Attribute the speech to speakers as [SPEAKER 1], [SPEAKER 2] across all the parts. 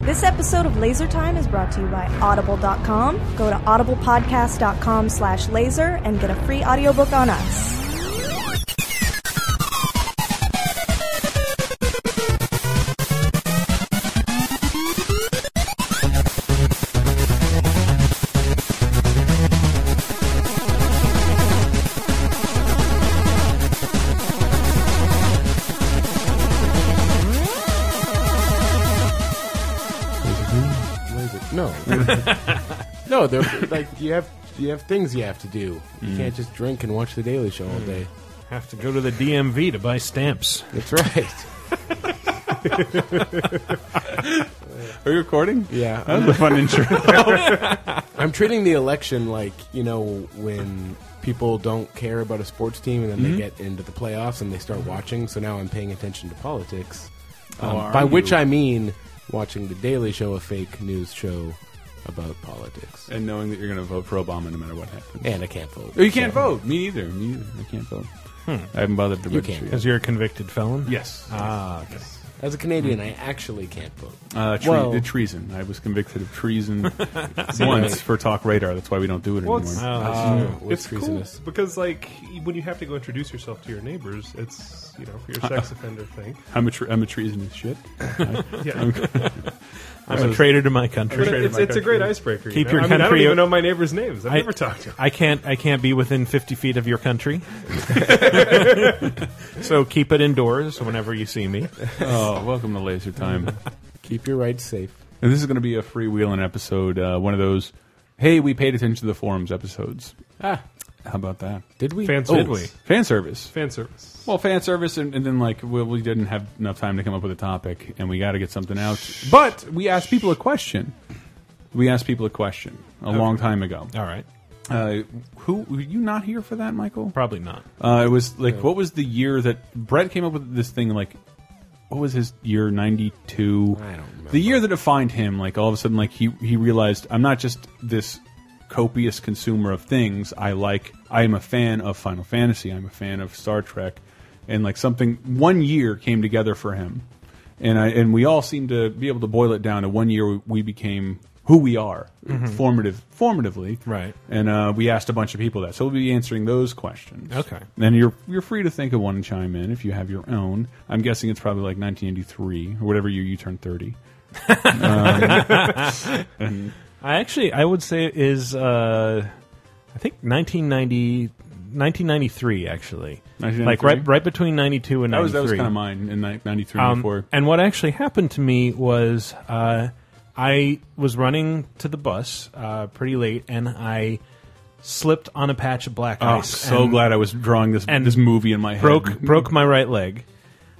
[SPEAKER 1] This episode of Laser Time is brought to you by Audible.com. Go to audiblepodcast.com slash laser and get a free audiobook on us.
[SPEAKER 2] Laser. No, no. They're like you have you have things you have to do. You can't just drink and watch the Daily Show all day.
[SPEAKER 3] Have to go to the DMV to buy stamps.
[SPEAKER 2] That's right.
[SPEAKER 4] Are you recording?
[SPEAKER 2] Yeah,
[SPEAKER 4] That
[SPEAKER 2] I'm,
[SPEAKER 4] was a fun intro.
[SPEAKER 2] I'm treating the election like you know when people don't care about a sports team and then
[SPEAKER 4] Mm-hmm.
[SPEAKER 2] they get into the playoffs and they start watching. So now I'm paying attention to politics. Um,
[SPEAKER 4] are
[SPEAKER 2] by which
[SPEAKER 4] you?
[SPEAKER 2] I mean watching the Daily Show, a fake news show about politics.
[SPEAKER 4] and knowing that you're going to vote for Obama no matter what happens.
[SPEAKER 2] And I can't vote.
[SPEAKER 4] Oh, you can't
[SPEAKER 2] so-
[SPEAKER 4] vote. Me either. Me either. I can't vote. I haven't bothered to
[SPEAKER 2] You
[SPEAKER 4] register
[SPEAKER 2] can't.
[SPEAKER 4] yet.
[SPEAKER 3] Because you're a convicted felon?
[SPEAKER 4] Yes.
[SPEAKER 3] Ah, okay.
[SPEAKER 2] As a Canadian, I actually can't vote.
[SPEAKER 4] Uh, tre
[SPEAKER 2] Well-
[SPEAKER 4] uh, treason. I was convicted of treason once for Talk Radar. That's why we don't do it
[SPEAKER 5] Well,
[SPEAKER 4] anymore.
[SPEAKER 5] it's-
[SPEAKER 3] Oh,
[SPEAKER 2] Uh, what's
[SPEAKER 5] it's cool
[SPEAKER 2] treasonous?
[SPEAKER 5] because, like, when you have to go introduce yourself to your neighbors, it's you know for your sex offender thing.
[SPEAKER 4] I'm a, tre- I'm a treasonous shit.
[SPEAKER 5] Yeah,
[SPEAKER 3] I'm a traitor to my
[SPEAKER 5] but
[SPEAKER 3] country.
[SPEAKER 5] it's, it's a great icebreaker. you
[SPEAKER 3] Keep
[SPEAKER 5] know?
[SPEAKER 3] your
[SPEAKER 5] I mean, I don't
[SPEAKER 3] country-
[SPEAKER 5] even know my neighbors' names. I've
[SPEAKER 3] I-
[SPEAKER 5] never talked to them.
[SPEAKER 3] I can't. I can't be within fifty feet of your country. so keep it indoors whenever you see me.
[SPEAKER 4] oh, welcome to Laser Time.
[SPEAKER 2] Keep your rights safe.
[SPEAKER 4] And this is going to be a freewheeling episode. Uh, one of those, hey, we paid attention to the forums episodes.
[SPEAKER 2] Ah,
[SPEAKER 4] How about that?
[SPEAKER 2] did we?
[SPEAKER 5] Fan
[SPEAKER 2] oh,
[SPEAKER 3] Did
[SPEAKER 5] service.
[SPEAKER 3] we?
[SPEAKER 4] Fan service.
[SPEAKER 5] Fan service.
[SPEAKER 4] Well, fan service, and, and then like we, we didn't have enough time to come up with a topic, and we got to get something out. But we asked people a question. We asked people a question a long time ago.
[SPEAKER 3] All right.
[SPEAKER 4] Uh, who were you not here for that, Michael?
[SPEAKER 3] Probably not.
[SPEAKER 4] Uh, it was like what was the year that Brett came up with this thing? Like, what was his year? Ninety two.
[SPEAKER 2] I don't remember.
[SPEAKER 4] The year that defined him. Like all of a sudden, like he he realized I'm not just this copious consumer of things. I like. I am a fan of Final Fantasy. I'm a fan of Star Trek, and like something one year came together for him, and I and we all seem to be able to boil it down to one year. We, we became who we are,
[SPEAKER 2] Mm-hmm.
[SPEAKER 4] formative, formatively,
[SPEAKER 3] Right.
[SPEAKER 4] and uh, we asked a bunch of people that. So we'll be answering those questions.
[SPEAKER 3] Okay.
[SPEAKER 4] And you're you're free to think of one and chime in if you have your own. I'm guessing it's probably like 1983 or whatever year you turned 30.
[SPEAKER 3] I actually, I would say is, uh, I think 1990, 1993, actually. Like
[SPEAKER 4] 1993?
[SPEAKER 3] right, right between 92 and
[SPEAKER 4] That
[SPEAKER 3] 93.
[SPEAKER 4] was that was kind of mine in like 93
[SPEAKER 3] Um,
[SPEAKER 4] 94.
[SPEAKER 3] and what actually happened to me was uh, I was running to the bus uh, pretty late, and I slipped on a patch of black
[SPEAKER 4] Oh,
[SPEAKER 3] ice.
[SPEAKER 4] so
[SPEAKER 3] and
[SPEAKER 4] glad Mm-hmm. I was drawing this
[SPEAKER 3] and
[SPEAKER 4] this movie in my head.
[SPEAKER 3] broke broke my right leg.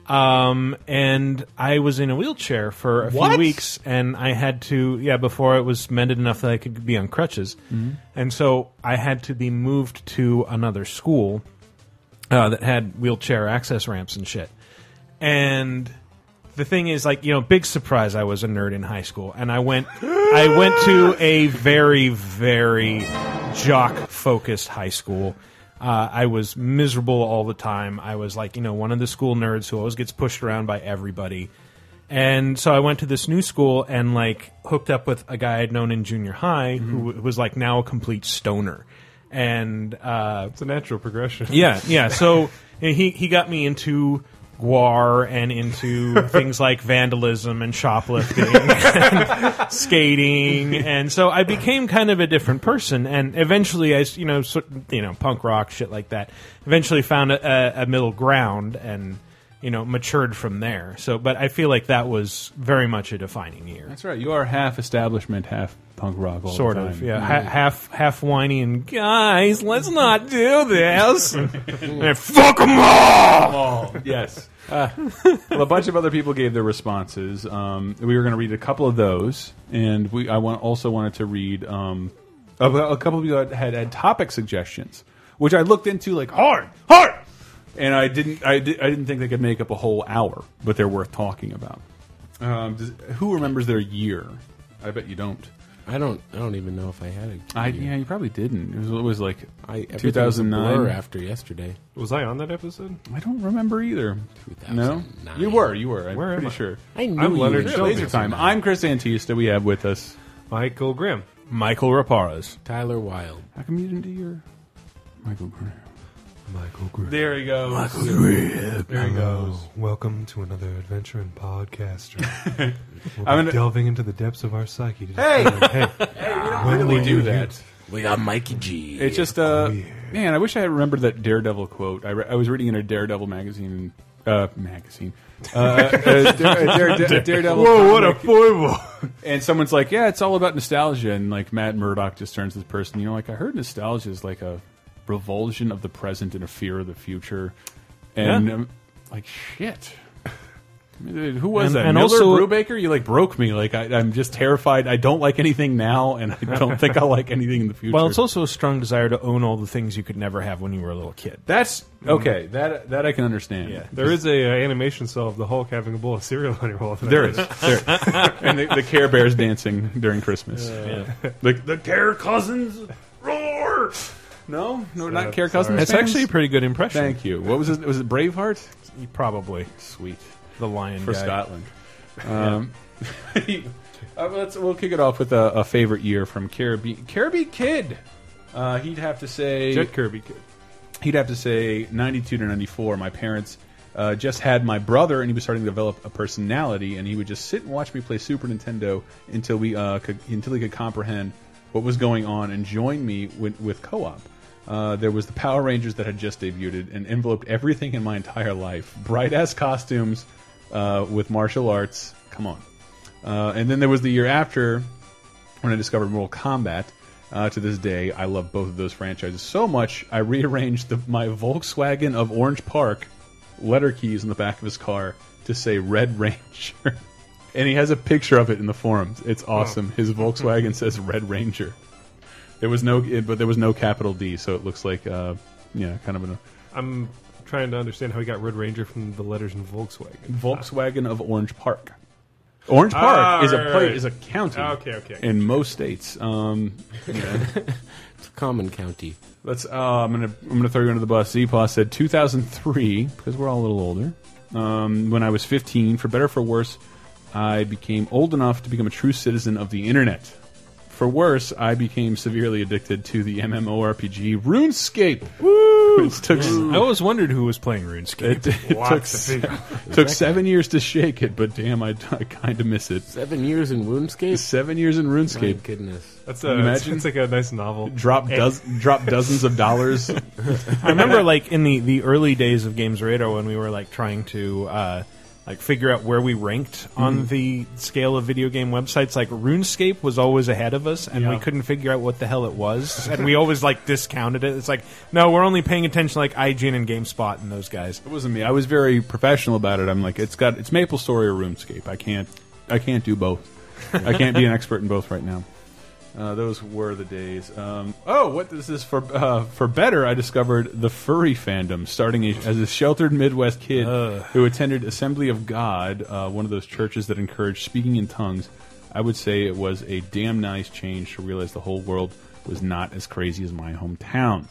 [SPEAKER 3] Um, and I was in a wheelchair for a few
[SPEAKER 4] What?
[SPEAKER 3] weeks, and I had to yeah before it was mended enough that I could be on crutches,
[SPEAKER 4] Mm-hmm.
[SPEAKER 3] and so I had to be moved to another school uh, that had wheelchair access ramps and shit. And the thing is, like you know, big surprise. I was a nerd in high school, and I went, I went to a very, very jock focused high school. Uh, I was miserable all the time. I was like, you know, one of the school nerds who always gets pushed around by everybody. And so I went to this new school and like hooked up with a guy I'd known in junior high who w- was like now a complete stoner. And uh,
[SPEAKER 5] It's a natural progression.
[SPEAKER 3] yeah, yeah. So and he he got me into guar and into things like vandalism and shoplifting and skating and so i became kind of a different person and eventually i s- you know sort you know punk rock shit like that eventually found a, a, a middle ground and you know matured from there so but i feel like that was very much a defining year
[SPEAKER 4] That's right. You are half establishment, half punk rock. All
[SPEAKER 3] sort
[SPEAKER 4] the time. Mm-hmm.
[SPEAKER 3] of yeah ha- half half whiny and guys let's not do this and fuck 'em all
[SPEAKER 4] yes. Uh, well, a bunch of other people gave their responses. Um, we were going to read a couple of those, and we I want, also wanted to read um, a, a couple of people that had had topic suggestions, which I looked into like hard, hard, and I didn't I, di I didn't think they could make up a whole hour, but they're worth talking about. Um, does, who remembers their year? I bet you don't.
[SPEAKER 2] I don't. I don't even know if I had it.
[SPEAKER 4] I, yeah, you probably didn't. It was, it was like
[SPEAKER 2] I everything was a
[SPEAKER 4] 2009.
[SPEAKER 2] blur after yesterday.
[SPEAKER 5] Was I on that episode?
[SPEAKER 4] I don't remember either. No,
[SPEAKER 2] 2009.
[SPEAKER 4] you were. You were. I'm
[SPEAKER 5] Where am
[SPEAKER 4] pretty
[SPEAKER 5] I?
[SPEAKER 4] sure.
[SPEAKER 2] I knew
[SPEAKER 5] I'm
[SPEAKER 2] you
[SPEAKER 5] Leonard
[SPEAKER 2] were
[SPEAKER 5] Shelby.
[SPEAKER 2] doing
[SPEAKER 4] Laser
[SPEAKER 2] it.
[SPEAKER 4] time. I'm Chris Antista. We have with us.
[SPEAKER 5] Michael Grimm.
[SPEAKER 3] Michael Raparas.
[SPEAKER 2] Tyler Wilde.
[SPEAKER 4] How come you didn't do your Michael Graham?
[SPEAKER 5] Michael Grimm.
[SPEAKER 4] There he goes.
[SPEAKER 5] There he goes. Welcome to another adventure in podcaster. We'll be
[SPEAKER 4] I'm gonna-
[SPEAKER 5] delving into the depths of our psyche. To
[SPEAKER 4] Hey!
[SPEAKER 5] discover- hey, when
[SPEAKER 4] really
[SPEAKER 5] we
[SPEAKER 4] do
[SPEAKER 5] do
[SPEAKER 4] that.
[SPEAKER 5] that.
[SPEAKER 2] We got Mikey G.
[SPEAKER 4] It's just,
[SPEAKER 3] Oh,
[SPEAKER 4] uh, man, I wish I had remembered that Daredevil quote. I, re I was reading in a Daredevil magazine, uh, magazine. Uh, uh, Dare- Dare- Dare- Daredevil. comic,
[SPEAKER 5] foible!
[SPEAKER 4] And someone's like, yeah, it's all about nostalgia. And like Matt Murdock just turns to this person, you know, like I heard nostalgia is like a revulsion of the present and a fear of the future. And
[SPEAKER 3] Yeah.
[SPEAKER 4] um, like, shit. Who was
[SPEAKER 3] And-
[SPEAKER 4] that?
[SPEAKER 3] and
[SPEAKER 4] Miller
[SPEAKER 3] also-
[SPEAKER 4] Brubaker? You like broke me. Like I, I'm just terrified. I don't like anything now, and I don't think I'll like anything in the future.
[SPEAKER 3] Well, it's also a strong desire to own all the things you could never have when you were a little kid.
[SPEAKER 4] That's okay. That that I can understand.
[SPEAKER 3] Mhm. Yeah.
[SPEAKER 5] There is a uh, animation cell of the Hulk having a bowl of cereal on your wall.
[SPEAKER 4] There is, there. and the, the Care Bears dancing during Christmas. The, the Care Cousins roar. No, no, not Care Cousins.
[SPEAKER 3] That's
[SPEAKER 4] fans?
[SPEAKER 3] actually a pretty good impression.
[SPEAKER 4] Thank you. What was it? Was it Braveheart?
[SPEAKER 3] Probably
[SPEAKER 4] Sweet
[SPEAKER 3] the lion
[SPEAKER 4] for
[SPEAKER 3] guy.
[SPEAKER 4] Scotland. Um, uh, let's we'll kick it off with a, a favorite year from Caribbean Caribbean Kid. Uh, he'd have to say
[SPEAKER 5] Jet Kirby kid.
[SPEAKER 4] he'd have to say 92 to 94 my parents uh, just had my brother and he was starting to develop a personality and he would just sit and watch me play super nintendo until we uh, could, until he could comprehend what was going on and join me with, with co-op uh, there was the Power Rangers that had just debuted and enveloped everything in my entire life. Bright ass costumes uh, with martial arts. Come on. Uh, and then there was the year after when I discovered Mortal Kombat. Uh, to this day, I love both of those franchises so much. I rearranged the, my Volkswagen of Orange Park letter keys in the back of his car to say Red Ranger, and he has a picture of it in the forums. It's
[SPEAKER 5] Oh.
[SPEAKER 4] awesome. His Volkswagen says Red Ranger. There was no, it, but there was no capital D, so it looks like, uh, yeah, kind of a
[SPEAKER 5] I'm trying to understand how he got Red Ranger from the letters in Volkswagen.
[SPEAKER 4] Volkswagen of Orange Park. Orange Park
[SPEAKER 5] Ah,
[SPEAKER 4] is a
[SPEAKER 5] right,
[SPEAKER 4] pla-
[SPEAKER 5] right.
[SPEAKER 4] is a county.
[SPEAKER 5] Okay, okay.
[SPEAKER 4] In most states, um,
[SPEAKER 2] It's Common County.
[SPEAKER 4] Let's. Uh, I'm gonna. I'm gonna throw you under the bus. Zepaw said 2003 because we're all a little older. Um, when I was 15, for better or for worse, I became old enough to become a true citizen of the internet. For worse, I became severely addicted to the MMORPG RuneScape, which took s-
[SPEAKER 3] I always wondered who was playing RuneScape.
[SPEAKER 4] it, it took,
[SPEAKER 5] Lots
[SPEAKER 4] s-
[SPEAKER 5] of people.
[SPEAKER 4] took seven years to shake it. But damn, I, I kind of miss it.
[SPEAKER 2] Seven years in Woundscape.
[SPEAKER 4] Seven years in
[SPEAKER 2] My
[SPEAKER 4] RuneScape.
[SPEAKER 2] goodness.
[SPEAKER 5] That's uh,
[SPEAKER 4] Imagine-
[SPEAKER 5] imagine it's like a nice novel.
[SPEAKER 4] Drop, does, drop dozens of dollars
[SPEAKER 3] I remember, like in the the early days of Games Radar, when we were like trying to uh, like figure out where we ranked on
[SPEAKER 4] Mm-hmm.
[SPEAKER 3] the scale of video game websites. Like RuneScape was always ahead of us, and we
[SPEAKER 4] Yeah.
[SPEAKER 3] couldn't figure out what the hell it was, and we always like discounted it. It's like, no, we're only paying attention to, like IGN and GameSpot and those guys.
[SPEAKER 4] It wasn't me. I was very professional about it. I'm like, it's got it's Maple Story or RuneScape. I can't I can't do both. I can't be an expert in both right now. Uh, those were the days. Um, oh, what this is for uh, for better. I discovered the furry fandom starting a, as a sheltered Midwest kid who attended Assembly of God, uh, one of those churches that encouraged speaking in tongues. I would say it was a damn nice change to realize the whole world was not as crazy as my hometown.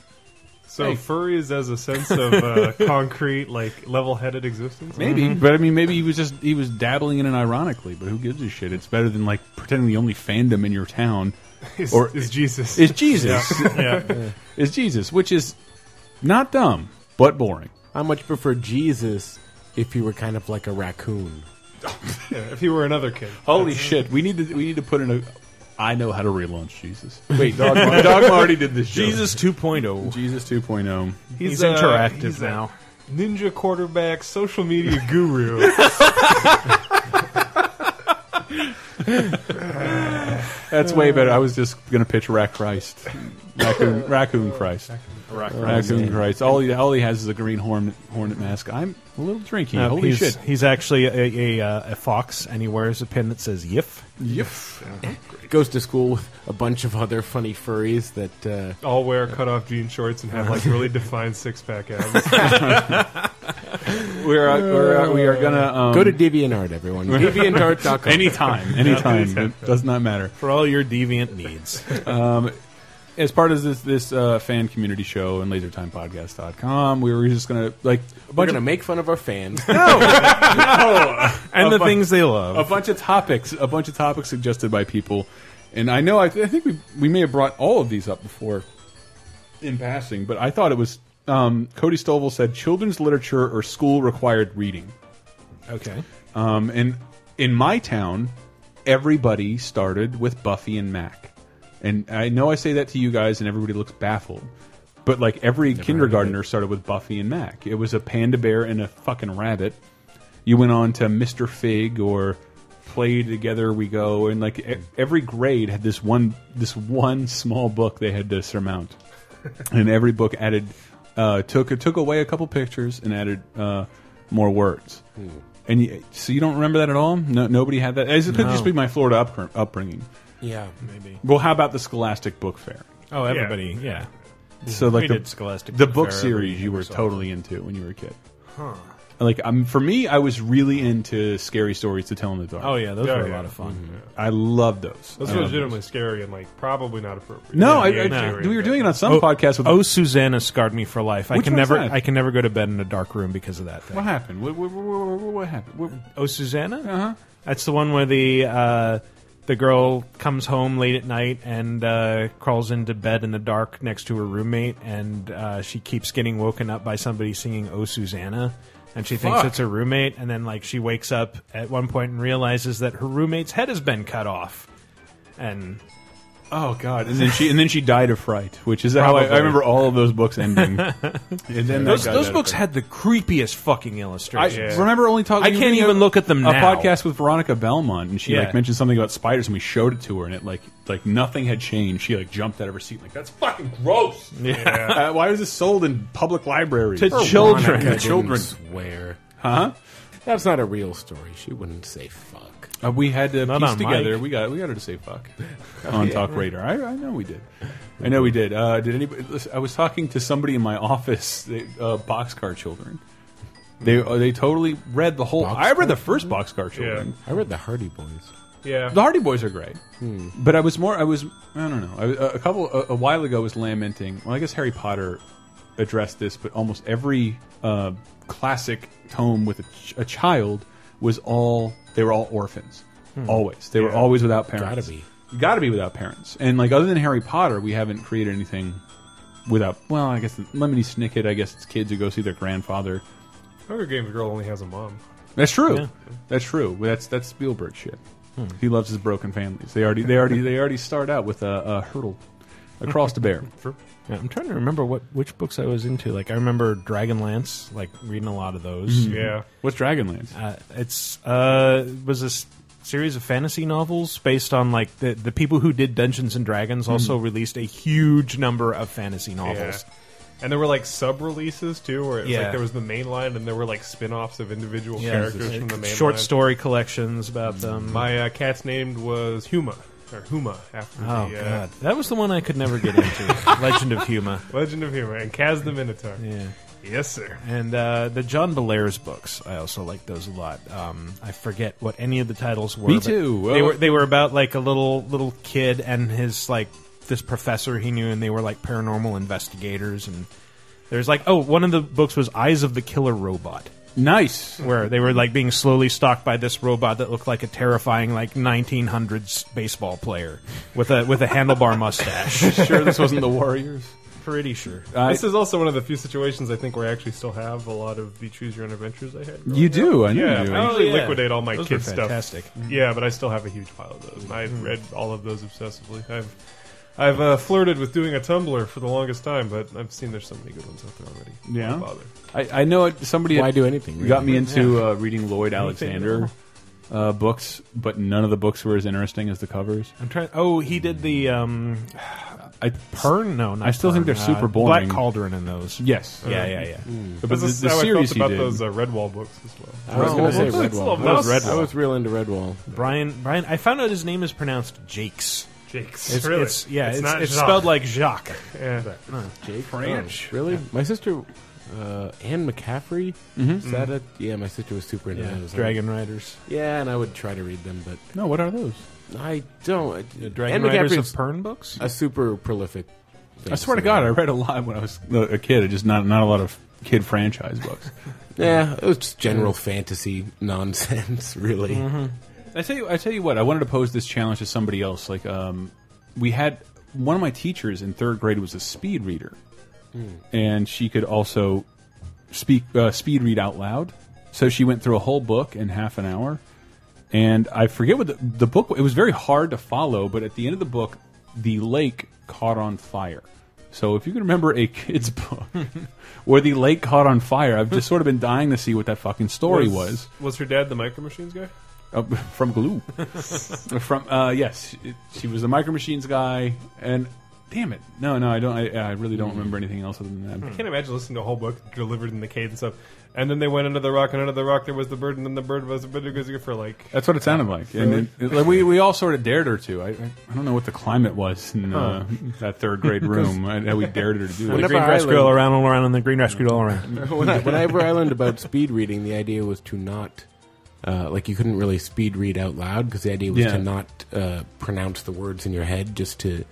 [SPEAKER 5] So furry is as a sense of uh, concrete, like level-headed existence.
[SPEAKER 4] Maybe, Mm-hmm. but I mean, maybe he was just he was dabbling in it ironically. But who gives a shit? It's better than like pretending the only fandom in your town
[SPEAKER 5] Is,
[SPEAKER 4] Or-
[SPEAKER 5] is Jesus?
[SPEAKER 4] is Jesus. is Jesus, which is not dumb but boring.
[SPEAKER 2] I much prefer Jesus if he were kind of like a raccoon.
[SPEAKER 5] Yeah, if he were another kid.
[SPEAKER 4] Holy shit! We need to we need to put in a. I know how to relaunch Jesus. Wait, Dog, Dog already did this. Joke.
[SPEAKER 3] Jesus 2.0.
[SPEAKER 4] Jesus oh. 2.0.
[SPEAKER 3] He's,
[SPEAKER 5] uh,
[SPEAKER 3] interactive
[SPEAKER 5] he's a
[SPEAKER 3] now.
[SPEAKER 5] Ninja quarterback, social media guru.
[SPEAKER 4] That's way better. I was just gonna pitch Rack Christ, raccoon, raccoon Christ, raccoon Christ. All he all he has is a green horn, hornet mask. I'm a little drinky.
[SPEAKER 3] Uh,
[SPEAKER 4] Holy
[SPEAKER 3] he's,
[SPEAKER 4] shit!
[SPEAKER 3] He's actually a, a, uh, a fox, and he wears a pin that says "Yif."
[SPEAKER 2] Goes to school with a bunch of other funny furries that uh,
[SPEAKER 5] All wear cut-off jean shorts and have like really defined six-pack abs.
[SPEAKER 4] we're uh, we're uh, we are gonna um,
[SPEAKER 2] Go to DeviantArt, everyone. DeviantArt.com.
[SPEAKER 4] anytime, anytime. it does not matter.
[SPEAKER 3] for all your deviant needs.
[SPEAKER 4] as part of this this uh, fan community show and lasertimepodcast.com, we were just gonna like a
[SPEAKER 2] We're
[SPEAKER 4] bunch
[SPEAKER 2] gonna
[SPEAKER 4] of
[SPEAKER 2] make fun of our fans.
[SPEAKER 3] and the
[SPEAKER 4] fun-
[SPEAKER 3] things they love.
[SPEAKER 4] a bunch of topics, a bunch of topics suggested by people, and I know I, I think we we may have brought all of these up before in passing, but I thought it was um, Cody Stovall said children's literature or school required reading.
[SPEAKER 3] okay.
[SPEAKER 4] Um, and in my town, everybody started with Buffy and Mac. And I know I say that to you guys, and everybody looks baffled. But like every kindergartner started with Buffy and Mac. It was a panda bear and a fucking rabbit. You went on to Mr. Fig or Play Together We Go, and like e- every grade had this one this one small book they had to surmount. and every book added uh, took took away a couple pictures and added uh, more words. And you, so you don't remember that at all? No, nobody had that. It could
[SPEAKER 3] No.
[SPEAKER 4] just be my Florida up, upbringing.
[SPEAKER 2] yeah, maybe.
[SPEAKER 4] Well, how about the Scholastic Book Fair?
[SPEAKER 3] Oh, everybody. Yeah.
[SPEAKER 4] So like
[SPEAKER 3] We
[SPEAKER 4] the
[SPEAKER 3] did Scholastic
[SPEAKER 4] the
[SPEAKER 3] Book
[SPEAKER 4] book
[SPEAKER 3] Fair
[SPEAKER 4] series
[SPEAKER 3] every
[SPEAKER 4] you were
[SPEAKER 3] summer.
[SPEAKER 4] totally into when you were a kid. Huh. Like um, for me, I was really into scary stories to tell in the dark.
[SPEAKER 3] Oh yeah, those
[SPEAKER 5] Oh,
[SPEAKER 3] were
[SPEAKER 5] yeah.
[SPEAKER 3] a lot of fun.
[SPEAKER 4] I love those.
[SPEAKER 5] That's
[SPEAKER 4] I love
[SPEAKER 5] legitimately scary and like probably not appropriate.
[SPEAKER 4] those. No, I,
[SPEAKER 5] Yeah,
[SPEAKER 4] I,
[SPEAKER 5] yeah,
[SPEAKER 4] we were doing it on some
[SPEAKER 3] Oh,
[SPEAKER 4] podcast with.
[SPEAKER 3] oh, Susanna scarred me for life. I
[SPEAKER 4] Which
[SPEAKER 3] can
[SPEAKER 4] one's
[SPEAKER 3] never,
[SPEAKER 4] that?
[SPEAKER 3] I can never go to bed in a dark room because of that. Thing.
[SPEAKER 4] what happened? What, what, what, what- what happened? What-
[SPEAKER 3] Oh, Susanna.
[SPEAKER 4] Uh-huh.
[SPEAKER 3] That's the one where the uh, the girl comes home late at night and uh, crawls into bed in the dark next to her roommate, and uh, she keeps getting woken up by somebody singing "Oh Susanna," and she thinks it's her roommate, and then like she wakes up at one point and realizes that her roommate's head has been cut off, and
[SPEAKER 4] Oh God! And then she and then she died of fright, which is how I, I
[SPEAKER 3] Probably.
[SPEAKER 4] remember all of those books ending. and then
[SPEAKER 3] those
[SPEAKER 4] that guy
[SPEAKER 3] those
[SPEAKER 4] died of
[SPEAKER 3] books
[SPEAKER 4] fright.
[SPEAKER 3] had the creepiest fucking
[SPEAKER 4] I
[SPEAKER 3] illustrations.
[SPEAKER 4] remember only talking.
[SPEAKER 3] I can't even look at them
[SPEAKER 4] A
[SPEAKER 3] now.
[SPEAKER 4] podcast with Veronica Belmont, and she
[SPEAKER 3] Yeah.
[SPEAKER 4] like mentioned something about spiders, and we showed it to her, and it like like nothing had changed. She like jumped out of her seat, like that's fucking gross. Uh, why was this sold in public libraries?
[SPEAKER 3] To children.
[SPEAKER 2] Monica
[SPEAKER 4] children.
[SPEAKER 2] didn't swear.
[SPEAKER 4] huh?
[SPEAKER 2] That's not a real story. She wouldn't say fuck.
[SPEAKER 4] Uh, we had to
[SPEAKER 3] Not
[SPEAKER 4] piece
[SPEAKER 3] on
[SPEAKER 4] together.
[SPEAKER 3] mic.
[SPEAKER 4] We got we got her to say fuck on Talk Radar. I, I know we did. I know we did. Uh, did anybody? Listen, I was talking to somebody in my office. They, uh, boxcar Children. They uh, they totally read the whole. I read the first Boxcar Children.
[SPEAKER 2] I read the Hardy Boys.
[SPEAKER 5] Yeah.
[SPEAKER 4] The Hardy Boys are great,
[SPEAKER 2] Hmm.
[SPEAKER 4] but I was more. I was. I don't know. I, was- a couple a, a while ago was lamenting. Well, I guess Harry Potter addressed this, but almost every uh, classic tome with a, ch a child was all they were all orphans. Always, they were always without parents.
[SPEAKER 2] Hmm. Gotta be.
[SPEAKER 4] gotta be without parents. And like other than Harry Potter, we haven't created anything without. Well, I guess Lemony Snicket. I guess it's kids who go see their grandfather.
[SPEAKER 5] Hunger Games girl only has a mom.
[SPEAKER 4] That's true. That's true. That's that's Spielberg shit.
[SPEAKER 5] Hmm.
[SPEAKER 4] He loves his broken families. They already they already they already start out with a, a hurdle across the bear.
[SPEAKER 3] Yeah, I'm trying to remember what which books I was into. Like I remember Dragonlance, like reading a lot of those.
[SPEAKER 5] Yeah.
[SPEAKER 4] What's Dragonlance?
[SPEAKER 3] Uh, it's uh it was a s- series of fantasy novels based on like the the people who did Dungeons and Dragons also released a huge number of fantasy novels.
[SPEAKER 5] Hmm. Yeah. And there were like sub releases too, where it was
[SPEAKER 3] Yeah.
[SPEAKER 5] like there was the main line and there were like spin offs of individual
[SPEAKER 3] Yeah,
[SPEAKER 5] characters
[SPEAKER 3] uh,
[SPEAKER 5] from the main
[SPEAKER 3] short
[SPEAKER 5] line.
[SPEAKER 3] story collections about them.
[SPEAKER 5] My uh, cat's name was Huma, or Huma after
[SPEAKER 3] oh
[SPEAKER 5] the uh,
[SPEAKER 3] god, that was the one I could never get into. Legend of Huma.
[SPEAKER 5] Legend of Huma and Kaz the Minotaur.
[SPEAKER 3] Yeah.
[SPEAKER 5] Yes, sir.
[SPEAKER 3] And uh, the John Belair's books, I also like those a lot. Um, I forget what any of the titles were.
[SPEAKER 4] Me
[SPEAKER 3] but
[SPEAKER 4] too.
[SPEAKER 3] They
[SPEAKER 4] Oh.
[SPEAKER 3] were they were about like a little little kid and his like this professor he knew, and they were like paranormal investigators. And there's like oh, one of the books was Eyes of the Killer Robot,
[SPEAKER 4] Nice.
[SPEAKER 3] where they were like being slowly stalked by this robot that looked like a terrifying like 1900s baseball player with a with a handlebar mustache.
[SPEAKER 4] Sure, this wasn't the Warriors.
[SPEAKER 3] Pretty sure.
[SPEAKER 4] I-
[SPEAKER 5] this is also one of the few situations I think where I actually still have a lot of the choose your own adventures I had.
[SPEAKER 4] You do. I know
[SPEAKER 5] Yeah,
[SPEAKER 4] you do.
[SPEAKER 5] I
[SPEAKER 3] Oh,
[SPEAKER 5] usually
[SPEAKER 3] yeah.
[SPEAKER 5] liquidate all my
[SPEAKER 3] Those
[SPEAKER 5] kids'
[SPEAKER 3] were
[SPEAKER 5] stuff.
[SPEAKER 3] fantastic.
[SPEAKER 5] Yeah, but I still have a huge pile of those, and I've read all of those obsessively. I've I've uh, flirted with doing a Tumblr for the longest time, but I've seen there's so many good ones out there already. Why
[SPEAKER 4] Yeah?
[SPEAKER 5] bother?
[SPEAKER 4] I, I know it, somebody
[SPEAKER 2] Why
[SPEAKER 4] had
[SPEAKER 2] do anything?
[SPEAKER 4] got
[SPEAKER 2] really?
[SPEAKER 4] me into uh, reading Lloyd Alexander uh, books, but none of the books were as interesting as the covers.
[SPEAKER 3] I'm trying. Oh, he did the um,
[SPEAKER 4] I
[SPEAKER 3] Pern? No, not
[SPEAKER 4] I still think
[SPEAKER 3] Pern. Uh,
[SPEAKER 4] they're super boring.
[SPEAKER 3] Black Cauldron in those. Mm.
[SPEAKER 4] yes,
[SPEAKER 3] Yeah, yeah, yeah.
[SPEAKER 4] But
[SPEAKER 5] This
[SPEAKER 4] the,
[SPEAKER 5] is
[SPEAKER 4] the
[SPEAKER 5] how
[SPEAKER 4] series
[SPEAKER 5] I felt
[SPEAKER 4] he
[SPEAKER 5] about
[SPEAKER 4] did.
[SPEAKER 5] those uh, Redwall books as well.
[SPEAKER 2] I was gonna say
[SPEAKER 5] It's
[SPEAKER 2] Redwall.
[SPEAKER 5] Love
[SPEAKER 3] was
[SPEAKER 5] Mouse.
[SPEAKER 3] Redwall.
[SPEAKER 2] I was real into Redwall.
[SPEAKER 3] Brian, Brian, I found out his name is pronounced Jakes.
[SPEAKER 5] Jake's.
[SPEAKER 3] It's,
[SPEAKER 5] really?
[SPEAKER 3] it's- yeah, it's,
[SPEAKER 5] not
[SPEAKER 3] it's
[SPEAKER 5] Jacques.
[SPEAKER 3] spelled like Jacques.
[SPEAKER 5] Yeah.
[SPEAKER 2] Jake
[SPEAKER 4] Branch?
[SPEAKER 2] Oh, really? My sister uh, Anne McCaffrey. Is that it? Yeah, my sister was super into those.
[SPEAKER 3] Dragon Riders.
[SPEAKER 2] Yeah, and I would try to read them, but
[SPEAKER 4] No, what are those?
[SPEAKER 2] I don't.
[SPEAKER 3] The Dragon
[SPEAKER 2] Anne
[SPEAKER 3] Riders of
[SPEAKER 2] McCaffrey's
[SPEAKER 3] Pern books?
[SPEAKER 2] a super prolific.
[SPEAKER 4] I swear to God, I read a lot when I was a kid. I just not not a lot of kid franchise books.
[SPEAKER 2] yeah, it was just general fantasy nonsense, really.
[SPEAKER 4] I tell you, I tell you what. I wanted to pose this challenge to somebody else. Like, um, we had one of my teachers in third grade was a speed reader, and she could also speak uh, speed read out loud. So she went through a whole book in half an hour, and I forget what the, the book. It was very hard to follow, but at the end of the book, the lake caught on fire. So if you can remember a kid's book where the lake caught on fire, I've just sort of been dying to see what that fucking story was.
[SPEAKER 5] Was her dad the micro machines guy?
[SPEAKER 4] Uh, from Glue. from uh, yes, it- she was the Micro Machines guy, and damn it, no, no, I don't, I, I really don't remember anything else other than that.
[SPEAKER 5] Can't imagine listening to a whole book delivered in the cadence of, and then they went under the rock, and under the rock there was the bird, and then the bird was the bird it goes for like.
[SPEAKER 4] That's what it sounded like, and it, it- like, we we all sort of dared her to. I I, I don't know what the climate was in uh, that third grade room I- that we dared her to do.
[SPEAKER 3] The
[SPEAKER 4] it.
[SPEAKER 2] Whenever
[SPEAKER 3] green
[SPEAKER 2] I
[SPEAKER 3] grass
[SPEAKER 2] learned-
[SPEAKER 3] girl around all around and the green grass girl all around.
[SPEAKER 2] When I- whenever I learned about speed reading, the idea was to not, uh, like, you couldn't really speed read out loud because the idea was
[SPEAKER 4] Yeah.
[SPEAKER 2] to not uh, pronounce the words in your head, just to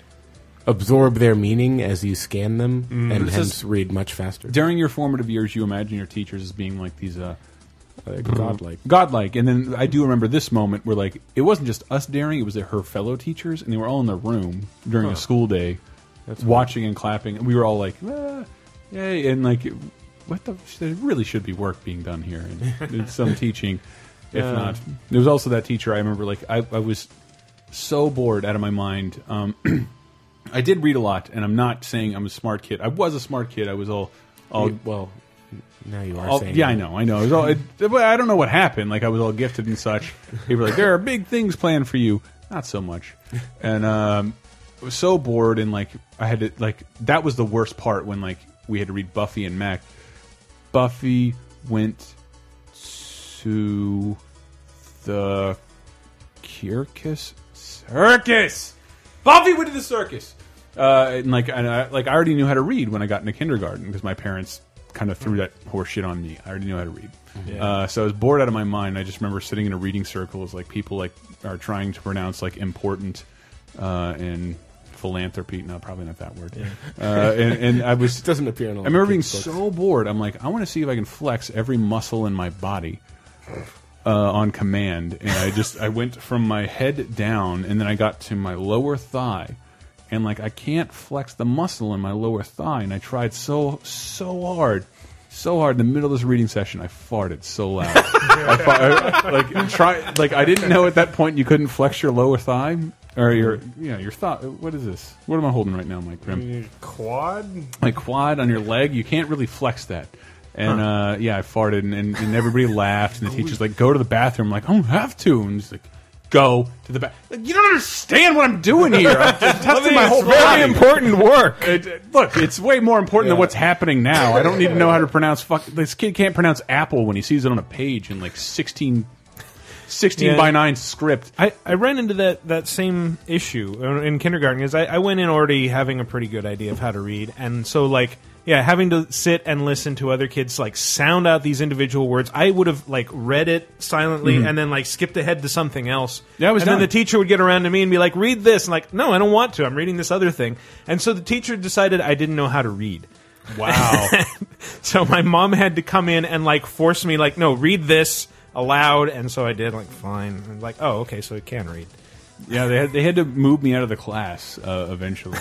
[SPEAKER 2] absorb their meaning as you scan them, and
[SPEAKER 4] Mm. This
[SPEAKER 2] hence
[SPEAKER 4] is-
[SPEAKER 2] read much faster.
[SPEAKER 4] During your formative years, you imagine your teachers as being like these. Uh,
[SPEAKER 2] Godlike.
[SPEAKER 4] godlike. And then I do remember this moment where like it wasn't just us daring; it was her fellow teachers, and they were all in their room during a school day, watching and clapping. And we were all like, ah, "Yay!" And like, what the? There really should be work being done here, and, and some teaching, if not. There was also that teacher I remember. Like I, I was so bored out of my mind. Um, I did read a lot, and I'm not saying I'm a smart kid. I was a smart kid. I was all. all
[SPEAKER 2] You- well, now you are
[SPEAKER 4] all-
[SPEAKER 2] saying.
[SPEAKER 4] Oh, yeah, I know, I know. It was all, it, well, I don't know what happened. Like I was all gifted and such. People were like, there are big things planned for you. Not so much. And um, I was so bored and like I had to like that was the worst part when like we had to read Buffy and Mac. Buffy went to the circus. Circus. Buffy went to the circus. Uh, and like, and I, like I already knew how to read when I got into kindergarten because my parents kind of threw that horse shit on me. I already knew how to read.
[SPEAKER 2] Mm-hmm.
[SPEAKER 4] Uh, so I was bored out of my mind. I just remember sitting in a reading circle as like people like are trying to pronounce like important uh, and philanthropy. No, probably not that word. Uh, and, and I was
[SPEAKER 2] It doesn't appear in a lot
[SPEAKER 4] I remember
[SPEAKER 2] of
[SPEAKER 4] being
[SPEAKER 2] kids' books.
[SPEAKER 4] so bored. I'm like, I want to see if I can flex every muscle in my body uh, on command. And I just, I went from my head down, and then I got to my lower thigh, and like I can't flex the muscle in my lower thigh. And I tried so, so hard, so hard. In the middle of this reading session, I farted so loud. I, fa- I- like try, like I didn't know at that point you couldn't flex your lower thigh or your, you know, your thigh. What is this? What am I holding right now, Mike Grimm?
[SPEAKER 5] Quad?
[SPEAKER 4] my quad on your leg, you can't really flex that. And uh, yeah, I farted, and, and, and everybody laughed, and the teacher's like, "Go to the bathroom." I'm like, "I don't have to," and he's like, "Go to the bathroom." You don't understand what I'm doing here. I'm just testing my whole body.
[SPEAKER 3] important work.
[SPEAKER 4] It- it- look, it's way more important than
[SPEAKER 2] Yeah.
[SPEAKER 4] what's happening now. I don't need to know how to pronounce fuck. This kid can't pronounce apple when he sees it on a page in like 16, 16
[SPEAKER 3] Yeah.
[SPEAKER 4] by nine script.
[SPEAKER 3] I, I ran into that, that same issue uh, in kindergarten because I, I went in already having a pretty good idea of how to read, and so like yeah, having to sit and listen to other kids like sound out these individual words, I would have like read it silently and then like skipped ahead to something else.
[SPEAKER 4] Mm-hmm. Yeah, I was
[SPEAKER 3] and
[SPEAKER 4] done.
[SPEAKER 3] then the teacher would get around to me and be like, "Read this," and like, "No, I don't want to. I'm reading this other thing." And so the teacher decided I didn't know how to read.
[SPEAKER 4] Wow.
[SPEAKER 3] So my mom had to come in and like force me, like, no, read this aloud. And so I did, like, fine. And like, oh, okay, so it can read.
[SPEAKER 4] Yeah, they had they had to move me out of the class uh, eventually,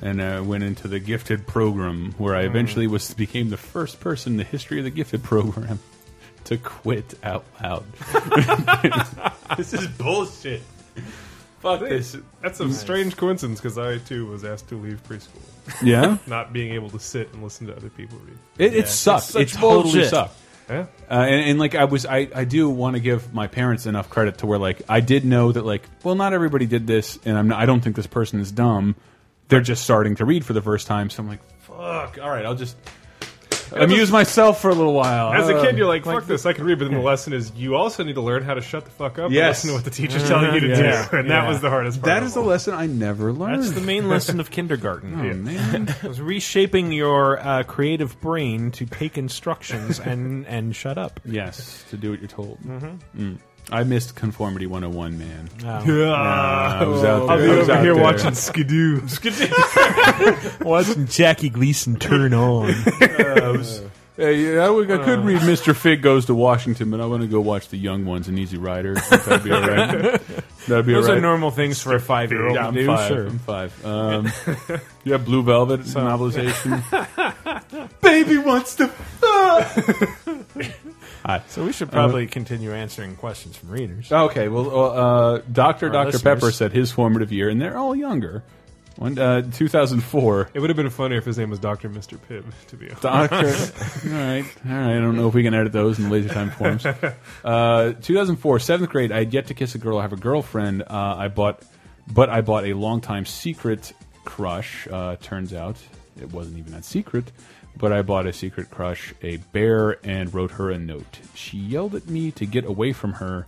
[SPEAKER 4] and uh, went into the gifted program where I eventually was became the first person in the history of the gifted program to quit out loud. this is bullshit. Fuck this.
[SPEAKER 5] That's a strange coincidence because I too was asked to leave preschool,
[SPEAKER 4] Yeah,
[SPEAKER 5] not being able to sit and listen to other people read.
[SPEAKER 4] it, it sucked.
[SPEAKER 3] It's such
[SPEAKER 4] It totally
[SPEAKER 3] bullshit.
[SPEAKER 4] sucked.
[SPEAKER 5] Yeah.
[SPEAKER 4] Uh, and, and like I was, I, I do want to give my parents enough credit to where like I did know that like well not everybody did this, and I'm not, I don't think this person is dumb. They're just starting to read for the first time, so I'm like, fuck. All right, I'll just amuse myself for a little while.
[SPEAKER 5] As a
[SPEAKER 4] Uh,
[SPEAKER 5] kid, you're like, fuck this, I can read, but then the lesson is you also need to learn how to shut the fuck up
[SPEAKER 4] Yes. Uh-huh.
[SPEAKER 5] and listen to what the teacher's telling you to
[SPEAKER 3] Yeah.
[SPEAKER 5] do. And that was the hardest part.
[SPEAKER 4] that
[SPEAKER 5] of
[SPEAKER 4] is the
[SPEAKER 5] all.
[SPEAKER 4] lesson I never learned.
[SPEAKER 3] That's the main lesson of kindergarten.
[SPEAKER 4] Oh, man.
[SPEAKER 3] It was reshaping your uh, creative brain to take instructions and and shut up.
[SPEAKER 4] yes, to do what you're told. Mm-hmm. I missed Conformity 101, man.
[SPEAKER 3] Um,
[SPEAKER 5] Yeah.
[SPEAKER 4] I was out
[SPEAKER 5] Uh, I'll
[SPEAKER 4] there.
[SPEAKER 5] be
[SPEAKER 4] I was
[SPEAKER 5] over
[SPEAKER 4] out
[SPEAKER 5] here
[SPEAKER 4] there.
[SPEAKER 5] watching Skidoo. Skidoo.
[SPEAKER 3] watching Jackie Gleason turn on.
[SPEAKER 4] Hey, yeah, I, would- I could read Mr. Fig Goes to Washington, but I want to go watch The Young Ones and Easy Rider. I think That'd be all right. That'd be
[SPEAKER 3] Those
[SPEAKER 4] all right.
[SPEAKER 3] are normal things for a five year old
[SPEAKER 4] yeah,
[SPEAKER 3] to
[SPEAKER 4] I'm
[SPEAKER 3] do.
[SPEAKER 4] five.
[SPEAKER 3] Sure.
[SPEAKER 4] I'm five. Um, you have Blue Velvet novelization.
[SPEAKER 5] Baby wants to.
[SPEAKER 4] Hi.
[SPEAKER 3] So we should probably continue answering questions from readers.
[SPEAKER 4] Oh, Okay, well, uh, Doctor
[SPEAKER 3] Our
[SPEAKER 4] Dr.
[SPEAKER 3] listeners.
[SPEAKER 4] Pepper said his formative year, and they're all younger. One, uh, 2004.
[SPEAKER 5] It would have been funnier if his name was Doctor Mister Pibb. To be honest,
[SPEAKER 4] Doctor. all right, all right. I don't know if we can edit those in laser time forms. Uh, 2004, seventh grade. I had yet to kiss a girl. I have a girlfriend. Uh, I bought, but I bought a long time secret crush. Uh, turns out it wasn't even that secret. But I bought a secret crush, a bear, and wrote her a note. She yelled at me to get away from her,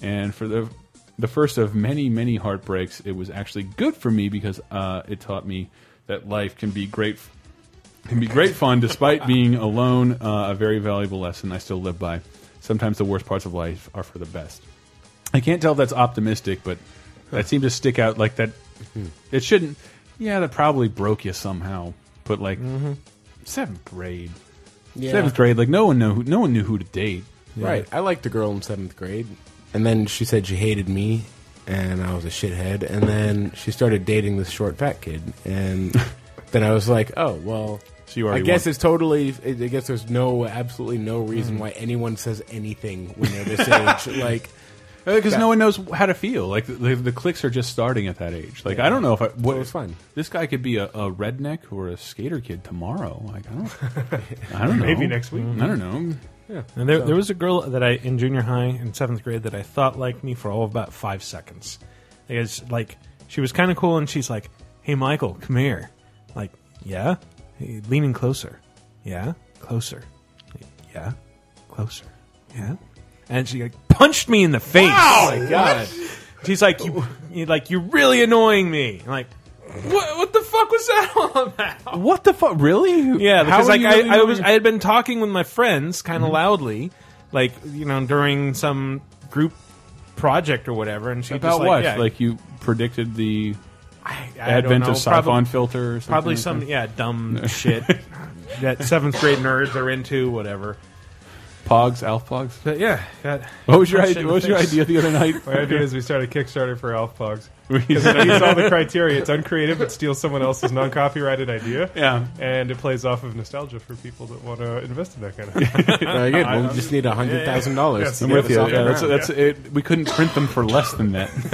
[SPEAKER 4] and for the the first of many many heartbreaks, it was actually good for me because uh, it taught me that life can be great can be great fun despite being alone. Uh, a very valuable lesson I still live by. Sometimes the worst parts of life are for the best. I can't tell if that's optimistic, but that seemed to stick out like that. It shouldn't. Yeah, that probably broke you somehow. But like seventh grade, seventh grade, like no one knew who, no one knew who to date.
[SPEAKER 2] Right. I liked a girl in seventh grade, and then she said she hated me, and I was a shithead. And then she started dating this short fat kid, and then I was like, oh well.
[SPEAKER 4] So you
[SPEAKER 2] I
[SPEAKER 4] already
[SPEAKER 2] guess
[SPEAKER 4] won.
[SPEAKER 2] it's totally. I guess there's no, absolutely no reason
[SPEAKER 4] Hmm.
[SPEAKER 2] why anyone says anything when they're this age. Like,
[SPEAKER 4] because
[SPEAKER 2] Yeah.
[SPEAKER 4] no one knows how to feel. Like the, the, the clicks are just starting at that age. Like I don't know if I, what
[SPEAKER 2] it was fun.
[SPEAKER 4] This guy could be a, a redneck or a skater kid tomorrow. Like I don't, I don't know.
[SPEAKER 5] Maybe next week.
[SPEAKER 4] I don't know.
[SPEAKER 3] And there, there was a girl that I in junior high in seventh grade that I thought liked me for all of about five seconds. Because like she was kind of cool, and she's like, "Hey, Michael, come here." Like, yeah, Hey, leaning closer. Yeah, closer. Yeah, closer. Yeah, and she like punched me in the face. Oh
[SPEAKER 2] my God,
[SPEAKER 3] She's like, you, you like you're really annoying me. I'm like, what? What the fuck was that all about?
[SPEAKER 4] What the fuck? Really?
[SPEAKER 3] Yeah,
[SPEAKER 4] How
[SPEAKER 3] because
[SPEAKER 4] are
[SPEAKER 3] like
[SPEAKER 4] you
[SPEAKER 3] I,
[SPEAKER 4] really
[SPEAKER 3] I was,
[SPEAKER 4] doing-
[SPEAKER 3] I had been talking with my friends kind
[SPEAKER 4] Mm-hmm.
[SPEAKER 3] of loudly, like you know during some group project or whatever, and she
[SPEAKER 4] about
[SPEAKER 3] just, like,
[SPEAKER 4] what?
[SPEAKER 3] yeah,
[SPEAKER 4] Like you predicted the
[SPEAKER 3] I, I
[SPEAKER 4] advent
[SPEAKER 3] don't
[SPEAKER 4] of
[SPEAKER 3] know, probably,
[SPEAKER 4] siphon filter. Or something
[SPEAKER 3] probably
[SPEAKER 4] like
[SPEAKER 3] some
[SPEAKER 4] that?
[SPEAKER 3] yeah dumb shit that seventh grade nerds are into, whatever.
[SPEAKER 4] pogs, alf pogs.
[SPEAKER 3] But yeah, that,
[SPEAKER 4] What was your
[SPEAKER 3] Shit
[SPEAKER 4] idea? What was your
[SPEAKER 3] face.
[SPEAKER 4] idea the other night?
[SPEAKER 5] My idea is we start a Kickstarter for Alf Pogs. Because it meets all the criteria. It's uncreative. It steals someone else's non-copyrighted idea.
[SPEAKER 4] Yeah.
[SPEAKER 5] And it plays off of nostalgia for people that want to invest in that kind of.
[SPEAKER 2] very good. Well, we just need a hundred thousand dollars.
[SPEAKER 4] I'm with you. Yeah, that's, that's it. We couldn't print them for less than that.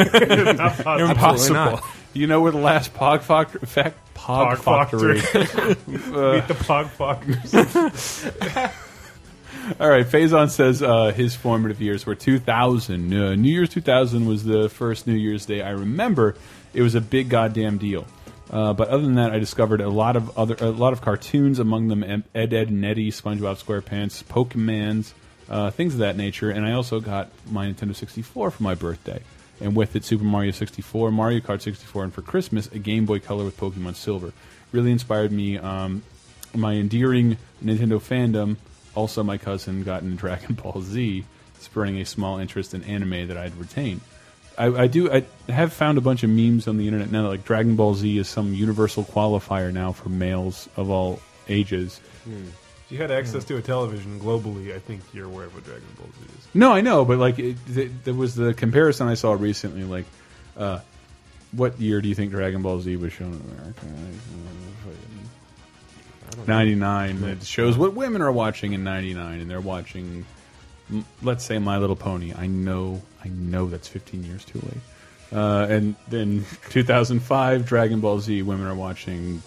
[SPEAKER 2] Absolutely not.
[SPEAKER 4] You know where the last Pog Foct- fact Pog,
[SPEAKER 5] Pog Factory.
[SPEAKER 4] Factory.
[SPEAKER 5] Meet the Pog Poggers.
[SPEAKER 4] All right, Faison says uh, his formative years were 2000. Uh, New Year's 2000 was the first New Year's Day I remember. It was a big goddamn deal. Uh, but other than that, I discovered a lot of other a lot of cartoons, among them Em- Ed, Ed, and Eddie, SpongeBob SquarePants, Pokemans, uh, things of that nature. And I also got my Nintendo 64 for my birthday, and with it, Super Mario 64, Mario Kart 64, and for Christmas, a Game Boy Color with Pokemon Silver. Really inspired me. Um, my endearing Nintendo fandom. Also, my cousin got into Dragon Ball Z, spurring a small interest in anime that I'd retained. I, I do. I have found a bunch of memes on the internet now. Like Dragon Ball Z is some universal qualifier now for males of all ages.
[SPEAKER 5] If you had access to a television globally, I think you're aware of what Dragon Ball Z is.
[SPEAKER 4] No, I know, but like it, th there was the comparison I saw recently. Like, uh, what year do you think Dragon Ball Z was shown in America? Ninety nine. It shows what women are watching in ninety nine, and they're watching, m- let's say, My Little Pony. I know, I know that's fifteen years too late. Uh, and then 2005, Dragon Ball Z. Women are watching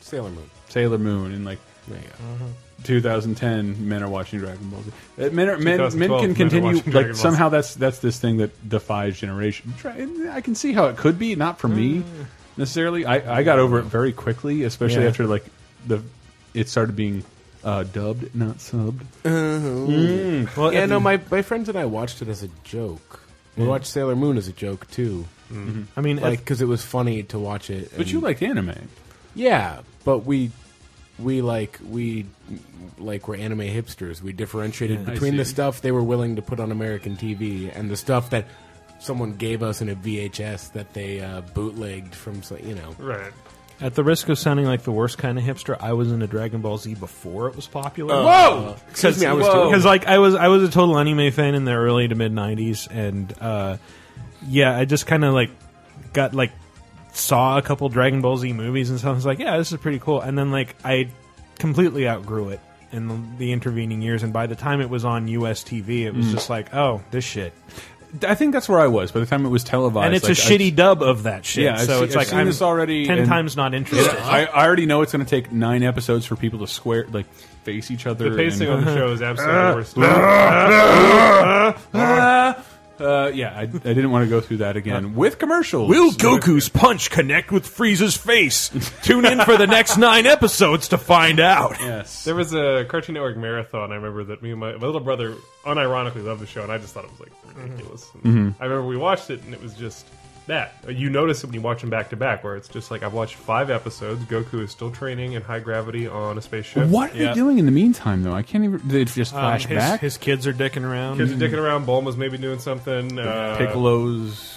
[SPEAKER 2] Sailor Moon.
[SPEAKER 4] Sailor Moon, and like
[SPEAKER 2] There you go.
[SPEAKER 5] Mm-hmm.
[SPEAKER 4] 2010 men are watching Dragon Ball Z. Uh, Men, are, men, men
[SPEAKER 5] 2012 men
[SPEAKER 4] can
[SPEAKER 5] are
[SPEAKER 4] continue
[SPEAKER 5] watching Dragon
[SPEAKER 4] like
[SPEAKER 5] Ball Z.
[SPEAKER 4] somehow that's that's this thing that defies generation. Dra- and I can see how it could be, not for
[SPEAKER 5] Mm.
[SPEAKER 4] me necessarily. I, I got over it very quickly, especially
[SPEAKER 3] Yeah.
[SPEAKER 4] after like the it started being Uh, dubbed, not subbed.
[SPEAKER 3] Well,
[SPEAKER 2] yeah,
[SPEAKER 3] at
[SPEAKER 2] no,
[SPEAKER 3] the-
[SPEAKER 2] my, my friends and I watched it as a joke. We
[SPEAKER 4] Hmm.
[SPEAKER 2] watched Sailor Moon as a joke too,
[SPEAKER 3] I mean, at-
[SPEAKER 2] like because it was funny to watch it.
[SPEAKER 4] But
[SPEAKER 2] and-
[SPEAKER 5] Mm.
[SPEAKER 4] you liked anime.
[SPEAKER 2] yeah, but we we like we like were anime hipsters. We differentiated
[SPEAKER 4] I
[SPEAKER 2] between the
[SPEAKER 4] see.
[SPEAKER 2] stuff they were willing to put on American TV and the stuff that someone gave us in a VHS that they uh, bootlegged from, so- you know.
[SPEAKER 5] Right.
[SPEAKER 3] at the risk of sounding like the worst kind of hipster, I was into Dragon Ball Z before it was popular.
[SPEAKER 2] Oh. Whoa! Excuse
[SPEAKER 3] Because
[SPEAKER 2] me, I was
[SPEAKER 4] Oh.
[SPEAKER 2] too-
[SPEAKER 3] because like I was I was a total anime fan in the early to mid '90s, and uh, yeah, I just kind of like got like saw a couple Dragon Ball Z movies and stuff. I was like, yeah, this is pretty cool. And then like I completely outgrew it in the, the intervening years, and by the time it was on US TV, it
[SPEAKER 4] Mm.
[SPEAKER 3] was just like, oh, this shit.
[SPEAKER 4] I think that's where I was by the time it was televised.
[SPEAKER 3] And it's
[SPEAKER 4] Oh, like,
[SPEAKER 3] a
[SPEAKER 4] I-
[SPEAKER 3] shitty dub of that shit.
[SPEAKER 4] Yeah, I've
[SPEAKER 3] so
[SPEAKER 4] seen-
[SPEAKER 3] it's
[SPEAKER 4] I've
[SPEAKER 3] like
[SPEAKER 4] seen
[SPEAKER 3] I'm
[SPEAKER 4] this already,
[SPEAKER 3] ten
[SPEAKER 4] and-
[SPEAKER 3] times not
[SPEAKER 4] Yeah,
[SPEAKER 3] interested.
[SPEAKER 4] I, I already know it's going to take nine episodes for people to square, like face each other.
[SPEAKER 5] The pacing
[SPEAKER 4] and,
[SPEAKER 5] on the show is absolutely the worst.
[SPEAKER 4] uh, yeah, I, I didn't want to go through that again with commercials.
[SPEAKER 3] Will Goku's punch connect with Frieza's face? Tune in for the next nine episodes to find out.
[SPEAKER 4] yes,
[SPEAKER 5] There was a Cartoon Network marathon. I remember that me and my, my little brother unironically loved the show, and I just thought it was like ridiculous. And I remember we watched it, and it was just that. You notice it when you watch them back to back, where it's just like I've watched five episodes. Goku is still training in high gravity on a spaceship.
[SPEAKER 4] What are
[SPEAKER 3] Yeah.
[SPEAKER 4] they doing in the meantime? Though I can't even. They just
[SPEAKER 3] Um,
[SPEAKER 4] flash
[SPEAKER 3] his,
[SPEAKER 4] back.
[SPEAKER 3] his kids are dicking around.
[SPEAKER 5] Kids are dicking around. Bulma's maybe doing something. Uh,
[SPEAKER 4] Piccolo's.
[SPEAKER 5] Back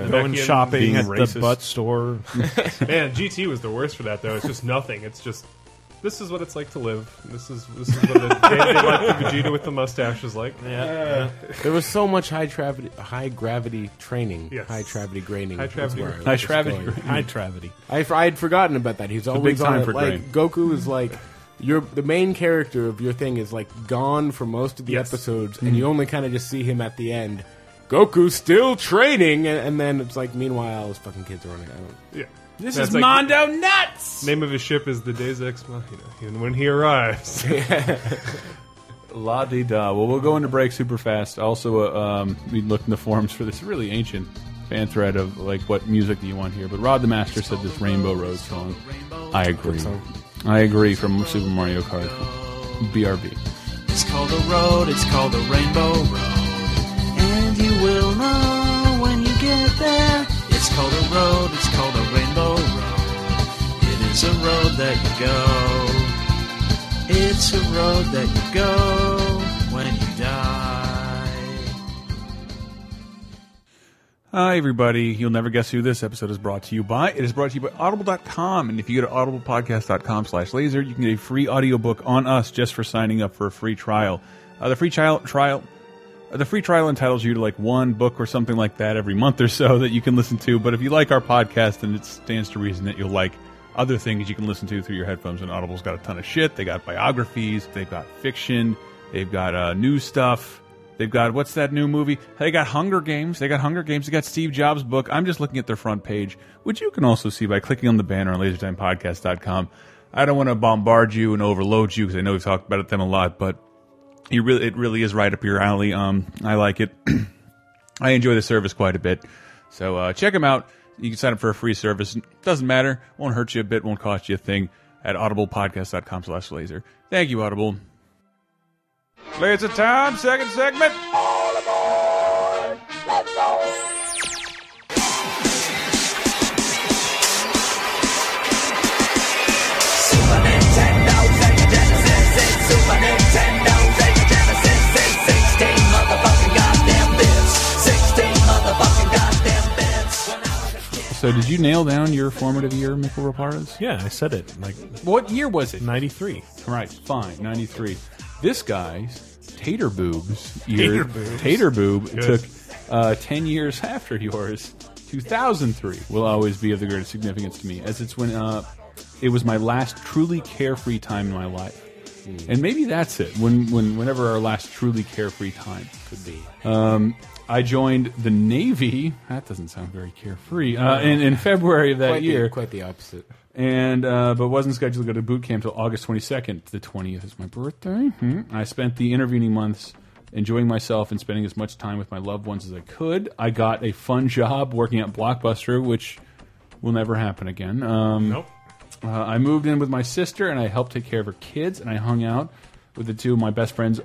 [SPEAKER 4] Uh,
[SPEAKER 3] going
[SPEAKER 5] in
[SPEAKER 3] shopping
[SPEAKER 4] being
[SPEAKER 3] at the
[SPEAKER 4] racist.
[SPEAKER 3] butt store.
[SPEAKER 5] Man, GT was the worst for that though. It's just nothing. It's just this is what it's like to live. This is this is what the day-to-day life of Vegeta with the mustache is like.
[SPEAKER 3] yeah.
[SPEAKER 2] There was so much high gravity, high gravity training,
[SPEAKER 5] Yes.
[SPEAKER 2] high gravity graining.
[SPEAKER 5] High
[SPEAKER 2] is where
[SPEAKER 5] gravity-
[SPEAKER 2] I was
[SPEAKER 4] high
[SPEAKER 2] just
[SPEAKER 4] gravity
[SPEAKER 2] going.
[SPEAKER 4] graining.
[SPEAKER 3] High travity.
[SPEAKER 2] I, I had forgotten about that. He's always
[SPEAKER 4] big time
[SPEAKER 2] on it.
[SPEAKER 4] for
[SPEAKER 2] like Goku is like your the main character of your thing is like gone for most of the
[SPEAKER 5] Yes.
[SPEAKER 2] episodes, and you only kind of just see him at the end. Goku's still training, and, and then it's like meanwhile his fucking kids are running. I don't.
[SPEAKER 5] Yeah.
[SPEAKER 4] this
[SPEAKER 5] That's
[SPEAKER 4] is
[SPEAKER 5] like-
[SPEAKER 4] Mondo nuts.
[SPEAKER 5] Name of his ship is the Deus Ex Machina, and when he arrives,
[SPEAKER 4] La di da. Well, we'll go into break super fast. Also, uh, um, we looked in the forums for this really ancient fan thread of like what music do you want here? But Rod the Master said this Rainbow Road song. I agree. I agree from Super Mario Kart. BRB.
[SPEAKER 6] It's called a road, it's called a rainbow road. And you will know when you get there. It's called a road, it's called a rainbow road. It is a road that you go. It's a road that you go when you die.
[SPEAKER 4] Hi, everybody. You'll never guess who this episode is brought to you by. It is brought to you by Audible.com. And if you go to audiblepodcast.com slash laser, you can get a free audiobook on us just for signing up for a free trial. Uh, the free trial, trial, uh, the free trial entitles you to like one book or something like that every month or so that you can listen to. But if you like our podcast, then it stands to reason that you'll like other things you can listen to through your headphones. And Audible's got a ton of shit. They got biographies, they've got fiction, they've got uh, new stuff. They've got what's that new movie? They got Hunger Games. They got Hunger Games. They got Steve Jobs' book. I'm just looking at their front page, which you can also see by clicking on the banner on LaserTimePodcast.com. I don't want to bombard you and overload you because I know we've talked about them a lot, but you really it really is right up your alley. Um, I like it. I enjoy the service quite a bit. So uh, check them out. You can sign up for a free service. Doesn't matter. Won't hurt you a bit. Won't cost you a thing. At audiblepodcast.com slash laser. Thank you, Audible. Laser time, second segment. So did you nail down your formative year, Mikkel Raparas?
[SPEAKER 3] Yeah, I said it. Like
[SPEAKER 4] What year was it?
[SPEAKER 3] 93.
[SPEAKER 4] Right, fine, 93. This guy's Tater Boob's year, Tater, Boob took uh, 10 years after yours. 2003 will always be of the greatest significance to me, as it's when uh, it was my last truly carefree time in my life. And maybe that's it, when, when whenever our last truly carefree time. Um,
[SPEAKER 2] Could be.
[SPEAKER 4] I joined the Navy. That doesn't sound very carefree. Uh, in, in February of that
[SPEAKER 2] Quite
[SPEAKER 4] year
[SPEAKER 2] the, quite the opposite.
[SPEAKER 4] and uh, but wasn't scheduled to go to boot camp till August 22nd. The 20th is my birthday. Hmm. I spent the intervening months enjoying myself and spending as much time with my loved ones as I could. I got a fun job working at Blockbuster, which will never happen again. Um,
[SPEAKER 5] nope.
[SPEAKER 4] Uh, I moved in with my sister and I helped take care of her kids, and I hung out with the two of my best friends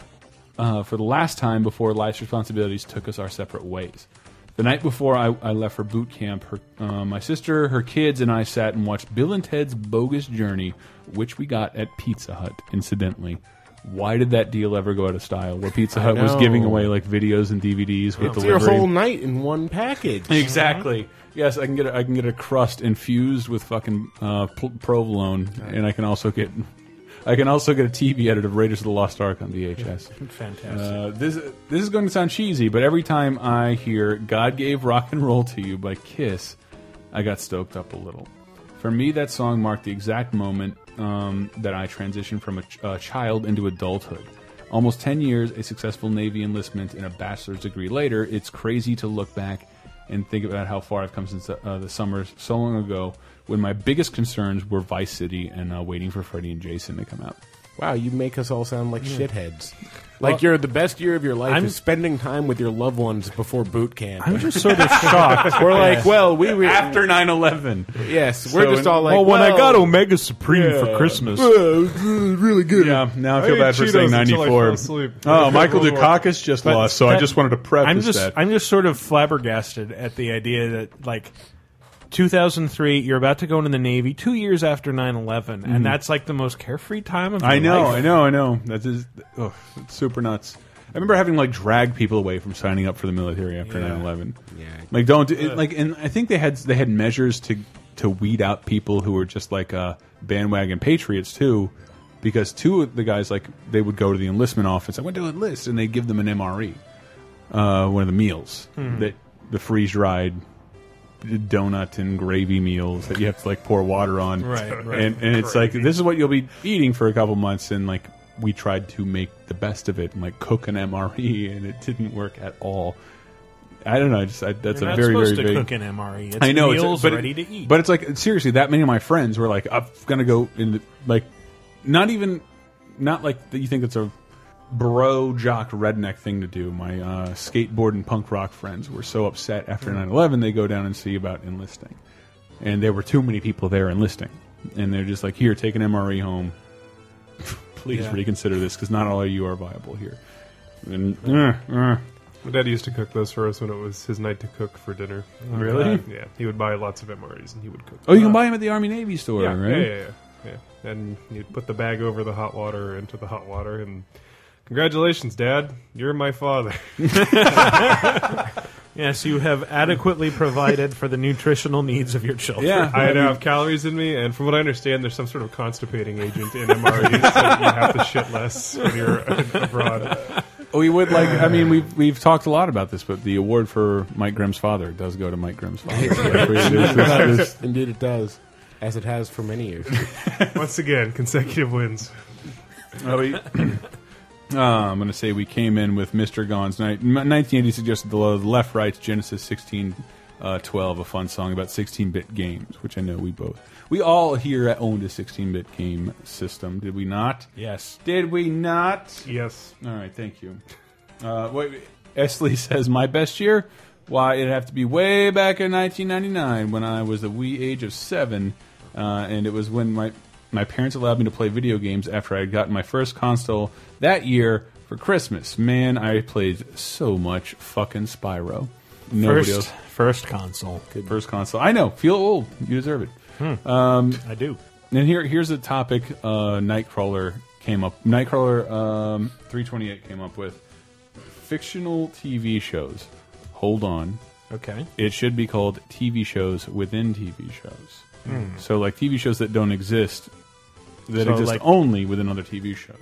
[SPEAKER 4] uh, for the last time before life's responsibilities took us our separate ways. The night before I, I left for boot camp, her, uh, my sister, her kids, and I sat and watched Bill and Ted's Bogus Journey, which we got at Pizza Hut, incidentally. Why did that deal ever go out of style? Where Pizza Hut was
[SPEAKER 2] know.
[SPEAKER 4] giving away like videos and DVDs with
[SPEAKER 2] It's
[SPEAKER 4] delivery.
[SPEAKER 2] your whole night in one package.
[SPEAKER 4] Exactly. Yes, I can get a, I can get a crust infused with fucking uh, pl- provolone, and I can also get I can also get a TV edit of Raiders of the Lost Ark on VHS.
[SPEAKER 3] Fantastic.
[SPEAKER 4] Uh, this this is going to sound cheesy, but every time I hear "God Gave Rock and Roll to You" by Kiss, I got stoked up a little. For me, that song marked the exact moment um, that I transitioned from a, ch a child into adulthood. Almost ten years, a successful Navy enlistment, and a bachelor's degree later, it's crazy to look back and think about how far I've come since uh, the summers so long ago when my biggest concerns were Vice City and uh, waiting for Freddie and Jason to come out.
[SPEAKER 2] Wow, you make us all sound like shitheads. Like you're the best year of your life
[SPEAKER 3] I'm-
[SPEAKER 2] is spending time with your loved ones before boot camp.
[SPEAKER 3] I'm just sort of shocked.
[SPEAKER 2] we're like, well, we were
[SPEAKER 4] After 9 11.
[SPEAKER 2] yes, we're just all like,
[SPEAKER 3] well, when I got
[SPEAKER 2] well, uh,
[SPEAKER 3] Omega Supreme
[SPEAKER 4] Yeah.
[SPEAKER 3] for Christmas,
[SPEAKER 2] really good.
[SPEAKER 4] Yeah, now I
[SPEAKER 5] I
[SPEAKER 4] feel
[SPEAKER 5] ate
[SPEAKER 4] bad for
[SPEAKER 5] Cheetos
[SPEAKER 4] saying
[SPEAKER 5] until I fell
[SPEAKER 4] 94.
[SPEAKER 5] asleep.
[SPEAKER 4] Oh, Michael
[SPEAKER 5] World War-
[SPEAKER 4] Dukakis just
[SPEAKER 3] But
[SPEAKER 4] lost, uh, so I
[SPEAKER 3] that-
[SPEAKER 4] just wanted to preface
[SPEAKER 3] I'm just
[SPEAKER 4] that.
[SPEAKER 3] I'm just sort of flabbergasted at the idea that like 2003, you're about to go into the Navy two years after 9/11, and that's like the most carefree time of your
[SPEAKER 4] Mm-hmm. I know,
[SPEAKER 3] life.
[SPEAKER 4] I know, I know. That is oh, it's super nuts. I remember having like drag people away from signing up for the military after 9/11.
[SPEAKER 2] Yeah.
[SPEAKER 4] Like don't do, it, like and I think they had they had measures to to weed out people who were just like uh, bandwagon patriots too because two of the guys like they would go to the enlistment office. I went to enlist and they'd give them an MRE. Uh, one of the meals
[SPEAKER 3] Hmm.
[SPEAKER 4] that the freeze dried donut and gravy meals that you have to like pour water on.
[SPEAKER 3] Right, right.
[SPEAKER 4] And, and it's like this is what you'll be eating for a couple months, and like we tried to make the best of it and like cook an MRE, and it didn't work at all. I don't know. I just I, that's
[SPEAKER 3] You're
[SPEAKER 4] a
[SPEAKER 3] not
[SPEAKER 4] very very
[SPEAKER 3] supposed to
[SPEAKER 4] big.
[SPEAKER 3] cook an MRE. It's
[SPEAKER 4] I know,
[SPEAKER 3] meals
[SPEAKER 4] it's, but
[SPEAKER 3] ready
[SPEAKER 4] it,
[SPEAKER 3] to eat.
[SPEAKER 4] But it's like seriously, that many of my friends were like, "I'm gonna go in," the, like, not even, not like that. You think it's a bro jock redneck thing to do. My uh, skateboard and punk rock friends were so upset after 9/11, they go down and see about enlisting, and there were too many people there enlisting, and they're just like, "Here, take an MRE home. Please reconsider this because not all of you are viable here." And uh, uh,
[SPEAKER 5] My dad used to cook those for us when it was his night to cook for dinner.
[SPEAKER 4] Really?
[SPEAKER 5] Uh, yeah, he would buy lots of MREs and he would cook.
[SPEAKER 4] oh, you can
[SPEAKER 5] them.
[SPEAKER 4] buy them at the Army Navy store,
[SPEAKER 5] yeah,
[SPEAKER 4] right?
[SPEAKER 5] Yeah, yeah, yeah, yeah. And you'd put the bag over the hot water into the hot water and. Congratulations, Dad. You're my father.
[SPEAKER 3] yes, you have adequately provided for the nutritional needs of your children.
[SPEAKER 4] Yeah.
[SPEAKER 5] I uh, now have calories in me, and from what I understand, there's some sort of constipating agent in MREs that you have to shit less when you're abroad.
[SPEAKER 4] Oh, We would like. I mean, we've we've talked a lot about this, but the award for Mike Grimm's father does go to Mike Grimm's father. Like, we- there's- there's-
[SPEAKER 2] Indeed, it does, as it has for many years.
[SPEAKER 5] Once again, consecutive wins.
[SPEAKER 4] uh, we- uh, I'm going to say we came in with Mr. Gone's night. M- 1980 suggested the lo- left rights Genesis 16. Uh, 12, a fun song about 16-bit games, which I know we both, we all here owned a 16-bit game system, did we not?
[SPEAKER 3] Yes.
[SPEAKER 4] Did we not?
[SPEAKER 5] Yes.
[SPEAKER 4] All right, thank you. Uh, wait, Esley says my best year. Why it'd have to be way back in 1999 when I was the wee age of seven, uh, and it was when my my parents allowed me to play video games after I had gotten my first console that year for Christmas. Man, I played so much fucking Spyro. Nobody
[SPEAKER 3] First, first console.
[SPEAKER 4] else. First console. I know. Feel old. You deserve it.
[SPEAKER 3] I do.
[SPEAKER 4] And here, here's a topic uh, Nightcrawler came up. Nightcrawler um, 328 came up with fictional TV shows. Hold on,
[SPEAKER 3] Okay.
[SPEAKER 4] it should be called TV shows within TV shows. So like TV shows that don't exist,
[SPEAKER 3] Hmm.
[SPEAKER 4] that
[SPEAKER 3] So,
[SPEAKER 4] exist
[SPEAKER 3] like-
[SPEAKER 4] only within other TV shows.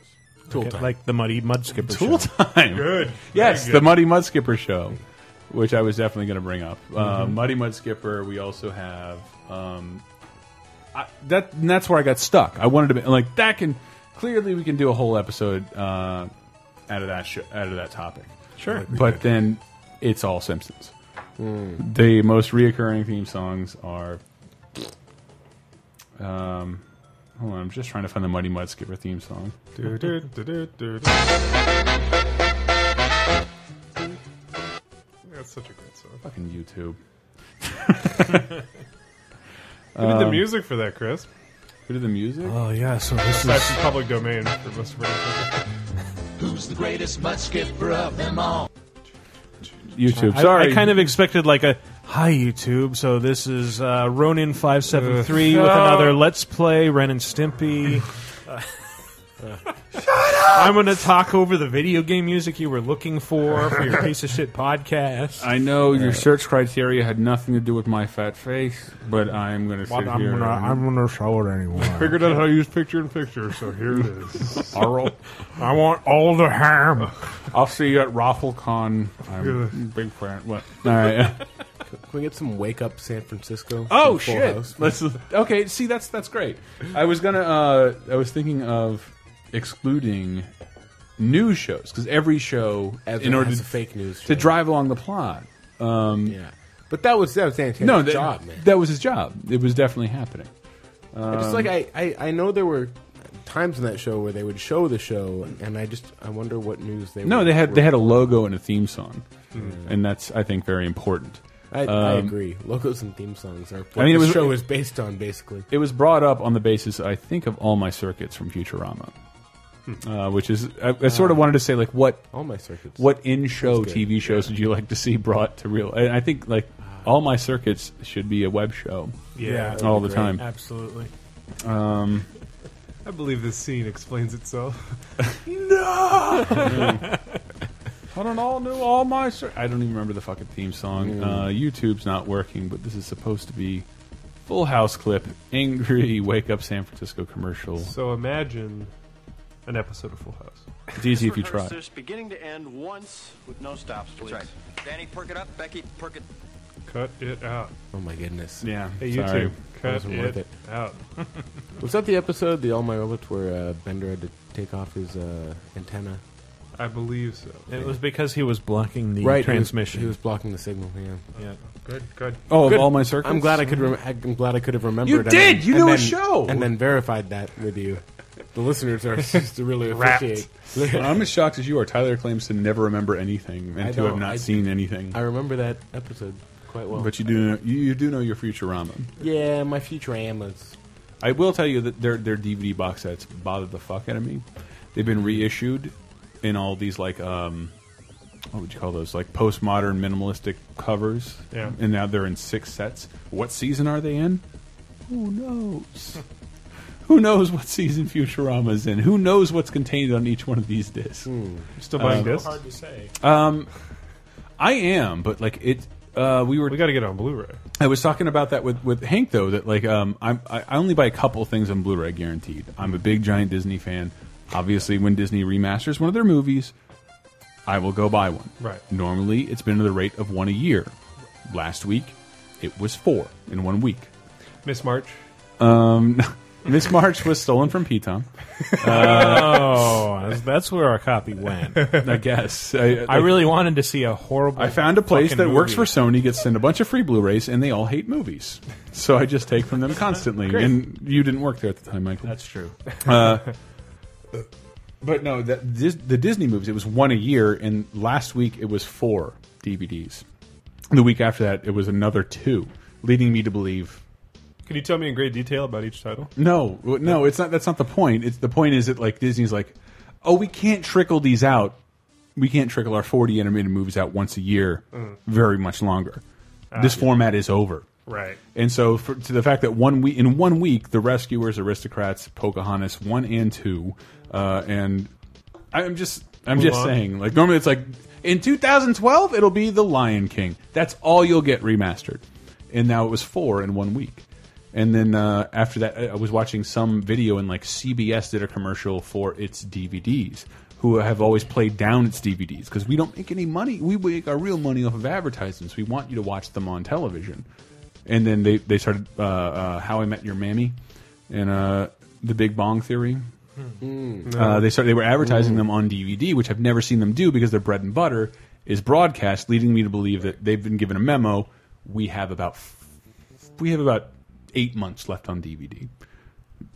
[SPEAKER 2] Tool
[SPEAKER 3] Okay,
[SPEAKER 2] time.
[SPEAKER 3] Like the Muddy Mudskipper
[SPEAKER 4] Tool
[SPEAKER 3] show.
[SPEAKER 4] time.
[SPEAKER 5] Good.
[SPEAKER 4] Yes,
[SPEAKER 5] Very
[SPEAKER 4] the
[SPEAKER 5] good.
[SPEAKER 4] Muddy Mudskipper show, which I was definitely going to bring up. Uh,
[SPEAKER 5] Mm-hmm.
[SPEAKER 4] Muddy Mudskipper. We also have um, I, that. And that's where I got stuck. I wanted to be like that. Can clearly we can do a whole episode uh, out of that show, out of that topic.
[SPEAKER 3] Sure.
[SPEAKER 4] But then it's all Simpsons.
[SPEAKER 5] Mm.
[SPEAKER 4] The most reoccurring theme songs are. Um, hold on, I'm just trying to find the Muddy Mudskipper theme song.
[SPEAKER 5] Do, do, do, do, do, do. That's such a great song.
[SPEAKER 4] Fucking YouTube.
[SPEAKER 5] Who did the music for that, Chris?
[SPEAKER 4] Go to the music.
[SPEAKER 3] Oh yeah, so this
[SPEAKER 5] Aside
[SPEAKER 3] is
[SPEAKER 5] from public domain for most of our
[SPEAKER 6] Who's the greatest muskipper of them all?
[SPEAKER 4] YouTube.
[SPEAKER 3] I-
[SPEAKER 4] Sorry.
[SPEAKER 3] I, kind of expected like a hi YouTube. So this is uh, Ronin five seven three with
[SPEAKER 5] No.
[SPEAKER 3] another Let's Play Ren and Stimpy. I'm going to talk over the video game music you were looking for for your piece of shit podcast.
[SPEAKER 4] I know your search criteria had nothing to do with my fat face, but I'm gonna sit here. and-
[SPEAKER 3] gonna show it anyway.
[SPEAKER 5] Figured out how to use picture in picture, so here it is.
[SPEAKER 4] Arl.
[SPEAKER 3] I want all the ham.
[SPEAKER 4] I'll see you at RaffleCon. I'm a big fan. What? All right.
[SPEAKER 2] Can we get some Wake Up San Francisco?
[SPEAKER 4] Oh
[SPEAKER 2] from Full
[SPEAKER 4] shit!
[SPEAKER 2] House?
[SPEAKER 4] Let's okay. See, that's that's great. I was gonna. Uh, I was thinking of excluding news shows because every show
[SPEAKER 2] Everyone
[SPEAKER 4] in order
[SPEAKER 2] has
[SPEAKER 4] to,
[SPEAKER 2] a fake news
[SPEAKER 4] to
[SPEAKER 2] show.
[SPEAKER 4] drive along the plot.
[SPEAKER 2] Yeah, but that was that was Santana's
[SPEAKER 4] no, that,
[SPEAKER 2] job, man.
[SPEAKER 4] that was his job. It was definitely happening.
[SPEAKER 2] I just like I, I I know there were times in that show where they would show the show, and I just I wonder what news they
[SPEAKER 4] No,
[SPEAKER 2] were-
[SPEAKER 4] they had
[SPEAKER 2] were-
[SPEAKER 4] they had a logo and a theme song,
[SPEAKER 2] Hmm.
[SPEAKER 4] and that's I think very important.
[SPEAKER 2] I, I
[SPEAKER 4] um,
[SPEAKER 2] agree. Logos and theme songs are. What
[SPEAKER 4] mean, it
[SPEAKER 2] the
[SPEAKER 4] was-
[SPEAKER 2] show is based on basically.
[SPEAKER 4] It was brought up on the basis, I think, of all my circuits from Futurama,
[SPEAKER 2] Hmm.
[SPEAKER 4] uh, which is I, I sort of wanted to say like what
[SPEAKER 2] All my circuits.
[SPEAKER 4] what in show
[SPEAKER 2] Oh, That's good.
[SPEAKER 4] TV shows would you like to see brought to real? And I think like
[SPEAKER 2] Ah.
[SPEAKER 4] all my circuits should be a web show
[SPEAKER 5] Yeah,
[SPEAKER 4] all the time.
[SPEAKER 3] Absolutely.
[SPEAKER 5] Um, I believe this scene explains itself.
[SPEAKER 4] I don't all know all my. Cir- I don't even remember the fucking theme song.
[SPEAKER 2] Mm.
[SPEAKER 4] Uh, YouTube's not working, but this is supposed to be Full House clip, angry wake up San Francisco commercial.
[SPEAKER 5] So imagine an episode of Full House.
[SPEAKER 4] It's easy if you try.
[SPEAKER 7] Rehearse this beginning to end once with no stops, please.
[SPEAKER 8] That's right. Danny, perk it up. Becky, perk it.
[SPEAKER 5] Cut it out.
[SPEAKER 2] oh my goodness!
[SPEAKER 4] Yeah,
[SPEAKER 5] Hey,
[SPEAKER 4] sorry.
[SPEAKER 5] YouTube, cut
[SPEAKER 2] wasn't worth
[SPEAKER 5] it, out.
[SPEAKER 2] Was that the episode, the All My Robots, where uh, Bender had to take off his uh, antenna?
[SPEAKER 5] I believe so.
[SPEAKER 3] It was because he was blocking the
[SPEAKER 2] right he was-
[SPEAKER 3] transmission.
[SPEAKER 2] He was, blocking the signal. Yeah.
[SPEAKER 3] yeah.
[SPEAKER 5] Good, good.
[SPEAKER 4] Oh,
[SPEAKER 2] Good.
[SPEAKER 4] of all my circuits.
[SPEAKER 2] I'm glad I could. Rem- I'm glad I could have remembered.
[SPEAKER 4] You
[SPEAKER 2] and
[SPEAKER 4] did!
[SPEAKER 2] then-
[SPEAKER 4] You
[SPEAKER 2] and
[SPEAKER 4] knew a
[SPEAKER 2] then-
[SPEAKER 4] show!
[SPEAKER 2] and then verified that with you. The listeners are supposed to really
[SPEAKER 5] Wrapped.
[SPEAKER 2] appreciate.
[SPEAKER 4] I'm as shocked as you are. Tyler claims to never remember anything and
[SPEAKER 2] I
[SPEAKER 4] to have
[SPEAKER 2] don't.
[SPEAKER 4] not
[SPEAKER 2] I-
[SPEAKER 4] seen anything.
[SPEAKER 2] I remember that episode quite well.
[SPEAKER 4] but you do know, you, you do know your Futurama.
[SPEAKER 2] yeah, my future amas.
[SPEAKER 4] I will tell you that their their DVD box sets bother the fuck out of me. They've been reissued in all these like um, what would you call those? Like postmodern minimalistic covers.
[SPEAKER 5] Yeah.
[SPEAKER 4] And now they're in six sets. What season are they in? Who knows? Who knows what season Futurama's in? Who knows what's contained on each one of these discs?
[SPEAKER 2] Hmm.
[SPEAKER 5] Still buying discs?
[SPEAKER 3] to say.
[SPEAKER 4] I am, but like it. Uh, we were
[SPEAKER 5] We got to get on Blu-ray.
[SPEAKER 4] I was talking about that with, with Hank though that like um I'm, I I only buy a couple things on Blu-ray guaranteed. I'm a big giant Disney fan. Obviously, when Disney remasters one of their movies, I will go buy one.
[SPEAKER 5] Right.
[SPEAKER 4] Normally, it's been at the rate of one a year. Last week, it was four in one week.
[SPEAKER 5] Miss March.
[SPEAKER 4] Miss March was stolen from Piton,
[SPEAKER 3] Oh, that's- that's where our copy went.
[SPEAKER 4] I guess. I,
[SPEAKER 3] I really wanted to see a horrible.
[SPEAKER 4] I found a place
[SPEAKER 3] fucking
[SPEAKER 4] that works for
[SPEAKER 3] movie.
[SPEAKER 4] Sony, gets sent a bunch of free Blu-rays, and they all hate movies. So I just take from them constantly. And you didn't work there at the time, Michael.
[SPEAKER 3] That's true.
[SPEAKER 4] But no, that Dis the Disney movies. It was one a year, and last week it was four DVDs. The week after that, it was another two, leading me to believe.
[SPEAKER 5] Can you tell me in great detail about each title?
[SPEAKER 4] No, no, it's not. That's not the point. It's the point is that like Disney's like, oh, we can't trickle these out. We can't trickle our forty animated movies out once a year, very much longer. this format is over.
[SPEAKER 5] Right.
[SPEAKER 4] And so, for, to the fact that one week in one week, the rescuers, aristocrats, Pocahontas, one and two, uh, and I'm just, I'm just
[SPEAKER 5] Mulan.
[SPEAKER 4] saying, like normally it's like in 2012 it'll be the Lion King. That's all you'll get remastered, and now it was four in one week. And then uh, after that, I I was watching some video and like CBS did a commercial for its DVDs, who have always played down its DVDs because we don't make any money. We make our real money off of advertisements. We want you to watch them on television and then they they started uh, uh, How I Met Your Mammy and uh, The Big Bong Theory. Uh, they started they were advertising them on DVD, which I've never seen them do because their bread and butter is broadcast, leading me to believe that they've been given a memo. We have about f- we have about eight months left on DVD.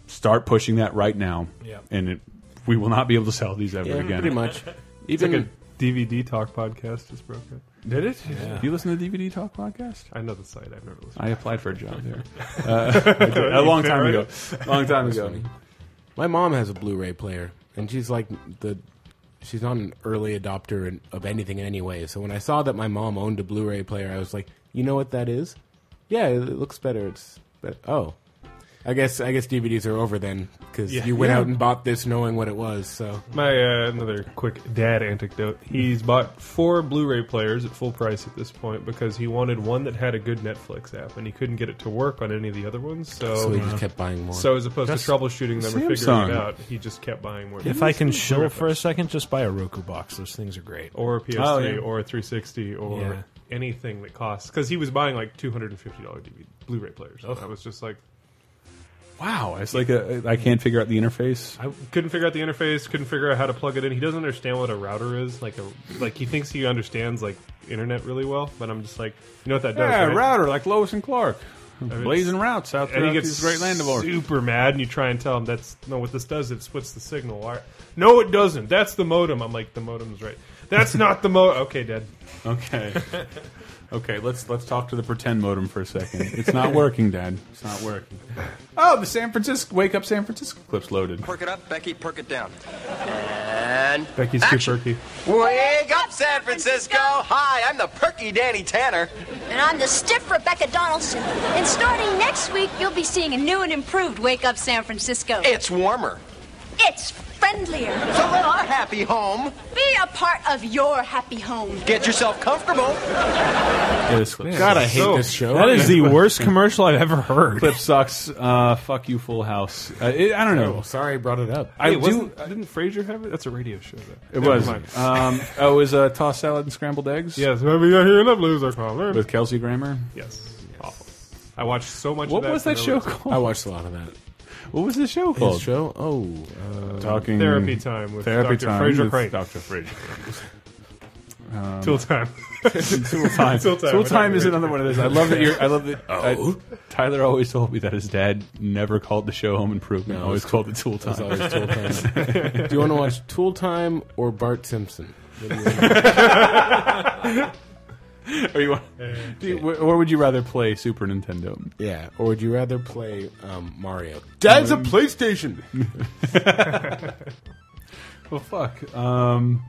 [SPEAKER 4] Start pushing that right now,
[SPEAKER 3] Yeah.
[SPEAKER 4] and it, we will not be able to sell these ever
[SPEAKER 2] Yeah,
[SPEAKER 4] again.
[SPEAKER 2] pretty much.
[SPEAKER 5] It's
[SPEAKER 2] Even
[SPEAKER 5] like a DVD talk podcast just broke up.
[SPEAKER 4] Did it? Do you listen to DVD Talk podcast?
[SPEAKER 5] I know the site. I've never listened.
[SPEAKER 4] I applied for a job there uh, a long time ago. Long time ago.
[SPEAKER 2] My mom has a Blu-ray player, and she's like the she's not an early adopter in, of anything in any way. So when I saw that my mom owned a Blu-ray player, I was like, you know what that is? Yeah, it looks better. It's but oh, I guess I guess DVDs are over then because
[SPEAKER 5] Yeah.
[SPEAKER 2] you went
[SPEAKER 5] Yeah.
[SPEAKER 2] out and bought this knowing what it was. So
[SPEAKER 5] My uh, another quick dad anecdote. He's bought four Blu-ray players at full price at this point because he wanted one that had a good Netflix app, and he couldn't get it to work on any of the other ones. So,
[SPEAKER 2] so we just kept buying more.
[SPEAKER 5] Uh-huh. so as opposed to troubleshooting them or figuring
[SPEAKER 4] Samsung.
[SPEAKER 5] it out, he just kept buying more.
[SPEAKER 3] If I can shill for a second, just buy a Roku box. Those things are great.
[SPEAKER 5] or a PS3
[SPEAKER 4] Oh, yeah.
[SPEAKER 5] or a 360 or
[SPEAKER 3] Yeah.
[SPEAKER 5] anything that costs, because he was buying like two hundred and fifty dollars DVD Blu-ray players. And I was just like,
[SPEAKER 4] Wow, it's like a, I can't figure out the interface.
[SPEAKER 5] I couldn't figure out the interface. Couldn't figure out how to plug it in. He doesn't understand what a router is. Like, a, like he thinks he understands like internet really well, but I'm just like, you know what that does?
[SPEAKER 4] Yeah,
[SPEAKER 5] right?
[SPEAKER 4] router like Lois and Clark, blazing
[SPEAKER 5] blazing
[SPEAKER 4] routes out
[SPEAKER 5] And
[SPEAKER 4] there.
[SPEAKER 5] he gets
[SPEAKER 4] great land of ours.
[SPEAKER 5] super mad, and you try and tell him that's no. What this does, it splits the signal. Why- No, it doesn't. That's the modem. I'm like, the modem's right. That's not the modem. Okay, Dad.
[SPEAKER 4] Okay, okay. Let's let's talk to the pretend modem for a second. It's not working, Dad. It's not working. Oh, the San Francisco wake up San Francisco clip's loaded.
[SPEAKER 8] Perk it up, Becky, perk it down. And.
[SPEAKER 5] Becky's
[SPEAKER 8] action.
[SPEAKER 5] too perky.
[SPEAKER 8] Wake up, San Francisco! Hi, I'm the perky Danny Tanner.
[SPEAKER 9] And I'm the stiff Rebecca Donaldson. And starting next week, you'll be seeing a new and improved Wake Up San Francisco.
[SPEAKER 8] It's warmer.
[SPEAKER 9] It's friendlier.
[SPEAKER 8] So let our happy home
[SPEAKER 9] Be a part of your happy home.
[SPEAKER 8] get yourself comfortable.
[SPEAKER 4] Yeah, this clip
[SPEAKER 2] God, I hate
[SPEAKER 5] So-
[SPEAKER 2] this show.
[SPEAKER 3] That is the worst commercial I've ever heard.
[SPEAKER 4] clip sucks. Uh, fuck you, Full House. Uh, it, I don't know.
[SPEAKER 2] Oh, sorry, I brought it up.
[SPEAKER 4] I
[SPEAKER 5] Hey,
[SPEAKER 4] do. uh,
[SPEAKER 5] wasn't- didn't Frasier have it? That's a radio show. Though.
[SPEAKER 4] It was.
[SPEAKER 5] Never mind.
[SPEAKER 4] Um, oh, it was uh, tossed salad and scrambled eggs.
[SPEAKER 5] Yes, maybe you're hearing a loser caller.
[SPEAKER 4] with Kelsey Grammer.
[SPEAKER 5] yes, awful. I watched so much.
[SPEAKER 4] What
[SPEAKER 5] of that
[SPEAKER 4] was
[SPEAKER 5] for
[SPEAKER 4] that
[SPEAKER 5] no
[SPEAKER 4] show
[SPEAKER 5] reason.
[SPEAKER 2] I
[SPEAKER 4] called?
[SPEAKER 2] watched a lot of that.
[SPEAKER 4] What was the show
[SPEAKER 2] His
[SPEAKER 4] called?
[SPEAKER 2] show? Oh, uh,
[SPEAKER 4] Talking
[SPEAKER 5] Therapy time with
[SPEAKER 4] Mm. Therapy
[SPEAKER 5] Dr.
[SPEAKER 4] time.
[SPEAKER 5] Fraser
[SPEAKER 4] with
[SPEAKER 5] Crane.
[SPEAKER 4] Dr. Fraser. Um,
[SPEAKER 5] Till time.
[SPEAKER 4] Tool time. Tool
[SPEAKER 5] Tool
[SPEAKER 4] time,
[SPEAKER 5] time.
[SPEAKER 4] is another one of those. I love that. You're, I love that.
[SPEAKER 2] Oh?
[SPEAKER 4] I, Tyler always told me that his dad never called the show Home Improvement.
[SPEAKER 2] No,
[SPEAKER 4] always
[SPEAKER 2] it's-
[SPEAKER 4] called it Tool
[SPEAKER 2] It's
[SPEAKER 4] time.
[SPEAKER 2] always Tool Time. Do you want to watch Tool Time or Bart Simpson?
[SPEAKER 4] Or you, want- do you, wh- or would you rather play Super Nintendo?
[SPEAKER 2] Yeah, or would you rather play um, Mario? Dad's
[SPEAKER 4] Um,
[SPEAKER 2] a PlayStation.
[SPEAKER 4] Well, fuck. Um,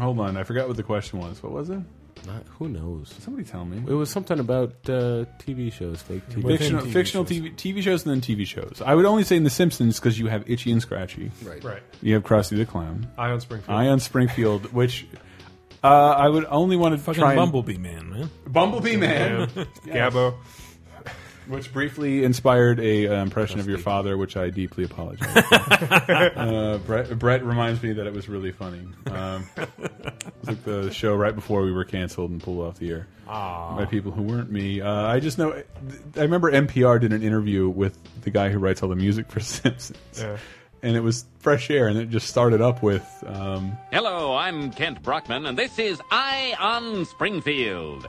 [SPEAKER 4] hold on, I forgot what the question was. What was it?
[SPEAKER 2] Not, who knows?
[SPEAKER 4] Somebody tell me.
[SPEAKER 2] It was something about uh, TV shows, fake TV.
[SPEAKER 4] Fictional,
[SPEAKER 2] shows.
[SPEAKER 4] fictional TV, TV shows and then TV shows. I would only say in The Simpsons because you have Itchy and Scratchy.
[SPEAKER 2] Right.
[SPEAKER 5] right.
[SPEAKER 4] You have Krusty the Clown.
[SPEAKER 5] Ion Springfield.
[SPEAKER 4] Ion Springfield, which uh, I would only want to
[SPEAKER 3] Fucking
[SPEAKER 4] try and-
[SPEAKER 3] Bumblebee Man, man.
[SPEAKER 4] Bumblebee Man.
[SPEAKER 5] Yeah. Gabbo.
[SPEAKER 4] which briefly inspired a uh, impression of your father, which I deeply apologize. for. uh, Brett, Brett reminds me that it was really funny. Um, it was like the show right before we were canceled and pulled off the air by people who weren't me. Uh, I just know. I remember NPR did an interview with the guy who writes all the music for Simpsons.
[SPEAKER 5] Yeah.
[SPEAKER 4] And it was fresh air, and it just started up with um,
[SPEAKER 10] Hello, I'm Kent Brockman, and this is I on Springfield.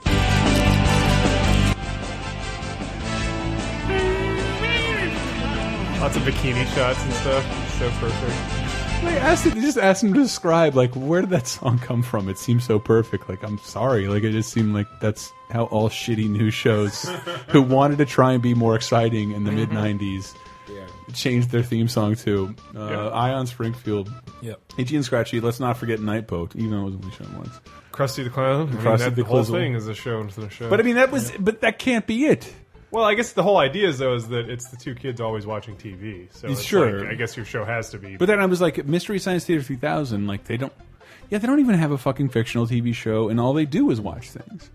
[SPEAKER 5] Lots of bikini shots and stuff. So perfect.
[SPEAKER 4] They asked they just asked him to describe like where did that song come from? It seemed so perfect. Like I'm sorry, like it just seemed like that's how all shitty news shows who wanted to try and be more exciting in the mid '90s changed their theme song to uh,
[SPEAKER 5] Yeah.
[SPEAKER 4] "Ion Springfield."
[SPEAKER 3] Yep.
[SPEAKER 4] Itchy and Scratchy. Let's not forget Night Boat, even though it was only shown once.
[SPEAKER 5] Krusty the Clown. I mean,
[SPEAKER 4] Krusty
[SPEAKER 5] that
[SPEAKER 4] the
[SPEAKER 5] whole
[SPEAKER 4] Clown.
[SPEAKER 5] thing is a show within a show.
[SPEAKER 4] But I mean, that was but that can't be it.
[SPEAKER 5] well, I guess the whole idea is though is that it's the two kids always watching TV. So it's
[SPEAKER 4] Sure.
[SPEAKER 5] like, I guess your show has to be.
[SPEAKER 4] But then I was like, Mystery Science Theater 3000, like they don't, yeah, they don't even have a fucking fictional TV show, and all they do is watch things.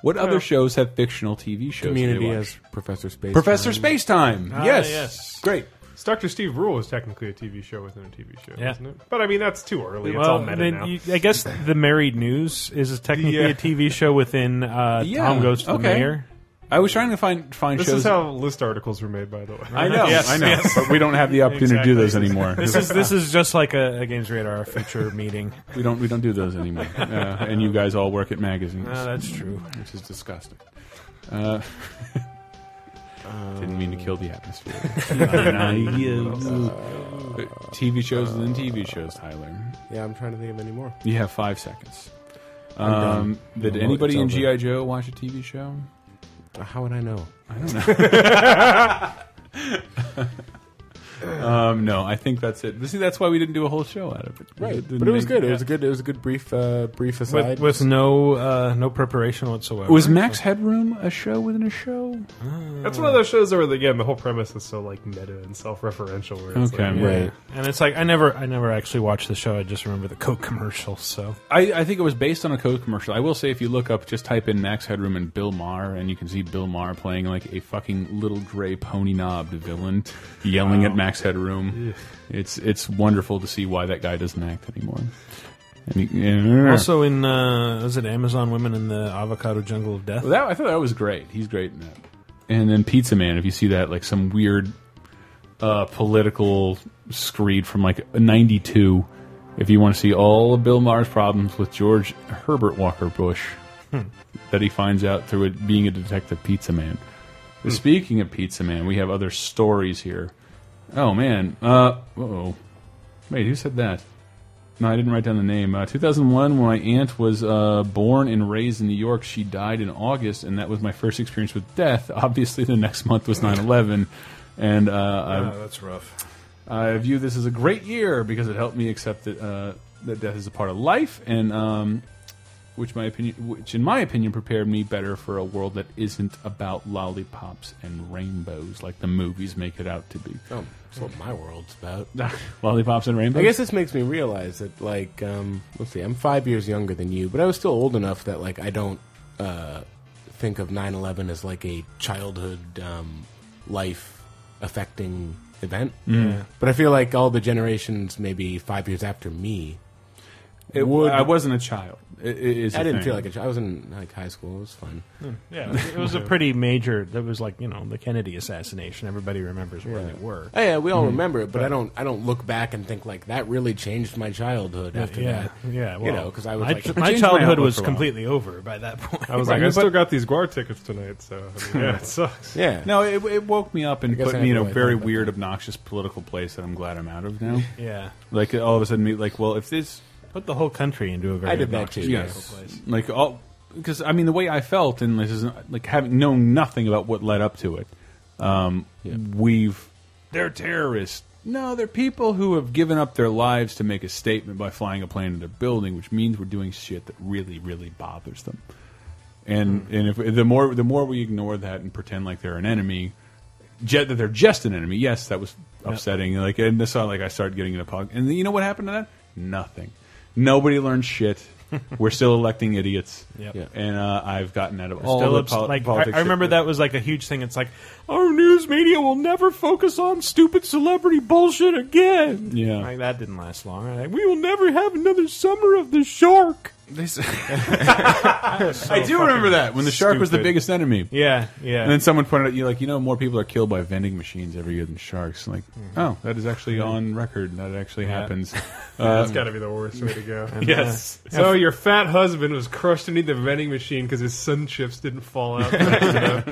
[SPEAKER 4] What other shows have fictional TV shows? that they
[SPEAKER 2] Community
[SPEAKER 4] watch?
[SPEAKER 2] has Professor Space.
[SPEAKER 4] Professor
[SPEAKER 2] Time.
[SPEAKER 4] Space Time. yes,
[SPEAKER 3] Ah, yes.
[SPEAKER 4] great.
[SPEAKER 5] Dr. Steve Rule is technically a TV show within a TV show,
[SPEAKER 3] Yeah.
[SPEAKER 5] isn't it? But I mean, that's too early. it's all
[SPEAKER 3] Well,
[SPEAKER 5] meta
[SPEAKER 3] then
[SPEAKER 5] now.
[SPEAKER 3] you, I guess the Married News is technically
[SPEAKER 5] Yeah.
[SPEAKER 3] a TV show within uh,
[SPEAKER 4] Yeah,
[SPEAKER 3] Tom Goes to
[SPEAKER 4] okay.
[SPEAKER 3] the Mayor.
[SPEAKER 4] I was trying to find find
[SPEAKER 5] this
[SPEAKER 4] shows.
[SPEAKER 5] is how list articles were made, by the way.
[SPEAKER 4] I know,
[SPEAKER 3] Yes,
[SPEAKER 4] I know,
[SPEAKER 3] yes.
[SPEAKER 4] but we don't have the opportunity to do those
[SPEAKER 5] Exactly.
[SPEAKER 4] anymore.
[SPEAKER 3] This is this is just like a, a Games Radar feature meeting.
[SPEAKER 4] we don't we don't do those anymore. Uh, and you guys all work at magazines,
[SPEAKER 3] Uh, that's true.
[SPEAKER 4] which is disgusting. Uh, didn't mean to kill the atmosphere. Uh, TV shows and then TV shows, Tyler.
[SPEAKER 2] Yeah, I'm trying to think of any more.
[SPEAKER 4] You have five seconds. Um, did
[SPEAKER 2] No,
[SPEAKER 4] anybody
[SPEAKER 2] it's
[SPEAKER 4] in
[SPEAKER 2] over.
[SPEAKER 4] GI Joe watch a TV show?
[SPEAKER 2] How would I know?
[SPEAKER 4] Um, no, I think that's it. See, that's why we didn't do a whole show out of it. We
[SPEAKER 2] Right,
[SPEAKER 4] didn't
[SPEAKER 2] but it was
[SPEAKER 4] make-
[SPEAKER 2] good. It
[SPEAKER 4] yeah.
[SPEAKER 2] was a good. It was a good brief, uh, brief aside.
[SPEAKER 3] with, with no uh, no preparation whatsoever.
[SPEAKER 4] Was Max Headroom a show within a show?
[SPEAKER 5] That's one of those shows where, again, the whole premise is so like meta and self-referential. Where it's
[SPEAKER 4] Okay.
[SPEAKER 5] like,
[SPEAKER 3] Yeah.
[SPEAKER 2] Right.
[SPEAKER 3] And it's like I never I never actually watched the show. I just remember the Coke commercial. So
[SPEAKER 4] I, I think it was based on a Coke commercial. I will say, if you look up, just type in Max Headroom and Bill Maher, and you can see Bill Maher playing like a fucking little gray pony knobbed villain, yelling at Max Headroom. It's it's wonderful to see why that guy doesn't act anymore. And he- yeah.
[SPEAKER 3] also in uh, is it Amazon Women in the Avocado Jungle of Death?
[SPEAKER 4] Well, that I thought that was great. He's great in that. And then Pizza Man, if you see that, like some weird uh, political screed from like '92. If you want to see all of Bill Maher's problems with George Herbert Walker Bush, that he finds out through it being a detective Pizza Man. Speaking of Pizza Man, we have other stories here. Oh man, uh, oh, wait, who said that? No, I didn't write down the name. Uh, 2001, when my aunt was uh, born and raised in New York, she died in August, and that was my first experience with death. Obviously, the next month was 9 11. And uh, I,
[SPEAKER 3] Ah, that's rough.
[SPEAKER 4] I view this as a great year because it helped me accept that, uh, that death is a part of life, and um, which, my opinion, which, in my opinion, prepared me better for a world that isn't about lollipops and rainbows like the movies make it out to be.
[SPEAKER 2] oh, that's what my world's about.
[SPEAKER 4] lollipops and rainbows?
[SPEAKER 2] I guess this makes me realize that, like, um, let's see, I'm five years younger than you, but I was still old enough that, like, I don't uh, think of 9 11 as, like, a childhood um, life affecting event.
[SPEAKER 4] Mm.
[SPEAKER 2] Yeah. But I feel like all the generations, maybe five years after me,
[SPEAKER 4] it, would. I wasn't a child. It, it is
[SPEAKER 2] I
[SPEAKER 4] a
[SPEAKER 2] didn't
[SPEAKER 4] thing. Mm.
[SPEAKER 2] feel like a ch- I was in, like, high school. It was fun.
[SPEAKER 3] Yeah, it was a pretty major. That was like you know the Kennedy assassination. Everybody remembers where they were.
[SPEAKER 2] Oh, yeah, we all
[SPEAKER 4] Mm.
[SPEAKER 2] remember it, but I don't. I don't look back and think like that really changed my childhood after
[SPEAKER 3] yeah,
[SPEAKER 2] that.
[SPEAKER 3] yeah. Well,
[SPEAKER 2] you know, because I was
[SPEAKER 3] my,
[SPEAKER 2] like,
[SPEAKER 3] my
[SPEAKER 4] changed my
[SPEAKER 3] childhood
[SPEAKER 4] outlook
[SPEAKER 3] was
[SPEAKER 4] for a while.
[SPEAKER 3] completely over by that point.
[SPEAKER 5] I was like, I still got these Guar tickets tonight, so I mean, yeah, it sucks.
[SPEAKER 2] yeah,
[SPEAKER 4] No, it, it woke me up and
[SPEAKER 2] guess
[SPEAKER 4] put
[SPEAKER 2] I
[SPEAKER 4] me in
[SPEAKER 2] have
[SPEAKER 4] a
[SPEAKER 2] no idea
[SPEAKER 4] very
[SPEAKER 2] about
[SPEAKER 4] weird, obnoxious political place that I'm glad I'm out of now.
[SPEAKER 3] yeah,
[SPEAKER 4] like all of a sudden, me like, well, if this,
[SPEAKER 3] put the whole country into a very
[SPEAKER 2] I did that
[SPEAKER 3] obnoxious
[SPEAKER 2] too,
[SPEAKER 3] political
[SPEAKER 2] yes.
[SPEAKER 3] place.
[SPEAKER 4] like all, because I mean, the way I felt, and this is like having known nothing about what led up to it. Um, We've they're terrorists. No, they're people who have given up their lives to make a statement by flying a plane into a building, which means we're doing shit that really, really bothers them. and
[SPEAKER 3] Hmm.
[SPEAKER 4] and if the more the more we ignore that and pretend like they're an enemy, ju- that they're just an enemy. Yes, that was upsetting. Like and this, like I started getting into pog. And you know what happened to that? Nothing. Nobody learned shit. We're still electing idiots.
[SPEAKER 3] Yep.
[SPEAKER 2] Yeah.
[SPEAKER 4] And uh, I've gotten out of all
[SPEAKER 3] Still
[SPEAKER 4] the
[SPEAKER 3] ups-
[SPEAKER 4] pol-
[SPEAKER 3] like I,
[SPEAKER 4] politics
[SPEAKER 3] I remember
[SPEAKER 4] shit.
[SPEAKER 3] that was like a huge thing. It's like our news media will never focus on stupid celebrity bullshit again.
[SPEAKER 4] Yeah.
[SPEAKER 3] like, that didn't last long. Like, we will never have another summer of the shark.
[SPEAKER 4] I do remember that when the shark was the
[SPEAKER 3] stupid.
[SPEAKER 4] biggest enemy.
[SPEAKER 3] Yeah, yeah.
[SPEAKER 4] And then someone pointed out, you like, you know, more people are killed by vending machines every year than sharks. Like,
[SPEAKER 3] Mm-hmm.
[SPEAKER 4] oh, that is actually on record. That actually happens. Uh,
[SPEAKER 5] That's got to be the worst way to go.
[SPEAKER 4] yes.
[SPEAKER 5] So your fat husband was crushed underneath the vending machine because his sun chips didn't fall out. uh,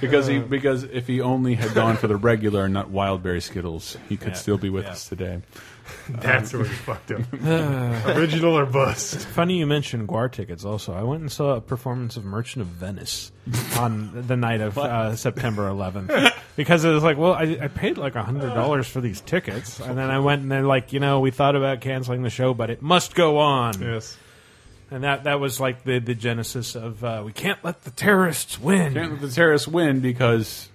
[SPEAKER 4] Because he because if he only had gone for the regular and not wildberry Skittles, he could still be with
[SPEAKER 3] Yeah.
[SPEAKER 4] us today.
[SPEAKER 5] That's where we fucked him. Original or bust.
[SPEAKER 3] Funny you mentioned Guar tickets. Also, I went and saw a performance of Merchant of Venice on the night of uh, September 11th because it was like, well, I, I paid like hundred dollars for these tickets, and then I went and they're like, you know, we thought about canceling the show, but it must go on.
[SPEAKER 5] Yes.
[SPEAKER 3] And that that was like the the genesis of uh, we can't let the terrorists win.
[SPEAKER 4] Can't let the terrorists win because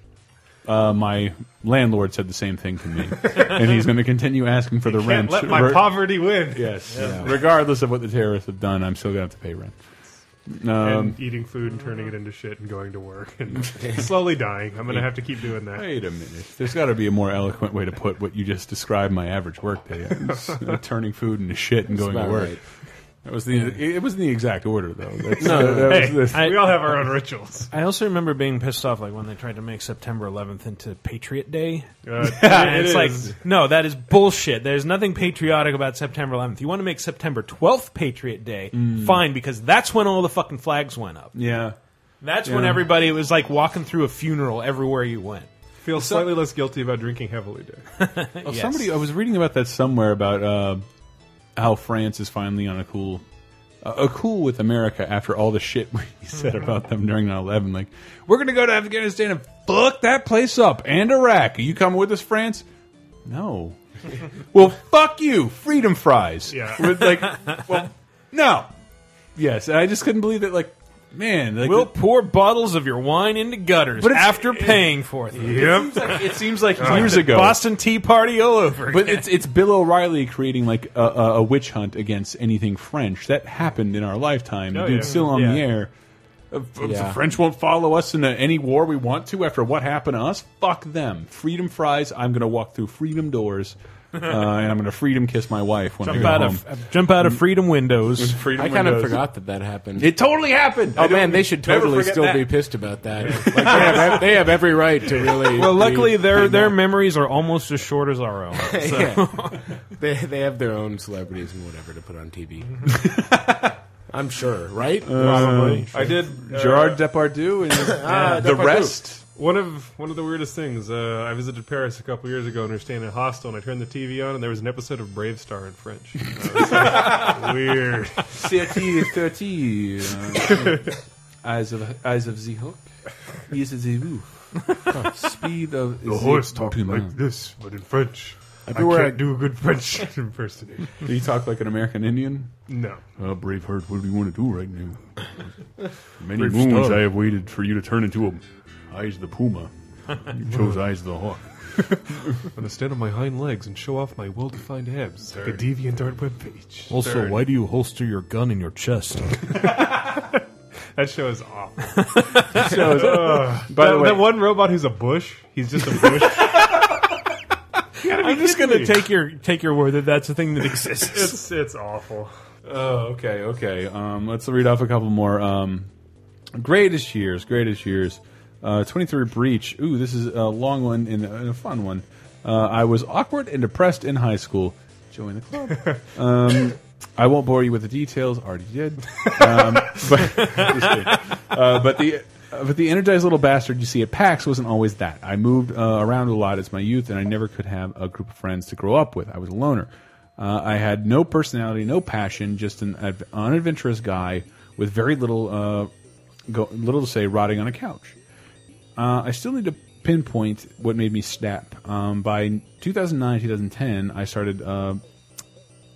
[SPEAKER 4] uh, my landlord said the same thing to me, and he's going to continue asking for the
[SPEAKER 5] Can't
[SPEAKER 4] rent.
[SPEAKER 5] let my
[SPEAKER 4] Re-
[SPEAKER 5] poverty win.
[SPEAKER 4] yes, regardless of what the terrorists have done, I'm still going to have to pay rent.
[SPEAKER 5] and eating food and turning it into shit and going to work and slowly dying. I'm gonna have to keep doing that.
[SPEAKER 4] Wait a minute. There's got to be a more eloquent way to put what you just described my average workday as. Uh, turning food into shit and going to
[SPEAKER 2] about
[SPEAKER 4] work.
[SPEAKER 2] right.
[SPEAKER 4] That was the. It wasn't the exact order though. That's,
[SPEAKER 2] No,
[SPEAKER 4] that was
[SPEAKER 5] Hey,
[SPEAKER 4] the-
[SPEAKER 5] we all have our own rituals.
[SPEAKER 3] I also remember being pissed off like when they tried to make September 11th into Patriot Day.
[SPEAKER 5] Uh,
[SPEAKER 3] And
[SPEAKER 5] it
[SPEAKER 3] it's
[SPEAKER 5] is.
[SPEAKER 3] like, no, that is bullshit. There's nothing patriotic about September 11th. You want to make September 12th Patriot Day?
[SPEAKER 4] Mm.
[SPEAKER 3] Fine, because that's when all the fucking flags went up.
[SPEAKER 4] yeah.
[SPEAKER 3] That's when everybody was like walking through a funeral everywhere you went.
[SPEAKER 5] feel slightly less guilty about drinking heavily. Day.
[SPEAKER 4] Oh, Somebody, I was reading about that somewhere about uh, how France is finally on a cool uh, cool with America after all the shit he said
[SPEAKER 3] Mm-hmm.
[SPEAKER 4] about them during 9/11. Like, we're gonna go to Afghanistan and fuck that place up and Iraq. Are you coming with us, France? No. well, fuck you, freedom fries.
[SPEAKER 5] Yeah.
[SPEAKER 4] With like, well, no. Yes, and I just couldn't believe that. Like, man, like
[SPEAKER 3] We'll pour bottles of your wine into gutters
[SPEAKER 4] But it's-
[SPEAKER 3] after paying for them.
[SPEAKER 4] It seems like, it seems like years ago.
[SPEAKER 3] Boston Tea Party all over.
[SPEAKER 4] But it's it's Bill O'Reilly creating like a, a, a witch hunt against anything French that happened in our lifetime. The
[SPEAKER 5] Oh,
[SPEAKER 4] dude's
[SPEAKER 5] yeah.
[SPEAKER 4] still on the
[SPEAKER 3] Yeah.
[SPEAKER 4] air. Uh, f- The
[SPEAKER 2] Yeah.
[SPEAKER 4] French won't follow us into any war we want to after what happened to us. Fuck them. Freedom fries. I'm gonna walk through freedom doors, uh, and I'm gonna freedom kiss my wife when
[SPEAKER 3] jump
[SPEAKER 4] I
[SPEAKER 3] out
[SPEAKER 4] go home.
[SPEAKER 3] of jump out of freedom windows.
[SPEAKER 4] Mm. freedom
[SPEAKER 2] I kind of
[SPEAKER 4] windows.
[SPEAKER 2] forgot that that happened.
[SPEAKER 4] It totally happened. I
[SPEAKER 2] oh
[SPEAKER 4] don't-
[SPEAKER 2] man, they should
[SPEAKER 4] never
[SPEAKER 2] totally
[SPEAKER 4] forget
[SPEAKER 2] still
[SPEAKER 4] that.
[SPEAKER 2] be pissed about that. like, they, have, they have every right to really.
[SPEAKER 3] Well,
[SPEAKER 2] be-
[SPEAKER 3] luckily their
[SPEAKER 2] be
[SPEAKER 3] their
[SPEAKER 2] mad.
[SPEAKER 3] memories are almost as short as our own.
[SPEAKER 2] Yeah. they they have their own celebrities and whatever to put on TV. I'm sure, right?
[SPEAKER 5] Um,
[SPEAKER 2] Probably.
[SPEAKER 5] I did. Uh,
[SPEAKER 4] Gerard Ah, Depardieu and the
[SPEAKER 2] Depardieu.
[SPEAKER 4] rest.
[SPEAKER 5] One of one of the weirdest things. Uh, I visited Paris a couple years ago, and we were staying in a hostel. And I turned the TV on, and there was an episode of Brave Star in French. Uh, it was weird.
[SPEAKER 4] Thirty, thirty. uh, eyes of eyes of the hawk. Yes, the wolf. Speed of the
[SPEAKER 5] this, but in French.
[SPEAKER 2] Everywhere I can't
[SPEAKER 5] do a good French impersonation.
[SPEAKER 4] Do you talk like an American Indian?
[SPEAKER 5] No.
[SPEAKER 4] Uh, Braveheart, what do you want to do right now? Many
[SPEAKER 11] Brave moons I have waited for you to turn into a Eyes the Puma. You chose Eyes the Hawk.
[SPEAKER 5] I'm gonna stand on my hind legs and show off my well-defined abs. It's like a deviant art webpage.
[SPEAKER 3] Also, why do you holster your gun in your chest?
[SPEAKER 5] That show is awful.
[SPEAKER 4] show is-
[SPEAKER 5] By that,
[SPEAKER 4] the way-
[SPEAKER 5] that one robot who's a bush. He's just a bush.
[SPEAKER 3] I'm just gonna take your take your word that that's a thing that exists.
[SPEAKER 5] it's it's awful.
[SPEAKER 4] Oh, okay, okay. Um, let's read off a couple more. Um, greatest years, greatest years. Uh, 23 Breach. Ooh, this is a long one and a, and a fun one. Uh, I was awkward and depressed in high school. Join the club. Um, I won't bore you with the details. Already did. Um, but, uh, but the. uh, But the energized little bastard you see at PAX wasn't always that. I moved uh, around a lot as my youth, and I never could have a group of friends to grow up with. I was a loner. Uh, I had no personality, no passion, just an ad- unadventurous guy with very little, uh, go- little to say, rotting on a couch. Uh, I still need to pinpoint what made me snap. Um, by 2009, 2010, I started. Uh,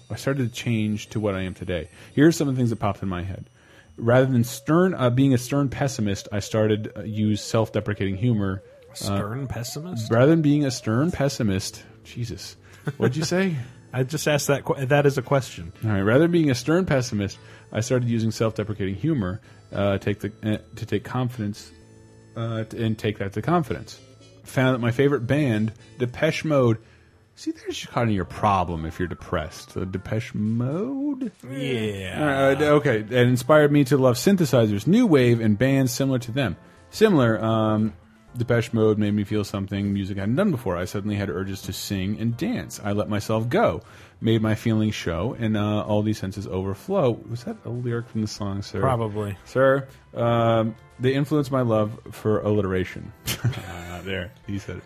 [SPEAKER 4] I started to change to what I am today. Here are some of the things that popped in my head. Rather than stern, uh, being a stern pessimist, I started uh, use self-deprecating humor.
[SPEAKER 3] Stern pessimist.
[SPEAKER 4] Rather than being a stern pessimist, Jesus, what'd you say?
[SPEAKER 3] I just asked that. que- That is a question.
[SPEAKER 4] All right. Rather than being a stern pessimist, I started using self-deprecating humor uh, take the, uh, to take confidence uh, t- and take that to confidence. Found that my favorite band, Depeche Mode. See, there's kind of your problem if you're depressed. The Depeche Mode.
[SPEAKER 3] Yeah.
[SPEAKER 4] Uh, okay, that inspired me to love synthesizers, new wave, and bands similar to them. Similar, um, Depeche Mode made me feel something music I hadn't done before. I suddenly had urges to sing and dance. I let myself go, made my feelings show, and uh, all these senses overflow. Was that a lyric from the song, sir?
[SPEAKER 3] Probably.
[SPEAKER 4] Sir, um, they influenced my love for alliteration. Ah, there, he said it.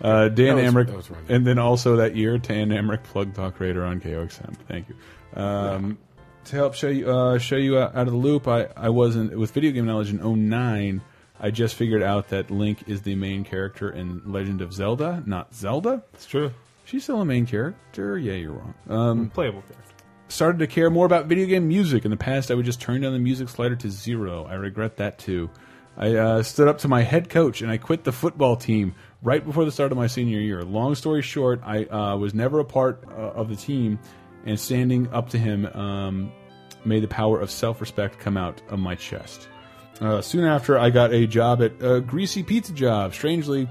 [SPEAKER 4] Uh, Dan
[SPEAKER 2] That was-
[SPEAKER 4] Amrick,
[SPEAKER 2] that was wrong.
[SPEAKER 4] and then also that year, Dan Amrick plugged Talk Radar on KOXM. Thank you. Um, To help show you uh, show you out of the loop, I, I wasn't with video game knowledge in 09. I just figured out that Link is the main character in Legend of Zelda, not Zelda.
[SPEAKER 5] It's true.
[SPEAKER 4] She's still a main character. Yeah, you're wrong. Um,
[SPEAKER 5] Playable character.
[SPEAKER 4] started to care more about video game music. In the past, I would just turn down the music slider to zero. I regret that too. I uh, stood up to my head coach and I quit the football team right before the start of my senior year. Long story short, I uh, was never a part uh, of the team, and standing up to him um, made the power of self respect come out of my chest. Uh, soon after, I got a job at a greasy pizza job. Strangely,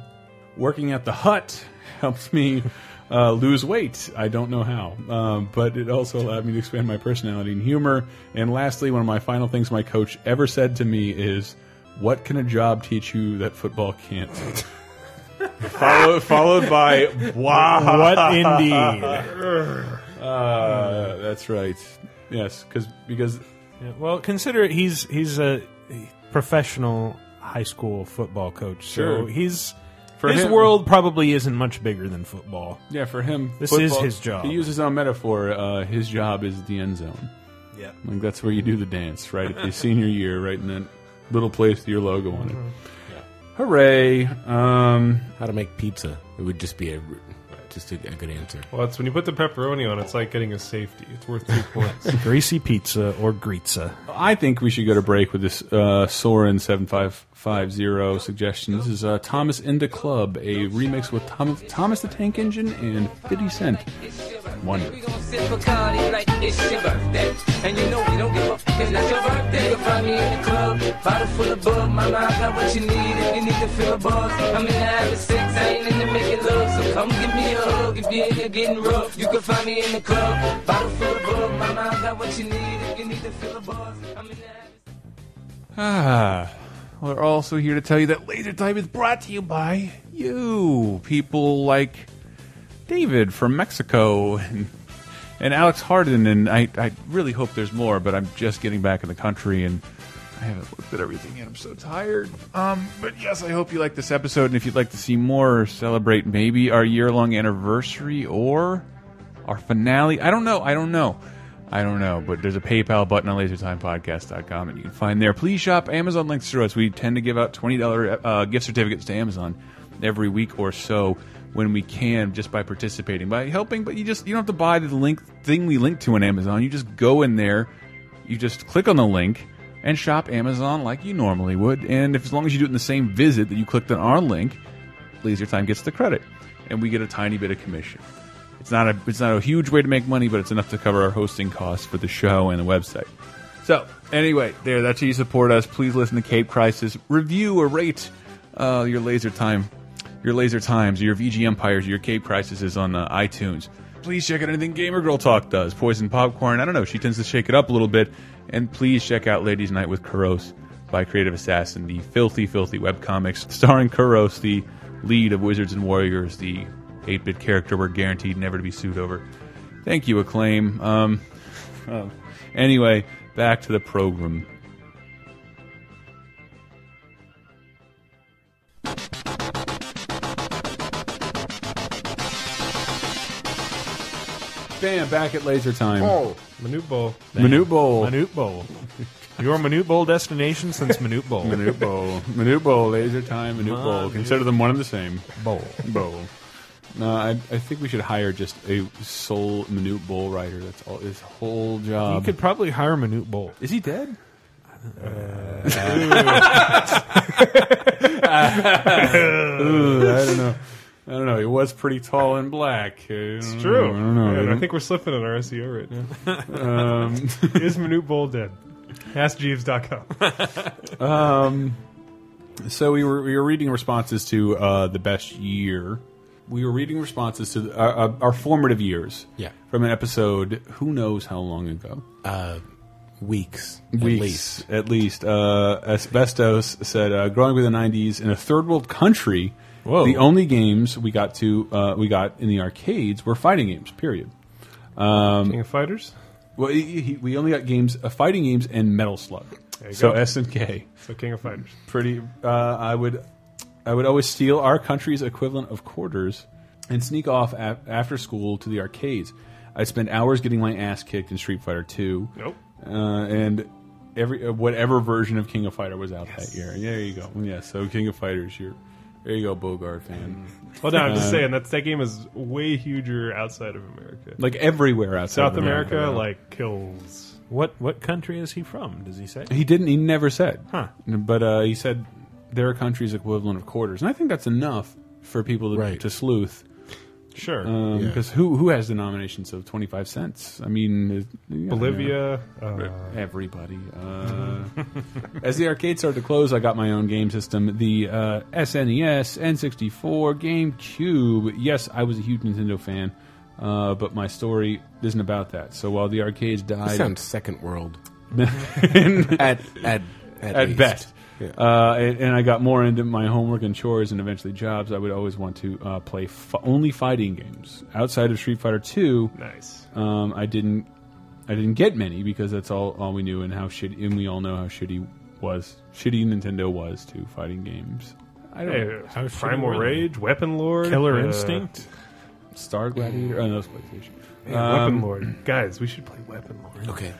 [SPEAKER 4] working at the hut helped me uh, lose weight. I don't know how, um, but it also allowed me to expand my personality and humor. And lastly, one of my final things my coach ever said to me is, "What can a job teach you that football can't?" followed, followed by, "Wow,
[SPEAKER 3] What indeed?
[SPEAKER 4] uh, that's right." Yes, because because
[SPEAKER 3] Yeah, well, consider it. He's he's a professional high school football coach, so
[SPEAKER 4] Sure.
[SPEAKER 3] he's
[SPEAKER 4] For
[SPEAKER 3] his
[SPEAKER 4] him-
[SPEAKER 3] world probably isn't much bigger than football.
[SPEAKER 4] yeah, for him,
[SPEAKER 3] This is
[SPEAKER 4] football-
[SPEAKER 3] his job.
[SPEAKER 4] To use his own metaphor, uh, his job is the end zone.
[SPEAKER 3] Yeah.
[SPEAKER 4] Like that's where you do the dance, right? At your senior year, right in that little place with your logo on it. Hooray! Um,
[SPEAKER 2] How to make pizza? It would just be a just a, a good answer.
[SPEAKER 5] Well, it's when you put the pepperoni on, it's like getting a safety. It's worth three points.
[SPEAKER 3] Greasy pizza or grizza.
[SPEAKER 4] I think we should go to break with this uh, Soren seven five five zero suggestion. This is uh, Thomas in the Club, a remix with Tom- Thomas the Tank Engine and Fifty Cent. Wonder.
[SPEAKER 12] sip Bacardi like it's your birthday. And you know we don't give a fuck, it's not your birthday. You'll find me in the club, bottle full of bug. Mama, I got what you need if you need to feel a buzz. I'm in the habit of sex, I ain't in the making love. So come give me a hug if you're in here getting rough. You can find me in the club, bottle full of bug. Mama, I got what you need if you need to feel a buzz. I'm in the
[SPEAKER 4] Ah, we're also here to tell you that Laser Time is brought to you by you, people like David from Mexico and, and Alex Hardin, and I, I really hope there's more, but I'm just getting back in the country and I haven't looked at everything yet. I'm so tired. Um, but yes, I hope you like this episode, and if you'd like to see more or celebrate maybe our year long anniversary or our finale, I don't know. I don't know. I don't know, but there's a PayPal button on lasertimepodcast.com and you can find there. Please shop Amazon links through us. We tend to give out $20 uh, gift certificates to Amazon every week or so when we can just by participating, by helping, but you just you don't have to buy the link thing we link to on Amazon. You just go in there, you just click on the link and shop Amazon like you normally would. And if as long as you do it in the same visit that you clicked on our link, Laser Time gets the credit, and we get a tiny bit of commission. It's not a it's not a huge way to make money, but it's enough to cover our hosting costs for the show and the website. So anyway, there that's how you support us. Please listen to Cape Crisis, review or rate uh, your Laser Time, your Laser Times, your VG Empires, your Cape Crisis on uh, iTunes. Please check out anything Gamer Girl Talk does. Poison Popcorn, I don't know, she tends to shake it up a little bit. And please check out Ladies Night with Kuros by Creative Assassin, the filthy, filthy webcomics starring Kuros, the lead of Wizards and Warriors, the 8 bit character we're guaranteed never to be sued over. Thank you, Acclaim. Um, um, anyway, back to the program. Bam, back at laser time.
[SPEAKER 5] Manute Bowl.
[SPEAKER 4] Manute Bowl.
[SPEAKER 3] Manute Bowl. Your Manute Bowl destination since Manute Bowl.
[SPEAKER 4] Manute Bowl. Manute Bowl, laser time, Manute
[SPEAKER 3] Ah,
[SPEAKER 4] Bowl.
[SPEAKER 3] Manute.
[SPEAKER 4] Consider them one and the same.
[SPEAKER 3] Bowl.
[SPEAKER 4] Bowl. No, I, I think we should hire just a sole Manute Bowl writer. That's all his whole job.
[SPEAKER 3] you could probably hire Manute Bowl.
[SPEAKER 4] Is he dead? Ooh, I don't know. I don't know. He was pretty tall and black. It's
[SPEAKER 5] True.
[SPEAKER 4] I don't know.
[SPEAKER 5] And I think we're slipping in our SEO right now.
[SPEAKER 4] Um,
[SPEAKER 5] Is Manute Bowl dead? AskJeeves.com.
[SPEAKER 4] um, so we were we were reading responses to uh, the best year. We were reading responses to the, our, our- our formative years.
[SPEAKER 2] Yeah.
[SPEAKER 4] From an episode, who knows how long ago?
[SPEAKER 2] Uh, weeks, at
[SPEAKER 4] Weeks,
[SPEAKER 2] least.
[SPEAKER 4] At least. Uh, Asbestos said, uh, "Growing up in the '90s in a third world country,
[SPEAKER 3] Whoa.
[SPEAKER 4] the only games we got to uh, we got in the arcades were fighting games. Period. Um,
[SPEAKER 5] King of Fighters?
[SPEAKER 4] well, he, he, we only got games, uh, fighting games, and Metal Slug.
[SPEAKER 5] There you
[SPEAKER 4] So
[SPEAKER 5] go.
[SPEAKER 4] S and K.
[SPEAKER 5] So King of Fighters.
[SPEAKER 4] Pretty. Uh, I would, I would always steal our country's equivalent of quarters and sneak off a after school to the arcades. I spent hours getting my ass kicked in Street Fighter Two.
[SPEAKER 5] Nope.
[SPEAKER 4] Uh, and every uh, whatever version of King of Fighter was out that year. Yeah, there you go. Yeah. So King of Fighters, you're. There you go, Bogart fan.
[SPEAKER 5] Well, no, I'm just
[SPEAKER 4] Uh,
[SPEAKER 5] saying that's, that game is way huger outside of America.
[SPEAKER 4] Like everywhere outside
[SPEAKER 5] South
[SPEAKER 4] of America,
[SPEAKER 5] America,
[SPEAKER 4] yeah.
[SPEAKER 5] like kills.
[SPEAKER 3] What what country is he from? Does he say?
[SPEAKER 4] He didn't. He never said.
[SPEAKER 3] Huh.
[SPEAKER 4] But uh, he said their country's equivalent of quarters, and I think that's enough for people to,
[SPEAKER 2] Right.
[SPEAKER 4] to sleuth.
[SPEAKER 5] Sure.
[SPEAKER 4] Uh,
[SPEAKER 2] Yeah.
[SPEAKER 4] Because Um, who who has denominations of twenty five cents? I mean, it- yeah,
[SPEAKER 5] Bolivia.
[SPEAKER 4] yeah.
[SPEAKER 5] Uh,
[SPEAKER 4] everybody. Uh, as the arcade started to close, I got my own game system: the uh, SNES, N64, GameCube. Yes, I was a huge Nintendo fan, uh, but my story isn't about that. So while the arcades
[SPEAKER 2] That
[SPEAKER 4] died,
[SPEAKER 2] sounds second world. At at at,
[SPEAKER 4] at
[SPEAKER 2] least.
[SPEAKER 4] best.
[SPEAKER 2] Yeah.
[SPEAKER 4] Uh, and, and I got more into my homework and chores, and eventually jobs. I would always want to uh, play f- only fighting games outside of Street Fighter Two.
[SPEAKER 5] nice.
[SPEAKER 4] Um, I didn't, I didn't get many because that's all, all we knew, and how shitty, and we all know how shitty was shitty Nintendo was to fighting games. I don't.
[SPEAKER 5] Hey,
[SPEAKER 3] How should
[SPEAKER 5] Primal
[SPEAKER 3] we-
[SPEAKER 5] Rage, Weapon Lord,
[SPEAKER 3] Killer
[SPEAKER 5] uh,
[SPEAKER 3] Instinct.
[SPEAKER 4] Star Gladiator. Oh, no, it's PlayStation.
[SPEAKER 5] Yeah,
[SPEAKER 4] Um,
[SPEAKER 5] Weapon Lord. Guys, we should play Weapon Lord.
[SPEAKER 2] Okay.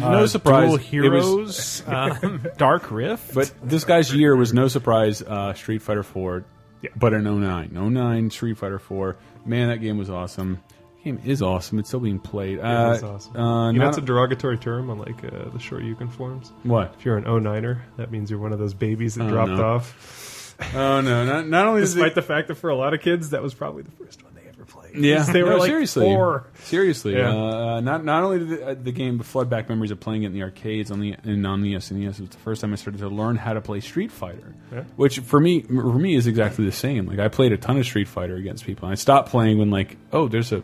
[SPEAKER 4] no surprise.
[SPEAKER 3] Dual
[SPEAKER 4] it was-
[SPEAKER 3] Uh, Heroes, um, Dark Rift.
[SPEAKER 4] But this guy's year was no surprise uh, Street Fighter 4, but an 09. 09 Street Fighter 4. Man, that game was awesome. Game is awesome. It's still being played. Uh,
[SPEAKER 5] That's awesome.
[SPEAKER 4] uh,
[SPEAKER 5] you know,
[SPEAKER 4] not-
[SPEAKER 5] it's a derogatory term on like uh, the short Yukon forums.
[SPEAKER 4] What?
[SPEAKER 5] If you're an 09er, that means you're one of those babies that
[SPEAKER 4] Oh,
[SPEAKER 5] dropped
[SPEAKER 4] no.
[SPEAKER 5] off.
[SPEAKER 4] Oh no! Not, not only is
[SPEAKER 5] despite the fact that for a lot of kids, that was probably the first one they ever played.
[SPEAKER 4] Yeah,
[SPEAKER 5] they were
[SPEAKER 4] No,
[SPEAKER 5] like
[SPEAKER 4] seriously.
[SPEAKER 5] four.
[SPEAKER 4] Seriously,
[SPEAKER 5] Yeah.
[SPEAKER 4] uh, not not only did the, uh, the game flood back memories of playing it in the arcades on the and on the SNES. It was the first time I started to learn how to play Street Fighter,
[SPEAKER 5] Yeah.
[SPEAKER 4] which for me for me is exactly the same. Like I played a ton of Street Fighter against people. And I stopped playing when like oh there's a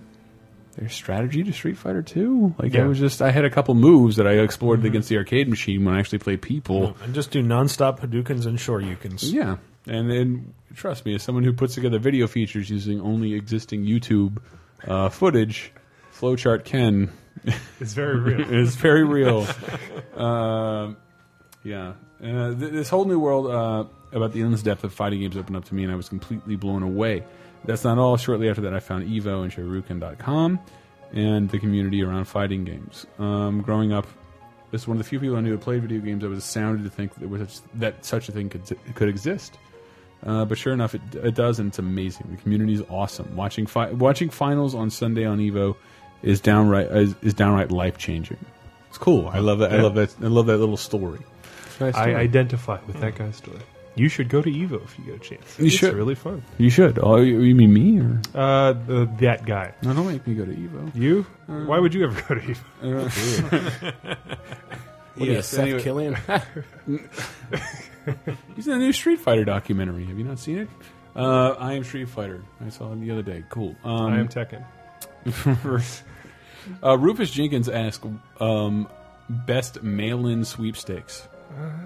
[SPEAKER 4] there's strategy to Street Fighter too. Like
[SPEAKER 3] Yeah.
[SPEAKER 4] I was just I had a couple moves that I explored
[SPEAKER 5] Mm-hmm.
[SPEAKER 4] against the arcade machine when I actually played
[SPEAKER 5] Uh-huh.
[SPEAKER 4] people.
[SPEAKER 3] And just do nonstop Hadoukens and Shoryukens.
[SPEAKER 4] Yeah, and then trust me, as someone who puts together video features using only existing YouTube uh, footage, Flowchart Ken
[SPEAKER 5] It's very real.
[SPEAKER 4] is very real. Um yeah, uh, th this whole new world uh, about the endless depth of fighting games opened up to me, and I was completely blown away. That's not all. Shortly after that, I found Evo and Shoryuken.com and the community around fighting games. Um, growing up, as one of the few people I knew who played video games, I was astounded to think that, there was such, that such a thing could, could exist. Uh, but sure enough, it, it does, and it's amazing. The community is awesome. Watching fi watching finals on Sunday on Evo is downright is, is downright life changing. It's cool. I love that. I
[SPEAKER 5] Yeah.
[SPEAKER 4] love that. I love that little story.
[SPEAKER 5] I identify with that guy's story. You should go to Evo if you get a chance.
[SPEAKER 4] You
[SPEAKER 5] it's
[SPEAKER 4] should.
[SPEAKER 5] really fun.
[SPEAKER 4] You should. Oh, you, you mean me? Or?
[SPEAKER 5] Uh, the, that guy.
[SPEAKER 4] No, don't make me go to Evo.
[SPEAKER 5] You?
[SPEAKER 4] Uh,
[SPEAKER 5] Why would you ever go to Evo?
[SPEAKER 2] What are you, Seth Killian?
[SPEAKER 4] He's in a new Street Fighter documentary. Have you not seen it? Uh, I am Street Fighter. I saw it the other day. Cool. Um,
[SPEAKER 5] I am Tekken.
[SPEAKER 4] uh, Rufus Jenkins asked um, best mail-in sweepstakes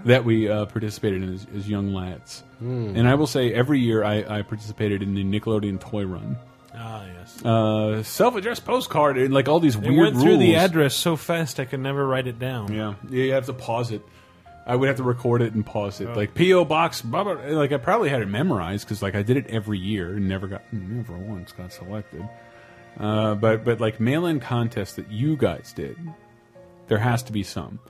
[SPEAKER 4] that we uh, participated in as, as young lads.
[SPEAKER 3] Hmm.
[SPEAKER 4] And I will say, every year I, I participated in the Nickelodeon toy run.
[SPEAKER 3] Ah, yes.
[SPEAKER 4] Uh, self-addressed postcard and like all these
[SPEAKER 3] It
[SPEAKER 4] weird
[SPEAKER 3] went through the
[SPEAKER 4] rules.
[SPEAKER 3] address so fast I could never write it down.
[SPEAKER 4] Yeah, yeah, you have to pause it. I would have to record it and pause it.
[SPEAKER 3] Oh.
[SPEAKER 4] Like PO box, blah, blah, like I probably had it memorized because like I did it every year and never got never once got selected. Uh, but but like mail in contests that you guys did, there has to be some.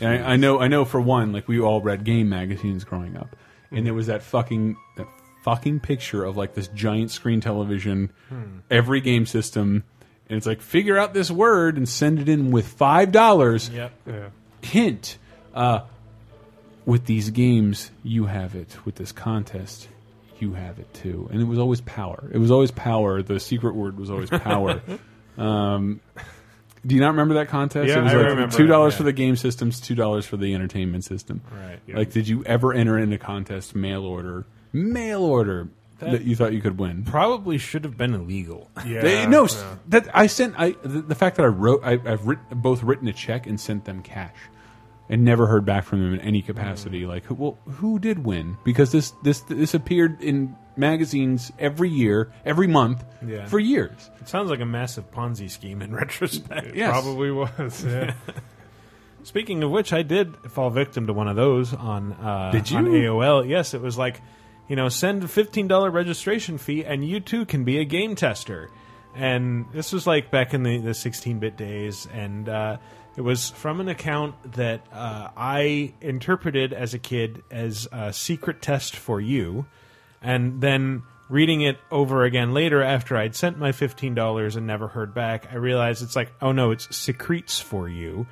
[SPEAKER 4] And I, I know I know for one, like we all read game magazines growing up,
[SPEAKER 3] Mm-hmm.
[SPEAKER 4] and there was that fucking that fucking picture of like this giant screen television,
[SPEAKER 3] Hmm.
[SPEAKER 4] every game system. And it's like figure out this word and send it in with five dollars
[SPEAKER 3] Yep.
[SPEAKER 5] Yeah.
[SPEAKER 4] hint uh, with these games you have it with this contest you have it too and it was always power it was always power the secret word was always power um, do you not remember that contest
[SPEAKER 5] Yeah,
[SPEAKER 4] it was
[SPEAKER 5] I
[SPEAKER 4] like
[SPEAKER 5] remember
[SPEAKER 4] two dollars
[SPEAKER 5] it, yeah.
[SPEAKER 4] for the game systems two dollars for the entertainment system
[SPEAKER 3] Right.
[SPEAKER 4] like did you ever enter in a contest mail order mail order that,
[SPEAKER 3] That-
[SPEAKER 4] you thought you could win
[SPEAKER 3] Probably should have been illegal.
[SPEAKER 5] Yeah.
[SPEAKER 4] They- no s- that i sent i the, the fact that i wrote I, i've writ, both written a check and sent them cash and never heard back from them in any capacity like who- well who did win because this this this appeared in magazines every year every month
[SPEAKER 3] Yeah.
[SPEAKER 4] for years
[SPEAKER 3] It sounds like a massive Ponzi scheme in retrospect.
[SPEAKER 4] Yes.
[SPEAKER 5] Probably was. Yeah.
[SPEAKER 3] Speaking of which, I did fall victim to one of those on uh,
[SPEAKER 4] Did
[SPEAKER 3] on
[SPEAKER 4] you?
[SPEAKER 3] AOL. Yes, it was like, you know, send a fifteen dollar registration fee, and you too can be a game tester. And this was like back in the the sixteen bit days, and uh, it was from an account that uh, I interpreted as a kid as a secret test for you, and then. Reading it over again later after I'd sent my $15 and never heard back, I realized it's like, oh no, it's secretes for you.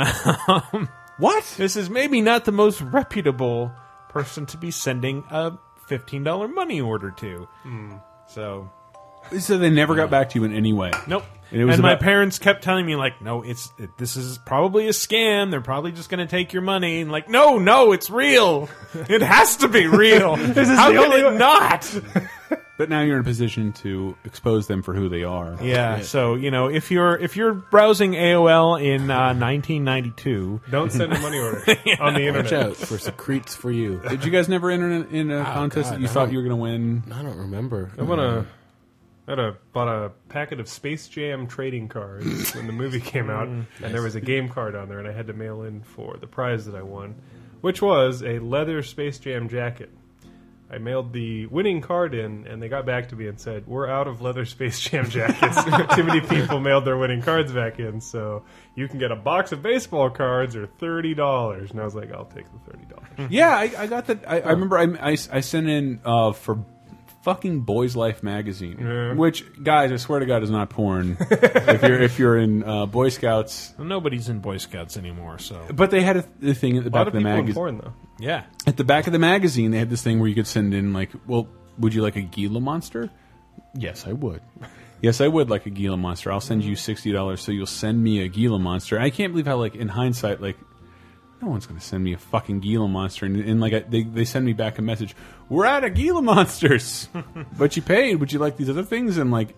[SPEAKER 3] Um,
[SPEAKER 4] what
[SPEAKER 3] this is maybe not the most reputable person to be sending a $15 money order to. So,
[SPEAKER 4] so they never got back to you in any way
[SPEAKER 3] nope.
[SPEAKER 4] And it
[SPEAKER 3] And,
[SPEAKER 4] was
[SPEAKER 3] my
[SPEAKER 4] about-
[SPEAKER 3] parents kept telling me, like, no, it's it, this is probably a scam. They're probably just going to take your money. And, like, no, no, it's real. It has to be real.
[SPEAKER 5] is
[SPEAKER 3] How can
[SPEAKER 5] the only
[SPEAKER 3] it
[SPEAKER 5] way-
[SPEAKER 3] not?
[SPEAKER 4] but now you're in a position to expose them for who they are
[SPEAKER 3] Yeah. So you know, if you're if you're browsing AOL in uh, 1992,
[SPEAKER 5] Don't send a money order on the
[SPEAKER 2] Watch
[SPEAKER 5] internet.
[SPEAKER 2] out for secretes for you.
[SPEAKER 4] did you guys never enter in, in a contest
[SPEAKER 2] God,
[SPEAKER 4] that you
[SPEAKER 2] no.
[SPEAKER 4] thought you were going to win
[SPEAKER 2] I don't remember.
[SPEAKER 5] I want to. I had a, bought a packet of Space Jam trading cards when the movie came out, and there was a game card on there, and I had to mail in for the prize that I won, which was a leather Space Jam jacket. I mailed the winning card in, and they got back to me and said, "We're out of leather Space Jam jackets. Too many people mailed their winning cards back in, so you can get a box of baseball cards or thirty dollars." And I was like, "I'll take the thirty dollars."
[SPEAKER 4] Yeah, I, I got that.
[SPEAKER 5] Oh.
[SPEAKER 4] I, I remember I, I, I sent in uh, for fucking Boys Life magazine,
[SPEAKER 5] Yeah.
[SPEAKER 4] which guys, I swear to God, is not porn. if you're if you're in uh, Boy Scouts,
[SPEAKER 3] Nobody's in Boy Scouts anymore, so.
[SPEAKER 4] but they had a, th- a thing at the
[SPEAKER 5] A
[SPEAKER 4] back of
[SPEAKER 5] lot of
[SPEAKER 4] the Mm-hmm.
[SPEAKER 5] people in
[SPEAKER 4] magazine.
[SPEAKER 5] porn, though.
[SPEAKER 3] Yeah.
[SPEAKER 4] At the back of the magazine, they had this thing where you could send in like, well, would you like a Gila monster? Yes, I would. Yes, I would like a Gila monster. I'll send you sixty dollars, so you'll send me a Gila monster. I can't believe how, like, in hindsight, like, no one's going to send me a fucking Gila monster, and, and like, I, they they send me back a message, we're out of Gila monsters, but you paid. Would you like these other things? And like,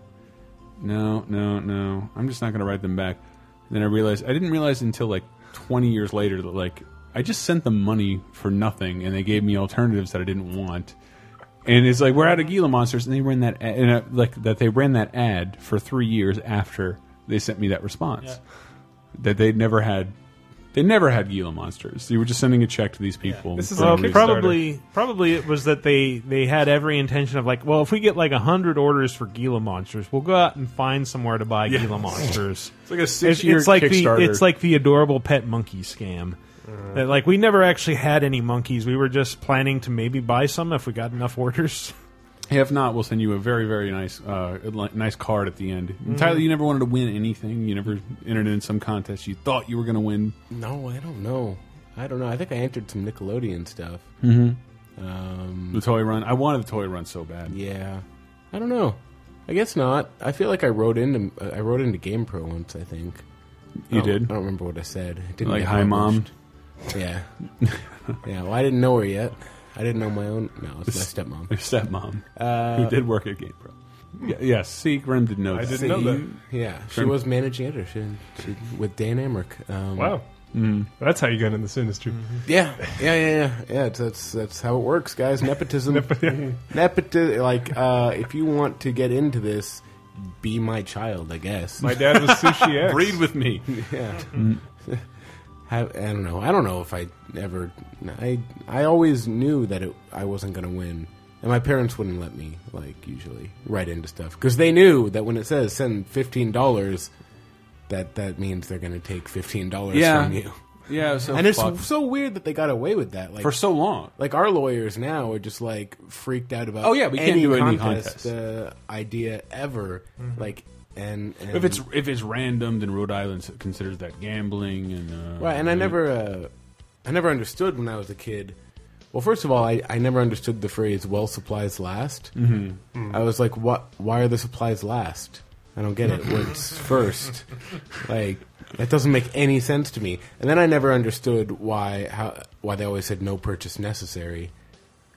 [SPEAKER 4] no, no, no. I'm just not going to write them back. And then I realized I didn't realize until like 20 years later that like I just sent them money for nothing, and they gave me alternatives that I didn't want. And it's like we're out of Gila monsters, and they ran that ad, and I, like that they ran that ad for three years after they sent me that response that they never had. They never had Gila monsters. You were just sending a check to these people.
[SPEAKER 3] This is
[SPEAKER 4] for no reason.
[SPEAKER 3] probably probably it was that they they had every intention of like, well, if we get like hundred orders for Gila monsters, we'll go out and find somewhere to buy Gila monsters.
[SPEAKER 4] It's like a six-year
[SPEAKER 3] it's like the
[SPEAKER 4] Kickstarter.
[SPEAKER 3] it's like the adorable pet monkey scam. That, like we never actually had any monkeys. We were just planning to maybe buy some if we got enough orders.
[SPEAKER 4] If not, we'll send you a very, very nice, uh, li- nice card at the end. Entirely, you never wanted to win anything. You never entered in some contest you thought you were going to win.
[SPEAKER 2] No, I don't know. I don't know. I think I entered some Nickelodeon stuff.
[SPEAKER 4] Mhm.
[SPEAKER 2] Um,
[SPEAKER 4] The toy run. I wanted the toy run so bad.
[SPEAKER 2] yeah, I don't know. I guess not. I feel like I wrote into I wrote into GamePro once. I think
[SPEAKER 4] You
[SPEAKER 2] I don't-
[SPEAKER 4] did?
[SPEAKER 2] I don't remember what I said. It didn't
[SPEAKER 4] Like,
[SPEAKER 2] get
[SPEAKER 4] hi, mom.
[SPEAKER 2] published. Yeah, yeah. Well, I didn't know her yet. I didn't know my own. No, it's my stepmom.
[SPEAKER 4] Your stepmom,
[SPEAKER 2] Uh,
[SPEAKER 4] who did work at GamePro. Y- yes, see, Grim hmm. didn't know.
[SPEAKER 5] I
[SPEAKER 4] that.
[SPEAKER 5] didn't know that.
[SPEAKER 2] Yeah, she
[SPEAKER 4] Grim-
[SPEAKER 2] was managing editor she, she, with Dan Emmerich. Um,
[SPEAKER 5] Wow, that's how you got in this industry.
[SPEAKER 2] Yeah, yeah, yeah, yeah. yeah it's, that's that's how it works, guys. Nepotism, nepotism. Like, uh, if you want to get into this, be my child, I guess.
[SPEAKER 5] My dad was sushi. X.
[SPEAKER 4] Breed with me.
[SPEAKER 2] yeah. Have, I don't know. I don't know if I ever. I I always knew that it, I wasn't going to win, and my parents wouldn't let me like usually write into stuff because they knew that when it says send fifteen dollars, that that means they're going to take fifteen dollars
[SPEAKER 4] Yeah.
[SPEAKER 2] from you.
[SPEAKER 4] Yeah, so
[SPEAKER 2] and it's
[SPEAKER 4] fucked.
[SPEAKER 2] so weird that they got away with that. Like
[SPEAKER 4] for so long.
[SPEAKER 2] like our lawyers now are just like freaked out about.
[SPEAKER 4] Oh, yeah, we can't
[SPEAKER 2] any
[SPEAKER 4] do any
[SPEAKER 2] contest,
[SPEAKER 4] contest. Mm-hmm.
[SPEAKER 2] Uh, idea ever. Like and, and
[SPEAKER 4] If it's if it's random, then Rhode Island considers that gambling and uh,
[SPEAKER 2] right,
[SPEAKER 3] Mm-hmm.
[SPEAKER 2] and I never uh, I never understood when I was a kid. Well, first of all, I, I never understood the phrase "well supplies last."
[SPEAKER 4] Mhm.
[SPEAKER 3] Mm-hmm.
[SPEAKER 2] I was like, "What? Why are the supplies last?" I don't get it. What's first? Like that doesn't make any sense to me. And then I never understood why how why they always said no purchase necessary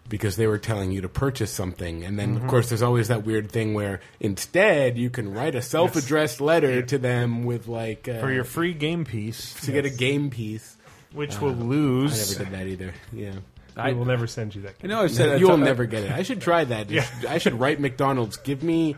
[SPEAKER 2] because they were telling you to purchase something. And then, of
[SPEAKER 3] Mm-hmm.
[SPEAKER 5] Mhm.
[SPEAKER 2] course, there's always that weird thing where instead you can write a self-addressed letter to them with like uh,
[SPEAKER 3] For your free game piece.
[SPEAKER 2] to get a game piece,
[SPEAKER 3] Which
[SPEAKER 2] Uh,
[SPEAKER 3] will lose.
[SPEAKER 2] I never did that either. Yeah.
[SPEAKER 5] I will never send you that.
[SPEAKER 4] I know I've said that
[SPEAKER 2] Oh, You'll
[SPEAKER 4] to-
[SPEAKER 2] never get it. I should try that.
[SPEAKER 5] Yeah.
[SPEAKER 2] I should write McDonald's. Give me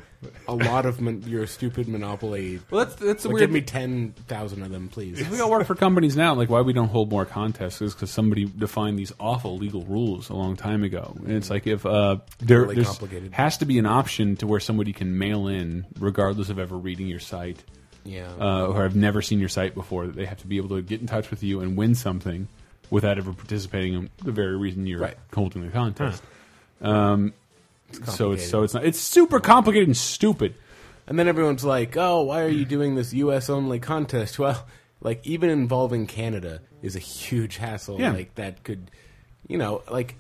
[SPEAKER 2] a lot of mon- your stupid Monopoly.
[SPEAKER 4] Well, that's that's the
[SPEAKER 2] Or
[SPEAKER 4] weird.
[SPEAKER 2] Give me ten thousand of them, please.
[SPEAKER 4] we all work for companies now. Like why we don't hold more contests is because somebody defined these awful legal rules a long time ago, and it's like if uh, there
[SPEAKER 2] Really
[SPEAKER 4] there's-
[SPEAKER 2] complicated.
[SPEAKER 4] has to be an option to where somebody can mail in regardless of ever reading your site,
[SPEAKER 2] Yeah.
[SPEAKER 4] uh, or have never seen your site before. That they have to be able to get in touch with you and win something without ever participating in the very reason you're
[SPEAKER 2] Right.
[SPEAKER 4] holding the contest. Um, so it's
[SPEAKER 2] complicated.
[SPEAKER 4] so it's not it's super complicated and stupid.
[SPEAKER 2] And then everyone's like, "Oh, why are you doing this U.S. only contest?" Well, like even involving Canada is a huge hassle.
[SPEAKER 4] Yeah.
[SPEAKER 2] Like that could, you know, like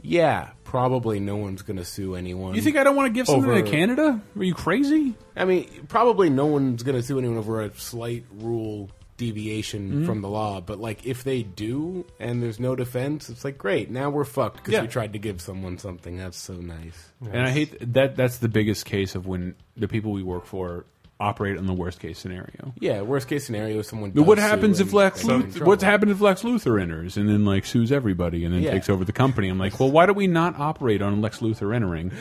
[SPEAKER 2] yeah, probably no one's going to sue anyone.
[SPEAKER 4] You think I don't want to give something
[SPEAKER 2] Over-
[SPEAKER 4] to Canada? Are you crazy?
[SPEAKER 2] I mean, probably no one's going to sue anyone over a slight rule deviation
[SPEAKER 4] Mhm.
[SPEAKER 2] from the law. But like, if they do, and there's no defense, it's like great. Now we're fucked because
[SPEAKER 4] Yeah.
[SPEAKER 2] we tried to give someone something. That's so nice.
[SPEAKER 4] And I hate that. That's the biggest case of when the people we work for operate on the worst case scenario.
[SPEAKER 2] Yeah, worst case scenario, someone.
[SPEAKER 4] But what
[SPEAKER 2] does sue
[SPEAKER 4] happens
[SPEAKER 2] and
[SPEAKER 4] if Lex?
[SPEAKER 2] they get in
[SPEAKER 4] Luth-
[SPEAKER 2] trouble.
[SPEAKER 4] what happens if Lex Luthor enters and then like sues everybody and then
[SPEAKER 2] Yeah.
[SPEAKER 4] takes over the company? I'm like, well, why do we not operate on Lex Luthor entering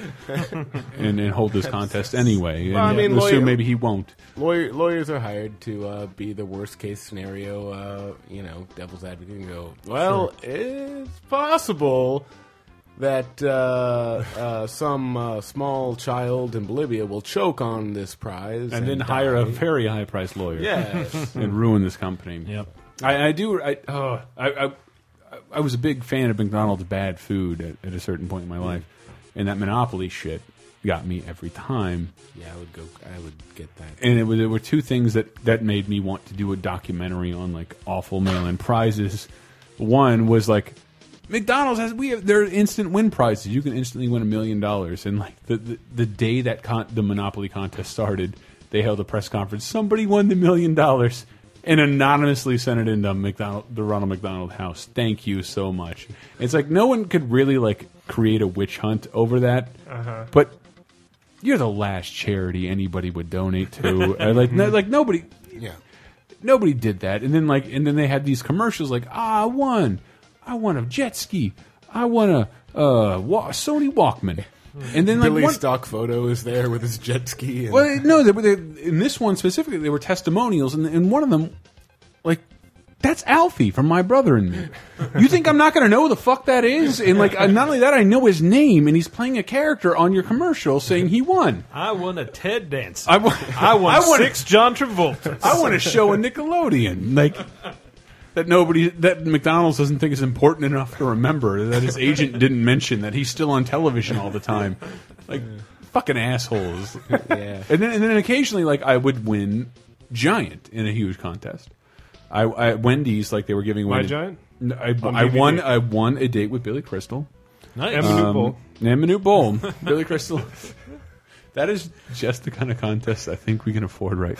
[SPEAKER 4] and, and hold this contest anyway?
[SPEAKER 2] Well, I
[SPEAKER 4] and
[SPEAKER 2] mean,
[SPEAKER 4] assume
[SPEAKER 2] lawyer-
[SPEAKER 4] maybe he won't.
[SPEAKER 2] Lawyer, lawyers are hired to uh, be the worst case scenario, uh, you know, devil's advocate and go, well, it's possible that uh, uh, some uh, small child in Bolivia will choke on this prize
[SPEAKER 4] and, then hire a
[SPEAKER 2] die.
[SPEAKER 4] very high priced lawyer.
[SPEAKER 2] Yes.
[SPEAKER 4] and ruin this company.
[SPEAKER 3] Yep.
[SPEAKER 4] I, I do. I, oh, I, I I was a big fan of McDonald's bad food at, at a certain point in my life, and that monopoly shit got me every time.
[SPEAKER 2] Yeah, I would go. I would get that.
[SPEAKER 4] And it was there were two things that that made me want to do a documentary on like awful mail in prizes. One was like McDonald's has we have their instant win prizes. You can instantly win a million dollars. And like the, the the day that con the Monopoly contest started, they held a press conference. Somebody won the million dollars and anonymously sent it into McDonald the Ronald McDonald House. Thank you so much. It's like no one could really like create a witch hunt over that.
[SPEAKER 5] Uh-huh.
[SPEAKER 4] But you're the last charity anybody would donate to. Uh, like no, like nobody
[SPEAKER 2] Yeah.
[SPEAKER 4] nobody did that. And then like, and then they had these commercials like, ah, I won, I won a jet ski, I won a uh, wa- Sony Walkman, and then like
[SPEAKER 2] Billy
[SPEAKER 4] one-
[SPEAKER 2] stock photo is there with his jet ski. And,
[SPEAKER 4] well, no, they, were- they, in this one specifically, they were testimonials, and, and one of them, like, that's Alfie from My Brother and Me. You think I'm not going to know who the fuck that is? And like, uh, not only that, I know his name, and he's playing a character on your commercial saying he won.
[SPEAKER 3] I won a Ted dance.
[SPEAKER 4] I won.
[SPEAKER 3] I won
[SPEAKER 4] I won-
[SPEAKER 3] six John Travolta.
[SPEAKER 4] I want to show a Nickelodeon like that nobody that McDonald's doesn't think is important enough to remember that his agent didn't mention that he's still on television all the time. Like fucking assholes.
[SPEAKER 2] Yeah.
[SPEAKER 4] And then and then occasionally like I would win giant in a huge contest. I, I Wendy's like they were giving away
[SPEAKER 5] My Giant?
[SPEAKER 4] No, I,
[SPEAKER 5] On
[SPEAKER 4] I won
[SPEAKER 5] DVD.
[SPEAKER 4] I won a date with Billy Crystal.
[SPEAKER 3] Nice.
[SPEAKER 5] And Manute Bowl.
[SPEAKER 4] And Manute Um, Bowl. Billy Crystal. That is just the kind of contest I think we can afford right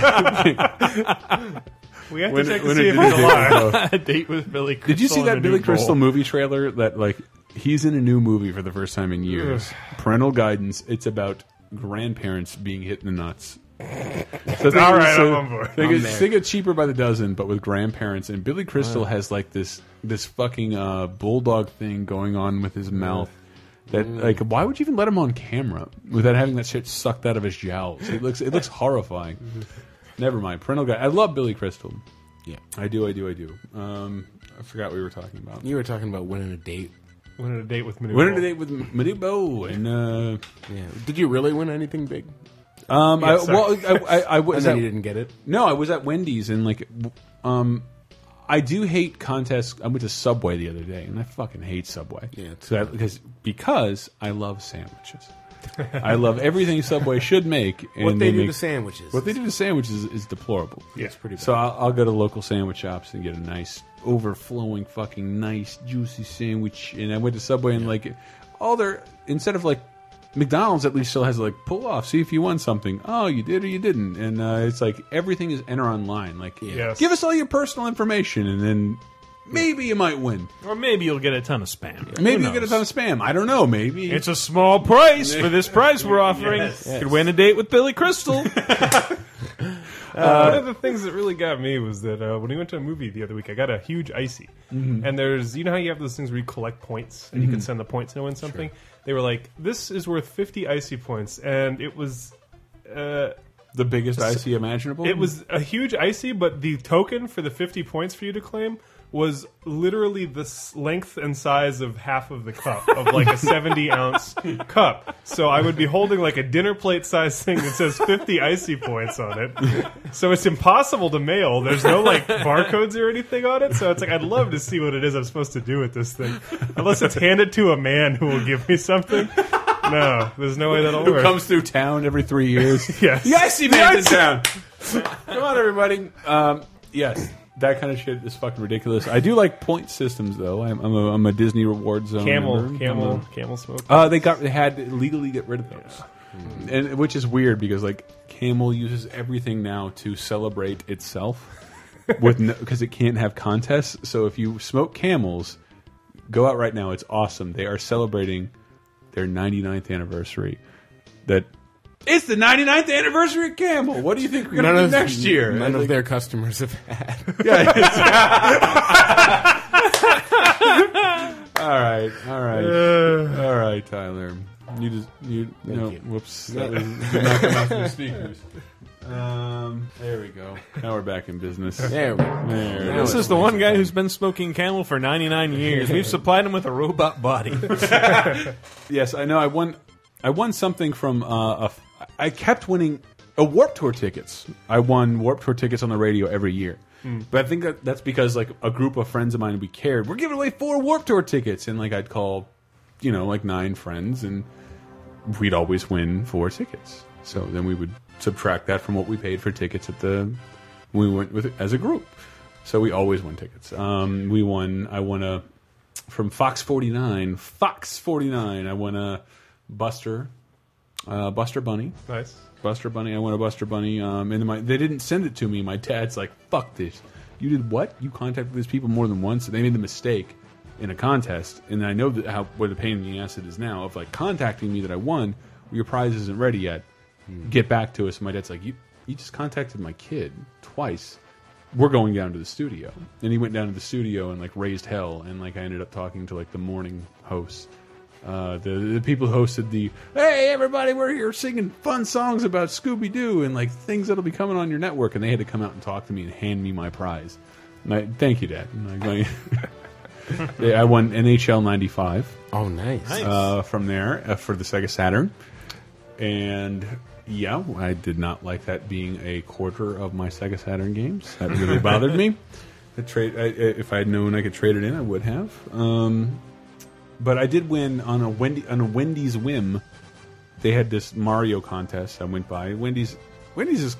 [SPEAKER 4] now.
[SPEAKER 5] We have
[SPEAKER 4] When-
[SPEAKER 5] to check to
[SPEAKER 4] when
[SPEAKER 5] see
[SPEAKER 4] it
[SPEAKER 5] if
[SPEAKER 4] did
[SPEAKER 5] it's
[SPEAKER 4] it, Oh.
[SPEAKER 5] alive.
[SPEAKER 4] though.
[SPEAKER 5] a date with Billy. Crystal
[SPEAKER 4] Did you see
[SPEAKER 5] and a
[SPEAKER 4] that Billy
[SPEAKER 5] new
[SPEAKER 4] Crystal
[SPEAKER 5] bowl.
[SPEAKER 4] movie trailer? That like he's in a new movie for the first time in years. Parental guidance. It's about grandparents being hit in the nuts. So think
[SPEAKER 5] All
[SPEAKER 4] of-
[SPEAKER 5] right, I'm on board.
[SPEAKER 4] Think,
[SPEAKER 5] I'm
[SPEAKER 4] of-
[SPEAKER 5] there.
[SPEAKER 4] think of cheaper by the dozen, but with grandparents. And Billy Crystal
[SPEAKER 5] Wow.
[SPEAKER 4] has like this this fucking uh, bulldog thing going on with his mouth. That like, why would you even let him on camera without having that shit sucked out of his jowls? It looks it looks horrifying. Never mind. Parental guy. I love Billy Crystal.
[SPEAKER 2] Yeah.
[SPEAKER 4] I do. I do. I do. Um, I forgot what we were talking about.
[SPEAKER 2] You were talking about winning a date.
[SPEAKER 5] Went on a date with Manute
[SPEAKER 4] Went on a
[SPEAKER 5] Bowl.
[SPEAKER 4] date with Manubo and uh,
[SPEAKER 2] yeah. Did you really win anything big?
[SPEAKER 4] Um,
[SPEAKER 2] Yeah,
[SPEAKER 4] I,
[SPEAKER 2] sorry.
[SPEAKER 4] well, I, I, I was
[SPEAKER 2] And then
[SPEAKER 4] at-
[SPEAKER 2] you didn't get it?
[SPEAKER 4] No, I was at Wendy's and like, w- um, I do hate contests. I went to Subway the other day and I fucking hate Subway. Yeah, so because because I love sandwiches. I love everything Subway should make. And
[SPEAKER 2] What they do to
[SPEAKER 4] make-
[SPEAKER 2] sandwiches
[SPEAKER 4] What they do to sandwiches is, is deplorable.
[SPEAKER 2] Yeah. It's pretty bad.
[SPEAKER 4] So I'll, I'll go to local sandwich shops and get a nice, overflowing, fucking nice, juicy sandwich. And I went to Subway and like, all their instead of like McDonald's at least still has like pull off, see if you won something. Oh, you did or you didn't. And uh, it's like everything is enter online. Like,
[SPEAKER 3] Yes.
[SPEAKER 4] give us all your personal information, and then maybe you might win.
[SPEAKER 3] Or maybe you'll get a ton of spam.
[SPEAKER 4] Maybe
[SPEAKER 3] Who
[SPEAKER 4] you get a
[SPEAKER 3] knows?
[SPEAKER 4] ton of spam. I don't know. Maybe
[SPEAKER 3] It's a small price for this price we're offering.
[SPEAKER 4] Yes.
[SPEAKER 3] Could win a date with Billy Crystal.
[SPEAKER 5] Uh, one of the things that really got me was that uh, when we went to a movie the other week, I got a huge icy,
[SPEAKER 11] Mhm.
[SPEAKER 5] and there's you know how you have those things where you collect points and you can
[SPEAKER 11] Mhm.
[SPEAKER 5] send the points and win something. They were like, "This is worth 50 icy points," and it was. Uh,
[SPEAKER 4] the biggest icy imaginable.
[SPEAKER 5] It was a huge icy, but the token for the 50 points for you to claim was literally the s- length and size of half of the cup, of like a 70 ounce cup. So I would be holding like a dinner plate size thing that says 50 icy points on it. So it's impossible to mail. There's no like barcodes or anything on it. So it's like, I'd love to see what it is I'm supposed to do with this thing. Unless it's handed to a man who will give me something. No, there's no way that'll
[SPEAKER 4] Who
[SPEAKER 5] work.
[SPEAKER 4] comes through town every three years?
[SPEAKER 5] Yes.
[SPEAKER 4] the icy man's in
[SPEAKER 5] Yes.
[SPEAKER 4] town. Come on, everybody. Um, yes, that kind of shit is fucking ridiculous. I do like point systems, though. I'm, I'm, a, I'm a Disney reward zone.
[SPEAKER 5] Camel-
[SPEAKER 4] member.
[SPEAKER 5] camel-
[SPEAKER 4] I'm a-
[SPEAKER 5] camel smoke.
[SPEAKER 4] Uh, they got they had to legally get rid of those, Mm-hmm. and which is weird because like Camel uses everything now to celebrate itself with because it can't have contests. So if you smoke Camels, go out right now. It's awesome. They are celebrating their 99th anniversary. That It's the 99th anniversary of Camel. What do you think we're
[SPEAKER 2] None
[SPEAKER 4] gonna do
[SPEAKER 2] of-
[SPEAKER 4] next year?
[SPEAKER 2] None
[SPEAKER 4] And,
[SPEAKER 2] of
[SPEAKER 4] like,
[SPEAKER 2] their customers have had.
[SPEAKER 4] all right, all right,
[SPEAKER 2] Uh.
[SPEAKER 4] all right, Tyler. You just you
[SPEAKER 2] Thank
[SPEAKER 4] no
[SPEAKER 2] you.
[SPEAKER 4] whoops that was did not come out from the speakers. Um, there we go. Now we're back in business.
[SPEAKER 3] There
[SPEAKER 4] we go. There it
[SPEAKER 3] This is the one guy who's been smoking camel for 99 years. We've supplied him with a robot body.
[SPEAKER 4] yes, I know. I won. I won something from. Uh, a f I kept winning a Warp Tour tickets. I won Warp Tour tickets on the radio every year.
[SPEAKER 11] Hmm.
[SPEAKER 4] But I think that that's because like a group of friends of mine we cared. We're giving away four Warp Tour tickets, and like I'd call, you know, like nine friends, and we'd always win four tickets. So then we would subtract that from what we paid for tickets at the we went with as a group. So we always won tickets. Um, we won. I won a from Fox 49. Fox 49. I won a Buster, uh, Buster Bunny.
[SPEAKER 5] Nice.
[SPEAKER 4] Buster Bunny. I won a Buster Bunny. Um, and my they didn't send it to me. My dad's like, "Fuck this! You did what? You contacted these people more than once. They made the mistake in a contest, and I know that how what a pain in the ass it is now of like contacting me that I won. Well, your prize isn't ready yet. Get back to us." And my dad's like, "You you just contacted my kid twice." we're going down to the studio. And he went down to the studio and like raised hell. And like I ended up talking to like the morning hosts, uh, the the people who hosted the hey everybody we're here singing fun songs about Scooby Doo and like things that'll be coming on your network. And they had to come out and talk to me and hand me my prize. And I, thank you, Dad. And I, I I won NHL '95.
[SPEAKER 2] Oh, nice!
[SPEAKER 4] Uh, from there uh, for the Sega Saturn, and yeah, I did not like that being a quarter of my Sega Saturn games. That really bothered me. The trade, I, I- if I had known I could trade it in, I would have. Um, but I did win on a Wendy on a Wendy's whim. They had this Mario contest. I went by Wendy's. Wendy's is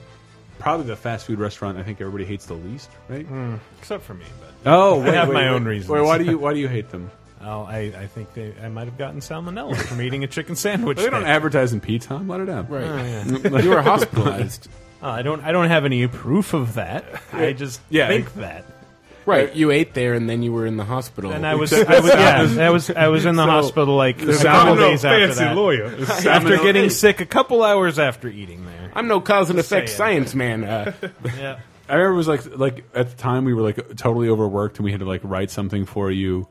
[SPEAKER 4] probably the fast food restaurant I think everybody hates the least, right?
[SPEAKER 3] Except for me. But
[SPEAKER 4] Oh,
[SPEAKER 3] I
[SPEAKER 4] wait,
[SPEAKER 3] have
[SPEAKER 4] wait,
[SPEAKER 3] my
[SPEAKER 4] wait.
[SPEAKER 3] own reasons.
[SPEAKER 4] Wait, why do you why do you hate them?
[SPEAKER 3] Oh, I, I think they, I might have gotten salmonella from eating a chicken sandwich.
[SPEAKER 4] They don't
[SPEAKER 3] there.
[SPEAKER 4] advertise in P Tom. Let it out.
[SPEAKER 3] Oh, yeah. Uh, I don't. I don't have any proof of that. I just
[SPEAKER 2] Yeah.
[SPEAKER 3] think that.
[SPEAKER 2] Right, you ate there and then you were in the hospital.
[SPEAKER 3] And I was- I was- yeah, I was- I was in the hospital, like, a
[SPEAKER 5] Oh,
[SPEAKER 3] couple days after that. After getting sick a couple hours after eating there.
[SPEAKER 2] I'm no cause and
[SPEAKER 3] Just
[SPEAKER 2] effect
[SPEAKER 3] saying.
[SPEAKER 2] science man. Uh,
[SPEAKER 3] yeah.
[SPEAKER 4] I remember it was like like at the time we were like totally overworked and we had to like write something for you,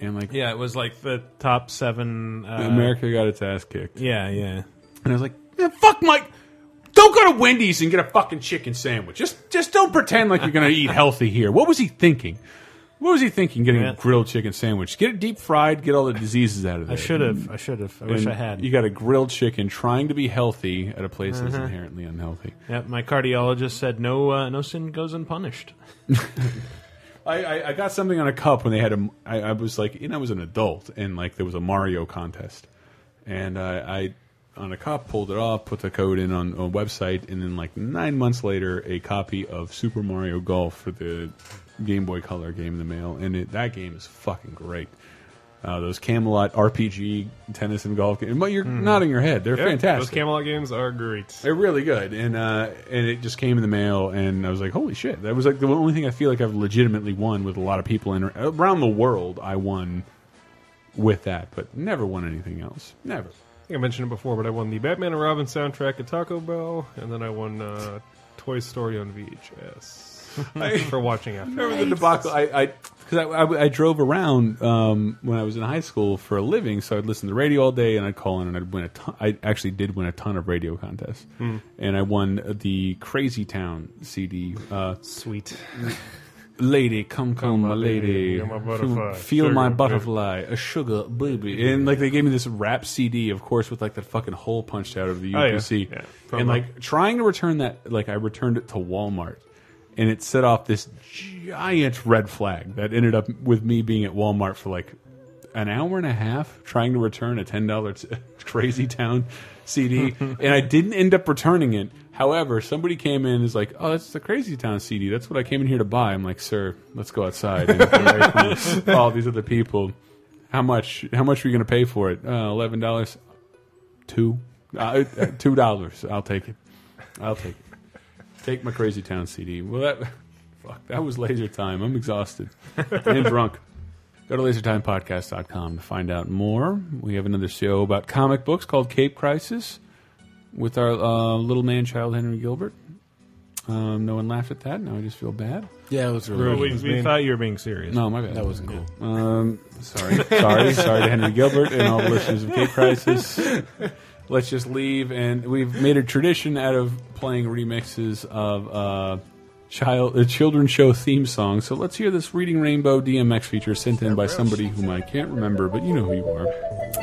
[SPEAKER 4] and like
[SPEAKER 3] Yeah, it was like the top seven. Uh,
[SPEAKER 4] America got its ass kicked.
[SPEAKER 3] Yeah, yeah.
[SPEAKER 4] And I was like, "Man, fuck Mike. Don't go to Wendy's and get a fucking chicken sandwich. Just just don't pretend like you're gonna eat healthy here. What was he thinking? What was he thinking getting a grilled chicken sandwich? Get it deep fried, get all the diseases out of
[SPEAKER 3] I
[SPEAKER 4] there.
[SPEAKER 3] should have. I should have. I wish
[SPEAKER 4] And
[SPEAKER 3] I had.
[SPEAKER 4] You got a grilled chicken trying to be healthy at a place that's
[SPEAKER 3] Mhm.
[SPEAKER 4] inherently unhealthy.
[SPEAKER 3] Yep, my cardiologist said no. Uh, no sin goes unpunished.
[SPEAKER 4] I, I, I got something on a cup when they had a. I, I was like, and I was an adult, and like there was a Mario contest, and I, I on a cup pulled it off, put the code in on a website, and then like nine months later, a copy of Super Mario Golf for the Game Boy Color game in the mail, and it, that game is fucking great. Uh, those Camelot RPG tennis and golf games, but you're nodding your head. They're
[SPEAKER 5] Hmm. Yeah,
[SPEAKER 4] fantastic.
[SPEAKER 5] Those Camelot games are great.
[SPEAKER 4] They're really good, and uh, and it just came in the mail, and I was like, holy shit! That was like the only thing I feel like I've legitimately won with a lot of people in around the world. I won with that, but never won anything else. Never.
[SPEAKER 5] I think I mentioned it before, but I won the Batman and Robin soundtrack at Taco Bell, and then I won uh, Toy Story on VHS for watching after.
[SPEAKER 4] Remember the debacle? I I because I, I, I drove around um, when I was in high school for a living, so I'd listen to the radio all day, and I'd call in, and I'd win a ton. I actually did win a ton of radio contests,
[SPEAKER 5] Hmm.
[SPEAKER 4] and I won the Crazy Town CD. Uh,
[SPEAKER 5] Sweet.
[SPEAKER 4] Lady, come, come, my lady,
[SPEAKER 5] you're my
[SPEAKER 4] Feel-
[SPEAKER 5] butterfly,
[SPEAKER 4] feel
[SPEAKER 5] sugar
[SPEAKER 4] my
[SPEAKER 5] baby.
[SPEAKER 4] butterfly, a sugar baby, and like they gave me this rap CD, of course, with like that fucking hole punched out of the
[SPEAKER 5] Oh, yeah.
[SPEAKER 4] UPC,
[SPEAKER 5] Yeah.
[SPEAKER 4] and
[SPEAKER 5] Promo.
[SPEAKER 4] like trying to return that, like I returned it to Walmart, and it set off this giant red flag that ended up with me being at Walmart for like an hour and a half trying to return a ten dollar Crazy Town CD, and I didn't end up returning it. However, somebody came in and is like, "Oh, that's the Crazy Town CD. That's what I came in here to buy." I'm like, "Sir, let's go outside and get away from this- all these other people. How much? How much are you going to pay for it? Uh, Eleven dollars, two, uh, uh, two dollars. I'll take it. I'll take it. Take my Crazy Town CD. Well, that fuck. That was laser time. I'm exhausted and drunk. Go to lasertimepodcast.com to find out more. We have another show about comic books called Cape Crisis with our uh, little man child Henry Gilbert. Um, no one laughed at that. Now I just feel bad.
[SPEAKER 2] Yeah, it was really-
[SPEAKER 3] We- we thought you were being serious.
[SPEAKER 4] No, my bad.
[SPEAKER 2] That wasn't cool.
[SPEAKER 4] Um, sorry, sorry, sorry to Henry Gilbert and all the listeners of Cape Crisis. let's just leave. And we've made a tradition out of playing remixes of uh, child uh, children's show theme songs. So let's hear this Reading Rainbow DMX feature sent in by somebody whom I can't remember, but you know who you are.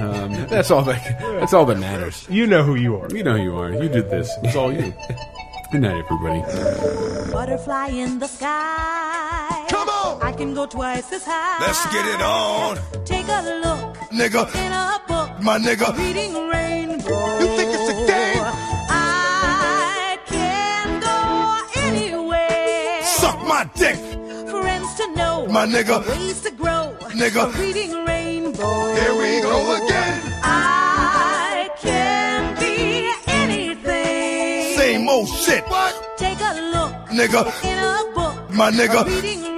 [SPEAKER 4] Um,
[SPEAKER 2] That's all that- that's all that matters.
[SPEAKER 4] You know who you are. You know who you are. You did this. It's all you. Good night, everybody.
[SPEAKER 13] Butterfly in the sky. Come on! I can go twice as high.
[SPEAKER 14] Let's get it on,
[SPEAKER 13] Take a look
[SPEAKER 14] nigga.
[SPEAKER 13] in a book.
[SPEAKER 14] My nigga.
[SPEAKER 13] Reading rainbow. You think it's a game? I can go anywhere.
[SPEAKER 14] Suck my dick.
[SPEAKER 13] Friends to know.
[SPEAKER 14] My nigga.
[SPEAKER 13] Ways to grow.
[SPEAKER 14] Nigga.
[SPEAKER 13] Reading rainbow.
[SPEAKER 14] Here we go again.
[SPEAKER 13] I can be anything.
[SPEAKER 14] Same old shit.
[SPEAKER 13] What? Take a look
[SPEAKER 14] Nigga.
[SPEAKER 13] in a book.
[SPEAKER 14] My nigga.
[SPEAKER 13] Reading
[SPEAKER 8] uh,